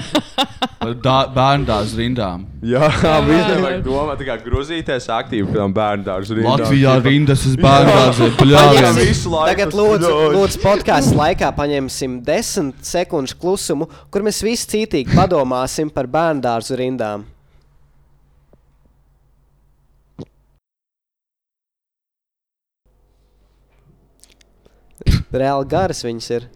Speaker 6: Par dā- Bērnu dārza rindām.
Speaker 3: Jā, viņiem
Speaker 8: jā.
Speaker 3: vajag domāt, kā grūzīties aktīvi par bērnu dārzu. rindām.
Speaker 6: Latvijā rindas uz bērnu dārza
Speaker 3: Jā,
Speaker 6: pļāvis.
Speaker 3: visu laiku.
Speaker 7: Tagad, lūdzu, lūdzu podkāstu laikā paņemsim desmit sekundžu klusumu, kur mēs visi cītīgi padomāsim par bērnu dārzu rindām. Reāli garas viņas ir.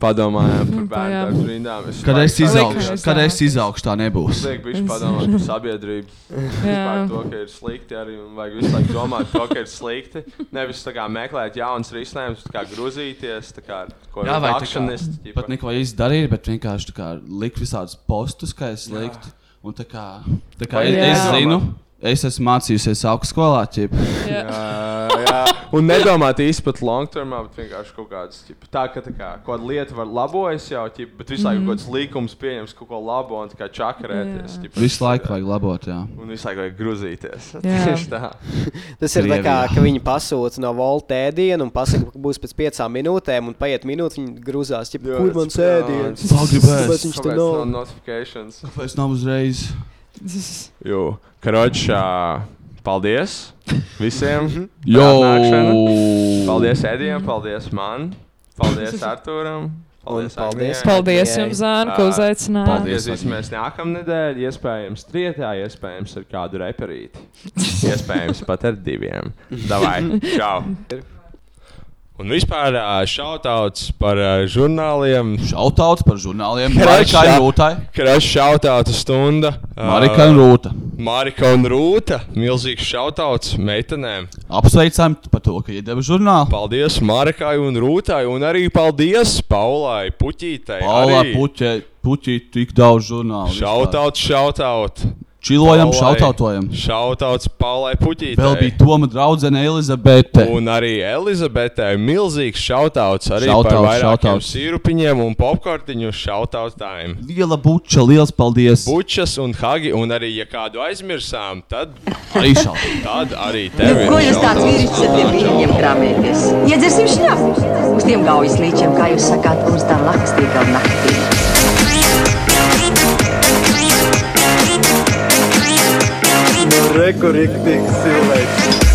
Speaker 3: Padomājām par
Speaker 8: Tā,
Speaker 3: bērnu
Speaker 8: Mm, jā.
Speaker 3: dārzu rindām. Es
Speaker 6: Kad es
Speaker 3: domāju,
Speaker 8: izaugu.
Speaker 6: izaugšu,
Speaker 8: Likās
Speaker 6: kad
Speaker 8: tā.
Speaker 6: es izaugšu, tā nebūs.
Speaker 3: Liek, bišķi padomāt par sabiedrību. Par
Speaker 8: jā.
Speaker 3: to, ka ir slikti arī. un Vajag visu laiku domāt, par to, ka ir slikti. Nevis tā kā meklēt jaunas risinājumus, tā kā grūzīties, tā kā ko
Speaker 6: Jā, vai tā kā
Speaker 3: akcionisti.
Speaker 6: pat neko īsti darīt, bet vienkārši tā kā likt visādus postus, kā es liktu. Un tā kā, tā kā
Speaker 3: Vai
Speaker 6: es,
Speaker 8: Jā.
Speaker 6: es zinu, es esmu mācījusies augstskolā, ķip,
Speaker 3: Jā,
Speaker 8: Jā.
Speaker 3: jā. Un nedomāt īsti pat long termā, bet vienkārši kaut kādas ķip, tā, ka tā kā, kaut kāda lieta var labojas jau, ķip, bet visu laiku mm. kaut kāds līkums pieņems kaut ko labo un tā kā čakarēties.
Speaker 8: Mhm. Jā.
Speaker 3: Ķip,
Speaker 6: visu laiku vajag labot. Jā.
Speaker 3: Un visu laiku vajag grūzīties.
Speaker 8: Jā.
Speaker 3: Tieši tā.
Speaker 7: Tas ir tā kā,
Speaker 6: Krievijā.
Speaker 7: ka viņi pasūta no Volta ēdienu un pasaka, ka būs pēc piecām minūtēm, un paiet minūte, viņi grūzās, ja
Speaker 3: Jā,
Speaker 7: kur man
Speaker 3: es- jā,
Speaker 7: sēdiens.
Speaker 3: es-
Speaker 6: Pagribēs.
Speaker 7: Tāpēc viņš te
Speaker 3: Kāpēc nav
Speaker 7: nav.
Speaker 3: notifikācijas?
Speaker 6: Kāpēc nav uzreiz?
Speaker 3: Jū, karočā, paldies
Speaker 7: Mhm.
Speaker 3: visiem!
Speaker 6: Jo!
Speaker 3: Paldies Edijam, paldies man, paldies Arturam, paldies
Speaker 7: Un paldies
Speaker 3: Agnijai.
Speaker 8: Paldies
Speaker 7: Jā.
Speaker 8: jums, Zāna, ka uzaicinājāt.
Speaker 6: Paldies,
Speaker 3: Iepazīsimies nākamnedēļ, iespējams, trietā, iespējams, ar kādu reperīti. iespējams, pat ar diviem. Davai, čau! Un vispār šautauts par ā, žurnāliem.
Speaker 6: Šautauts par žurnāliem.
Speaker 3: Kreča.
Speaker 6: Marika un Rūtai.
Speaker 3: Krašs šautauta stunda. Ā,
Speaker 6: Marika un Rūta.
Speaker 3: Marika un Rūta. Milzīgs šautauts meitenēm.
Speaker 6: Apsveicam par to, ka iedeva žurnālu.
Speaker 3: Paldies Marikai un Rūtai. Un arī paldies Paulai Puķītei.
Speaker 6: Paulā
Speaker 3: arī.
Speaker 6: puķē, puķī tik daudz žurnālu.
Speaker 3: Šautaut, šautaut.
Speaker 6: Čilojam, šautautojam.
Speaker 3: Šautauts Paulai Puķītei.
Speaker 6: Vēl bija Toma draudzene Elizabete.
Speaker 3: Un arī Elizabetē milzīgs šautauts arī
Speaker 6: Shoutouts,
Speaker 3: par vairākiem
Speaker 6: shoutouts.
Speaker 3: sīrupiņiem un popkortiņu šautautājiem.
Speaker 6: Liela buča, liels paldies.
Speaker 3: Bučas un Hagi, un arī, ja kādu aizmirsām, tad,
Speaker 6: Arī šautauts.
Speaker 3: tad arī tevi.
Speaker 9: Nu, Ko jūs tāds vīrišķis esat pie viņiem krāpēties? Iedzersim šļapu uz tiem gaujas līčiem, kā jūs sakāt, uz tā lakstīga naktī.
Speaker 2: Rekurīgs cilvēks.